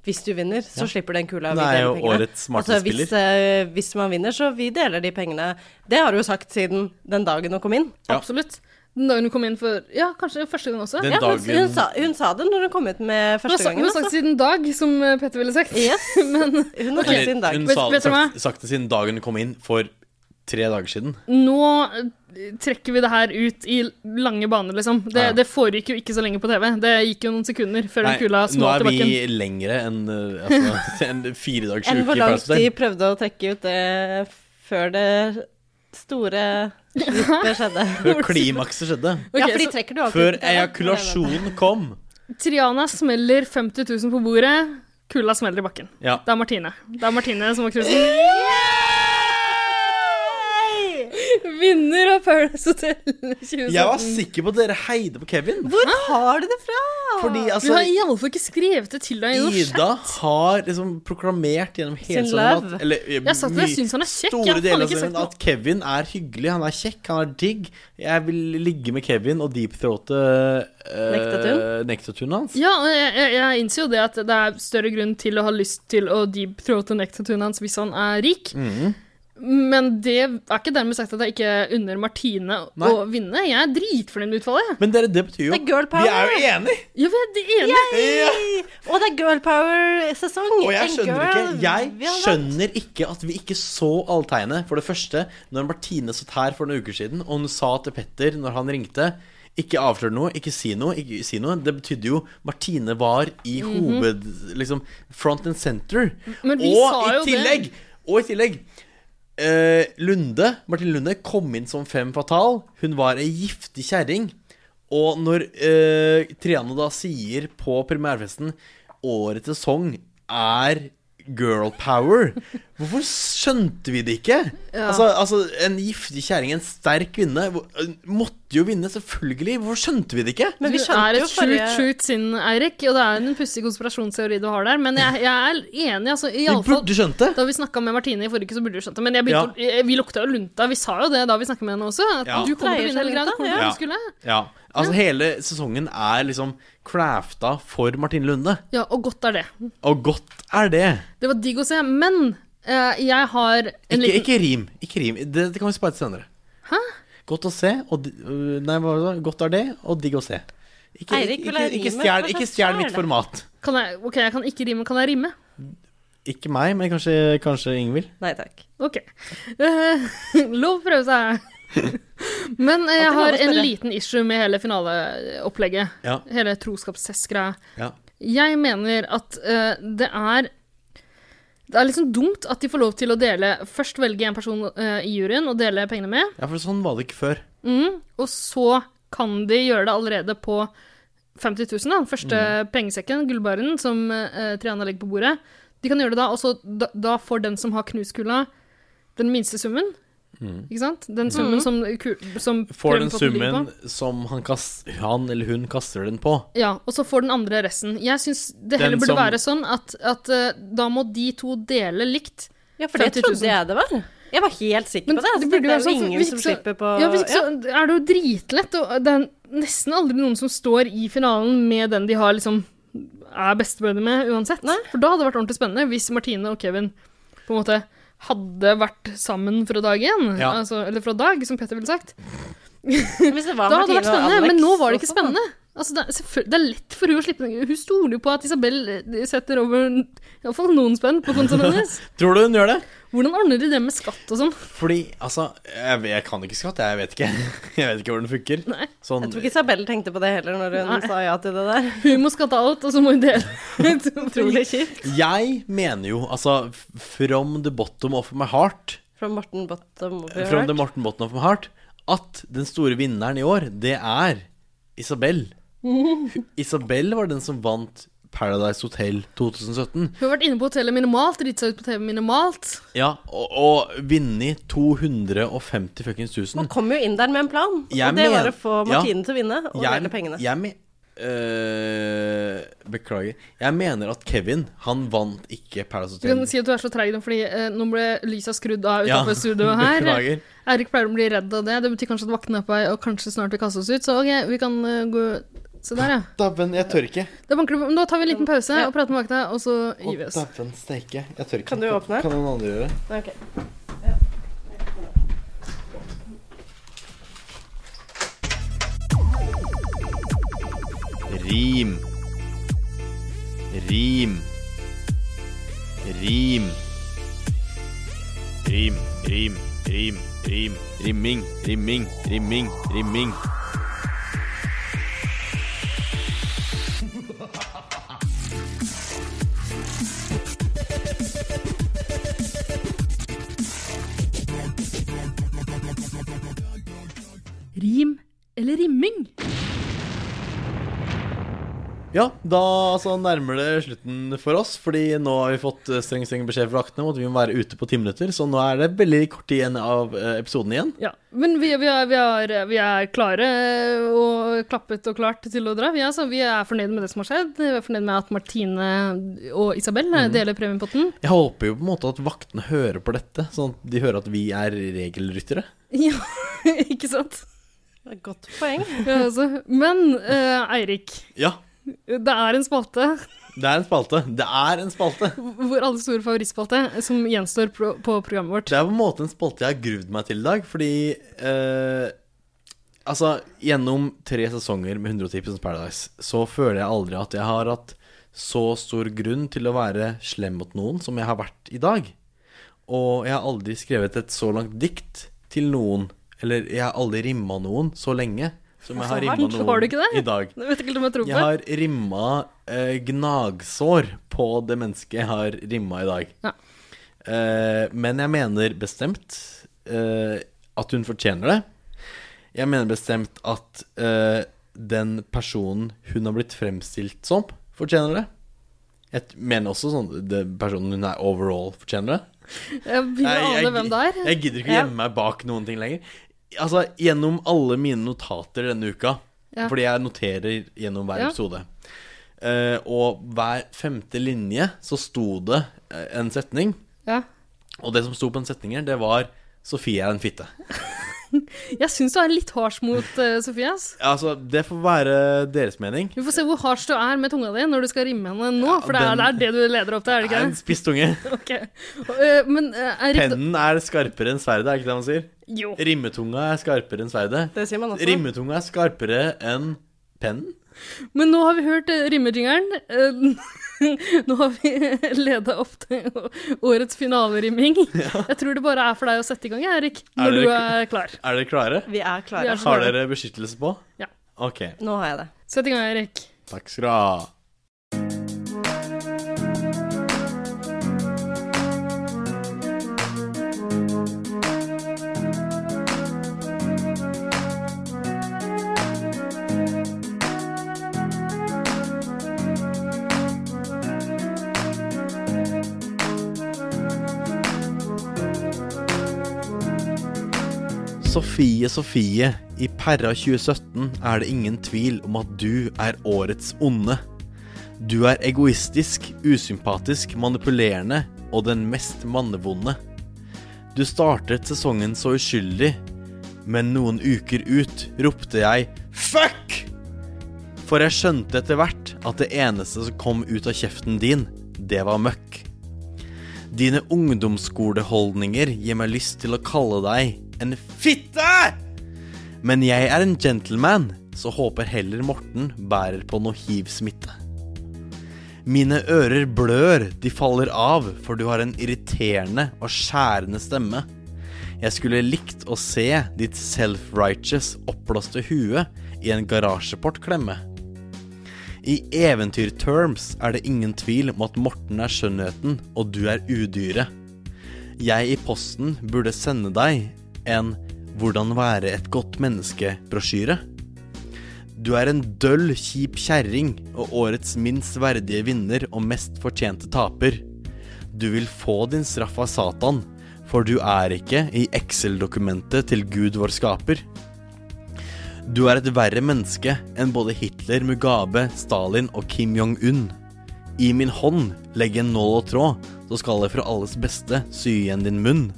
hvis du vinner, så slipper du en kule av
Hun er jo årets smarteste
altså, hvis, eh, hvis man vinner, så vi deler de pengene. Det har du jo sagt siden den dagen hun kom inn.
Ja.
Absolutt. Den dagen hun kom inn for Ja, kanskje første gang også.
Den
Ja, hun,
dagen
hun, sa, hun sa det når hun kom ut med
Hun har
første
sagt- hun
gangen.
har
Altså.
sagt siden dag, som eh, Petter ville sagt.
Yes.
Men
Hun har sagt
Eller,
siden dag.
Hun
Vet-
sa
vet
det
du hva?
sagt, sagt det siden dagen hun kom inn for tre dager siden.
nå eh, trekker vi det her ut i lange baner, liksom. Det,
Ja.
det foregikk jo ikke så lenge på TV. Det gikk jo noen sekunder før den kula
nå
smalt
er
i
vi
bakken.
lengre enn eh, altså, en fire dagers
Enn
uke
hvor
i
langt de
Paradise Hotel.
prøvde å trekke ut det før det store slippet skjedde.
Før klimakset skjedde.
Ok,
ja, for de
så-
trekker du alltid
Før
ut det, da.
ejakulasjonen kom.
Triana smeller 50 000 på bordet. Kula smeller i bakken.
Ja.
Det er Martine. Det er Martine som har cruisen. Vinner av Paradise Hotel 2017.
Jeg var sikker på at dere heide på Kevin.
Hvor har du det fra?
Fordi
Du
altså
har iallfall ikke skrevet det til deg i noe skjær.
Ida har liksom proklamert gjennom hele
Sin
sendingen
love.
at eller, eh,
Jeg sa ikke at jeg
mye-
syns han er kjekk. Jeg
Store
har faen
deler av
ikke sagt
sendingen
noe.
at Kevin er hyggelig, han er kjekk, han er digg. Jeg vil ligge med Kevin og deepthroate uh,
Nektetun?
nektetunet hans.
Ja, og jeg, jeg, jeg innser jo det at det er større grunn til å ha lyst til å deep-throate nektatunen hans hvis han er rik.
Mm.
Men det er ikke dermed sagt at jeg ikke unner Martine
Nei.
å vinne. Jeg er dritfornøyd med utfallet. jeg.
Men dere, det betyr jo
Det er girl
Vi er
power.
jo enige!
Ja, vi er det ene.
Ja.
Og det er girl power-sesong.
Og jeg
En
skjønner
girl
ikke
vi
Jeg
har vært.
skjønner ikke at vi ikke så alle tegnene. For det første, når Martine satt her for noen uker siden, og hun sa til Petter når han ringte ikke avslør noe, ikke si noe. ikke si noe Det betydde jo Martine var i hoved... Liksom front and center.
Mhm. Men vi
og,
sa jo
i
det.
tillegg, og i tillegg eh, Lunde, Martine Lunde kom inn som fem fatal. Hun var ei giftig kjerring. Og når eh, Triana da sier på premiærfesten årets sesong er girl power, hvorfor skjønte vi det ikke? Altså, altså, en giftig kjerring, en sterk kvinne, hvor- hun måtte jo vinne, selvfølgelig. Hvorfor skjønte vi det ikke?
Men vi
Det er
skjønte jo
et
forrige
sjukt, sjukt sinn, Eirik, og det er en pussig konspirasjonsteori du har der, men jeg, jeg er enig, altså. i
Vi
alle fall-
burde skjønt det.
Da vi snakka med Martine i forrige uke, så burde du skjønt det. Men jeg begynte, å- vi lukta jo lunta. Vi sa jo det da vi snakka med henne også. At
Ja.
du kommer til å
Dreier
vinne
seg
hele greia. Du
lunta,
kommer til å
ja.
vinne skulle.
Ja, altså Hele sesongen er liksom crafta for Martine Lunde.
Ja, og godt er det.
Og godt er det.
Det var digg å se. Men eh, jeg har en
Ikke,
liten
ikke rim. Ikke rim. Det, det kan vi spare til senere. Godt å se og di- øh, Nei, hva var det? Godt er det, og digg å se. Ikke,
Eirik vil
ikke,
ha
ikke,
rimet.
stjel,
Hva
ikke
slags
stjel
er
mitt
det?
format.
kan jeg, Ok, jeg kan ikke rime. Kan jeg rime?
Ikke meg, men kanskje, kanskje Ingvild.
Nei takk.
Ok. Eh, lov å prøve seg. Men eh, jeg
Alltid lov å
har en
spørre.
liten issue med hele finaleopplegget.
Ja.
Hele troskapstest-greia.
Ja.
Jeg mener at eh, det er det er liksom dumt at de får lov til å dele Først velge en person eh, i juryen og dele pengene med,
ja, for sånn var det ikke før.
mm, og så kan de gjøre det allerede på 50 000, da. Den første
Mm.
pengesekken, gullbaren, som eh, Triana legger på bordet. De kan gjøre det da, og så da, da får den som har knuskula, den minste summen. Ikke sant? Den summen som, ku- som
Mm. Får den
premiepotten ligger på.
summen som han, kast, han eller hun kaster den på.
Ja, og så får den andre resten. Jeg syns det
Den
heller burde
som-
være sånn at, at eh, da må de to dele likt.
Ja, for det
50 000.
trodde jeg det var. Jeg var helt sikker
Men
på det. Altså,
det burde
det
jo
er
være
jo
sånn, for
ingen
hvis
som
ikke så-
slipper på
Ja, hvis ikke så er det jo dritlett, og det er nesten aldri noen som står i finalen med den de har liksom er bestebrødre med, uansett. For da hadde det vært ordentlig spennende hvis Martine og Kevin på en måte hadde vært sammen fra dag én.
Ja.
Altså, eller fra dag, som Petter ville sagt.
Ja, hvis det var
Da hadde det vært
Martine og
spennende,
Alex
men nå var det ikke
og sånn, da.
spennende. Altså, det, er, selvføl- det er lett for hun å slippe den. Hun stoler jo på at Isabel eh, setter over iallfall noen spenn på kontoen hennes.
Tror du hun gjør det?
Hvordan ordner de det med skatt og sånn?
Fordi, altså Jeg, jeg kan ikke skatt, jeg vet ikke. Jeg vet ikke hvordan det funker.
Nei.
Sånn,
Jeg tror ikke Isabel tenkte på det heller når hun
Nei.
sa ja til det der.
Hun må skatte alt, og så må hun dele.
Utrolig kjipt.
Jeg mener jo, altså f- From the bottom of my heart
Fra Morten Bottom over
From the Morten bottom of my heart at den store vinneren i år, det er Isabel. Hu- Isabel var den som vant Paradise Hotel 2017.
Hun har vært inne på hotellet minimalt, dritt seg ut på TV minimalt.
Ja, og, og vunnet 250 fuckings
Man
000.
kom jo inn der med en plan,
Jeg
og det var
mener-
å få
ja.
Martine til å vinne og dele pengene.
jeg me- øh, beklager. Jeg mener at Kevin, han vant ikke Paradise
Du kan
Hotel.
si at du er så treig nå, fordi eh, nå ble lysa skrudd av
Ja,
utenfor studioet her.
beklager.
Eirik pleier å bli redd av det. Det betyr kanskje at vaktene er på vei, og kanskje snart vil kaste oss ut. Så ok, vi kan eh, gå Se der, ja.
Dæven, jeg tør ikke.
Da, banker det på. Men da tar vi en liten pause og prater med vakta, og så gir vi oss.
Dæven steike. Jeg tør ikke.
Kan du åpne?
Kan noen andre gjøre det?
Ok.
Rim. Rim. Rim. Rim, rim, rim, rim. Rimming, rimming, rimming, rimming.
Rim eller rimming?
Ja, da altså, nærmer det slutten for oss, fordi nå har vi fått eh, streng streng beskjed fra vaktene om at vi må være ute på ti minutter, så nå er det veldig kort tid igjen av eh, episoden igjen.
Ja, Men vi, vi, er, vi, er, vi er klare eh, og klappet og klart til å dra. Vi er, altså, vi er fornøyd med det som har skjedd. Vi er fornøyd med at Martine og Isabel
Mhm.
eh, deler premiepotten.
Jeg håper jo på en måte at vaktene hører på dette, sånn at de hører at vi er regelryttere.
Ja, ikke sant?
Det er et Godt poeng.
Ja, altså. Men eh, Eirik,
Ja,
det er en spalte,
det er en spalte. Det er en spalte.
vår alle store favorittspalte, som gjenstår på, på programmet vårt.
Det er på en måte en spalte jeg har gruvd meg til i dag, fordi eh, Altså, gjennom tre sesonger med 110 Paradise, så føler jeg aldri at jeg har hatt så stor grunn til å være slem mot noen som jeg har vært i dag. Og jeg har aldri skrevet et så langt dikt til noen, eller jeg har aldri rimma noen så lenge som jeg har rimma
hardt. Altså, Har du ikke
noen
det?
i dag.
Jeg vet ikke helt om jeg tror på.
Jeg har rimma eh, gnagsår på det mennesket jeg har rimma i dag.
Ja.
Eh, men jeg mener bestemt eh, at hun fortjener det. Jeg mener bestemt at eh, den personen hun har blitt fremstilt som, fortjener det. Jeg mener også sånn den personen hun er overall, fortjener det.
Jeg begynner å
Nei,
ane hvem det er.
Jeg gidder ikke å gjemme meg bak noen ting lenger. Altså, gjennom alle mine notater denne uka,
Ja.
fordi jeg noterer gjennom hver
Ja.
episode, eh, og hver femte linje så sto det eh, en setning,
Ja.
og det som sto på den setningen, det var 'Sofie er en fitte'.
Jeg syns du er litt harsh mot eh, Sofie. ass.
Altså, det får være deres mening.
Vi får se hvor harsh du er med tunga di når du skal rimme henne nå.
Ja,
for det er,
den-
det er det du leder opp til, er det
Jeg er en
ikke det?
spiss tunge.
Ok. Eh, men eh, Eirik da-
Pennen er skarpere enn sverdet, er ikke det man sier?
Jo.
Rimmetunga er skarpere enn sverdet.
Det sier man også.
Rimmetunga er skarpere enn pennen.
Men nå har vi hørt uh, rimmejingeren. Eh, nå har vi leda opp til å- årets finalerimming. Jeg tror det bare er for deg å sette i gang, Eirik,
Er
når
dere
du
kl-
er klar.
Er dere klare?
Vi er
Vi
klare.
Sånn er så
Har
klare.
dere beskyttelse på?
Ja.
Ok.
Nå har jeg det.
Sett i gang, Eirik.
Takk skal du ha. Sofie Sofie, i Perra 2017 er det ingen tvil om at du er årets onde. Du er egoistisk, usympatisk, manipulerende og den mest mannevonde. Du startet sesongen så uskyldig, men noen uker ut ropte jeg fuck! For jeg skjønte etter hvert at det eneste som kom ut av kjeften din, det var møkk. Dine ungdomsskoleholdninger gir meg lyst til å kalle deg en fitte! Men jeg er en gentleman, så håper heller Morten bærer på noe hivsmitte. Mine ører blør, de faller av, for du har en irriterende og skjærende stemme. Jeg skulle likt å se ditt self-righteous, oppblåste hue i en garasjeportklemme. I eventyrterms er det ingen tvil om at Morten er skjønnheten, og du er udyret. Jeg i posten burde sende deg en 'Hvordan være et godt menneske'-brosjyre. Du er en døll, kjip kjerring og årets minst verdige vinner og mest fortjente taper. Du vil få din straff av Satan, for du er ikke i Excel-dokumentet til Gud vår skaper. Du er et verre menneske enn både Hitler, Mugabe, Stalin og Kim Jong-un. I min hånd legg en nål og tråd, så skal jeg for alles beste sy igjen din munn.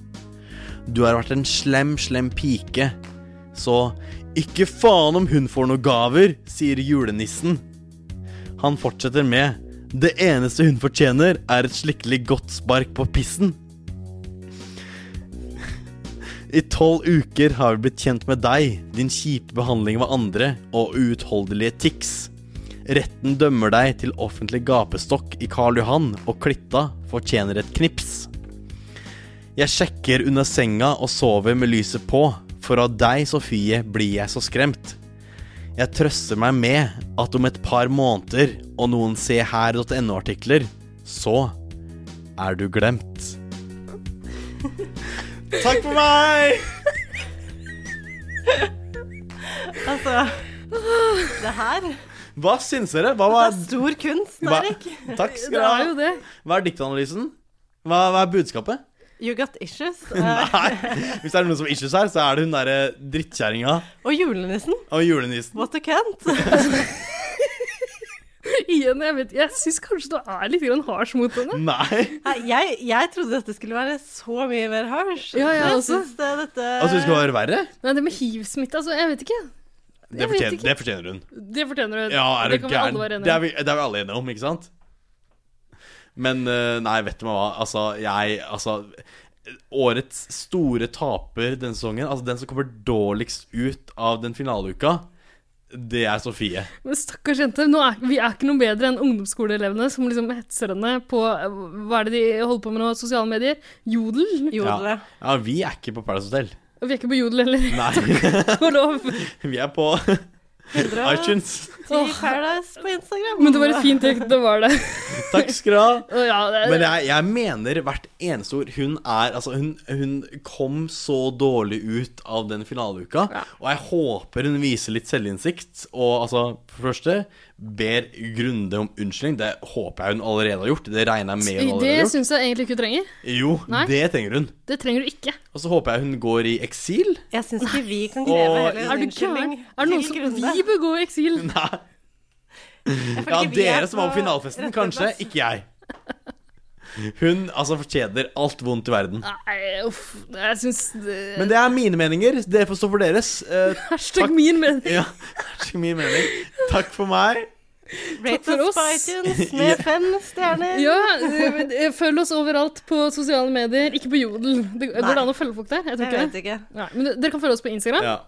Du har vært en slem, slem pike, så ikke faen om hun får noen gaver, sier julenissen. Han fortsetter med Det eneste hun fortjener, er et slikkelig godt spark på pissen. I tolv uker har vi blitt kjent med deg, din kjipe behandling av andre og uutholdelige tics. Retten dømmer deg til offentlig gapestokk i Karl Johan, og Klitta fortjener et knips. Jeg sjekker under senga og sover med lyset på, for av deg, Sofie, blir jeg så skremt. Jeg trøster meg med at om et par måneder og noen se her.no-artikler, så er du glemt. Takk for meg!
Altså Det her Det
Hva syns dere? Hva var
er stor kunst,
hva,
Erik.
Takk
Det er
skal dere
jo
ha.
det.
Hva er diktanalysen? Hva, hva er budskapet?
You got issues. Eh,
Nei, hvis det er noen som har issues her, så er det hun derre drittkjerringa
og julenissen.
og julenissen.
What a cunt.
Igjen, jeg vet Jeg syns kanskje du er litt grann harsh mot henne.
Nei.
Nei, Jeg, jeg trodde dette skulle være så mye mer harsh.
Ja, jeg også.
synes det, dette
Altså, hun skal være verre?
Nei, det med hivsmitte, altså. Jeg vet ikke.
Det
Jeg vet
fortjener,
ikke.
det fortjener hun.
Det fortjener du.
Ja, er
det
du
kan vi
gæren?
alle være
Det
enige
er
om.
vi, det er vi alle enige om, ikke sant? Men eh, nei, vet du meg hva. Altså, jeg Altså, årets store taper denne sesongen, altså den som kommer dårligst ut av den finaleuka, det er Sofie.
Men stakkars jente, nå er, vi er ikke noe bedre enn ungdomsskoleelevene som liksom hetser henne på eh, Hva er det de holder på med nå? Sosiale medier? Jodel?
Jodel, ja.
Ja, vi er ikke på Paradise Hotel.
Vi er ikke på jodel heller,
Nei,
lov.
vi er på
110
iTunes.
Paradise på Instagram.
Men det var et fint trekk, det var det.
Takk skal du ha.
Og Ja, det,
Men jeg, jeg mener hvert eneste ord. Hun er Altså, hun, hun kom så dårlig ut av den finaleuka, og jeg håper hun viser litt selvinnsikt. Og altså, for det første, ber Grunde om unnskyldning. Det håper jeg hun allerede har gjort. Det regner jeg med hun
det
allerede har gjort.
syns jeg egentlig ikke du trenger.
Jo,
Nei.
det trenger hun.
Det trenger du ikke.
Og så håper jeg hun går i eksil.
Jeg syns ikke vi kan kreve
Åh,
heller
Er
en
du
unnskyldning.
gæren? Er det noen
Til
som
Grunde.
Vi bør gå i eksil.
Nei.
Jeg føler
Ja,
ikke vi er
dere som var på finalefesten,
rette
kanskje.
plass.
Ikke jeg. Hun altså fortjener alt vondt i verden.
Nei, uff. Jeg eh, syns det-
Men det er mine meninger. Det får stå for deres. Eh,
Hashtag
takk.
min mening.
Ja, det er så mye mening. Takk for meg.
Rate
for
oss på
oss.
iTunes med fem stjerner.
Ja, eh, følg oss overalt på sosiale medier, ikke på Jodel. Det, går det an å følge folk der? Jeg tror
Jeg
ikke
vet
det.
ikke.
Nei, men dere kan følge oss på Instagram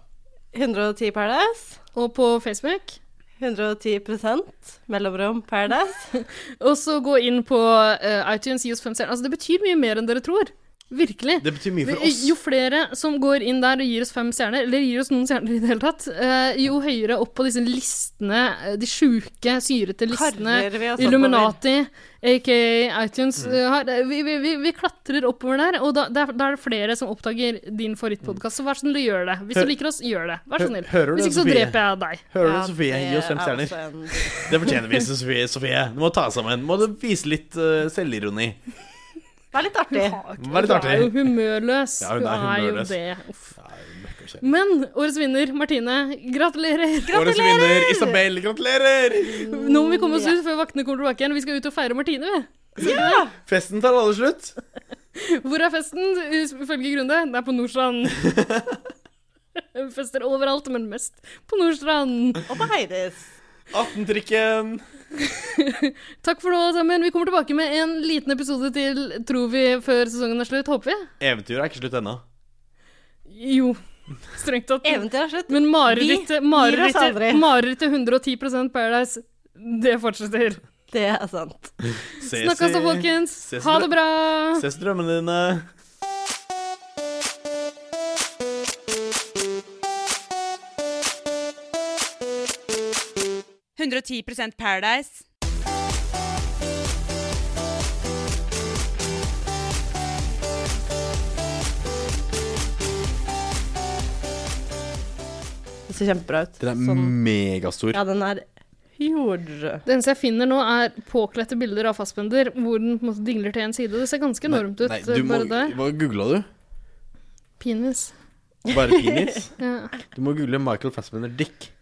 110 Paradise.
og på Facebook.
110 mellomrom Paradise.
Og så gå inn på eh, iTunes, gi oss fem stjerner. Altså, det betyr mye mer enn dere tror. Virkelig.
Det betyr mye for oss.
Jo flere som går inn der og gir oss fem stjerner, eller gir oss noen stjerner i det hele tatt, eh, jo høyere opp på disse listene, eh, de sjuke, syrete listene,
Karrer vi
altså,
oss oppover.
Illuminati, aka iTunes
Mm.
eh, har, vi, vi, vi, vi klatrer oppover der, og da, da er- da er det flere som oppdager din favorittpodkast. Så vær så snill å gjøre det. Hvis
Hør-
du liker oss, gjør det. Vær
Hø-
så snill.
hører du
Hvis
det,
ikke så
Sofie?
dreper jeg deg.
Hører du,
Ja,
Sofie? Gi oss fem
det er
stjerner.
også en-
Det fortjener vi, Sofie. Sofie. Du må ta deg sammen. Må du vise litt eh, selvironi.
Vær litt artig.
Vær litt
Du er jo
artig.
humørløs.
Ja, hun
Du
er
jo
humørløs.
det. Uff.
Ja, møkkakjæring.
Men årets vinner, Martine, gratulerer.
Årets vinner, Isabel. Gratulerer!
Nå må vi komme oss ut før vaktene kommer tilbake igjen. Vi skal ut og feire Martine, vi.
Festen tar alle slutt.
Hvor er festen? Ifølge Grunde, det er på Nordstrand. Fester overalt, men mest på Nordstrand.
Og på Heidis.
18-trikken.
Takk for nå, sammen. Vi kommer tilbake med en liten episode til, tror vi, før sesongen er slutt. Håper vi?
Eventyret er ikke slutt ennå.
Jo. Strengt tatt.
Eventyret er slutt.
Men
Vi
marerittet
gir oss
marerittet-
aldri.
marerittet 110 Paradise, det fortsetter.
Det er sant.
Ses i-
Snakkes da, folkens.
ses i
Ha
drø-
det bra.
Ses i drømmene dine.
Paradise.
ser kjempebra ut.
Den er
Sånn.
megastor.
Ja, den er huge.
Det eneste jeg finner nå, er påkledte bilder av Fassbender hvor den på en måte dingler til én side. Det ser ganske enormt ut.
Nei, du må,
bare der.
hva googla du?
Penis.
Bare penis?
Ja.
Du må google Michael Fassbender Dick.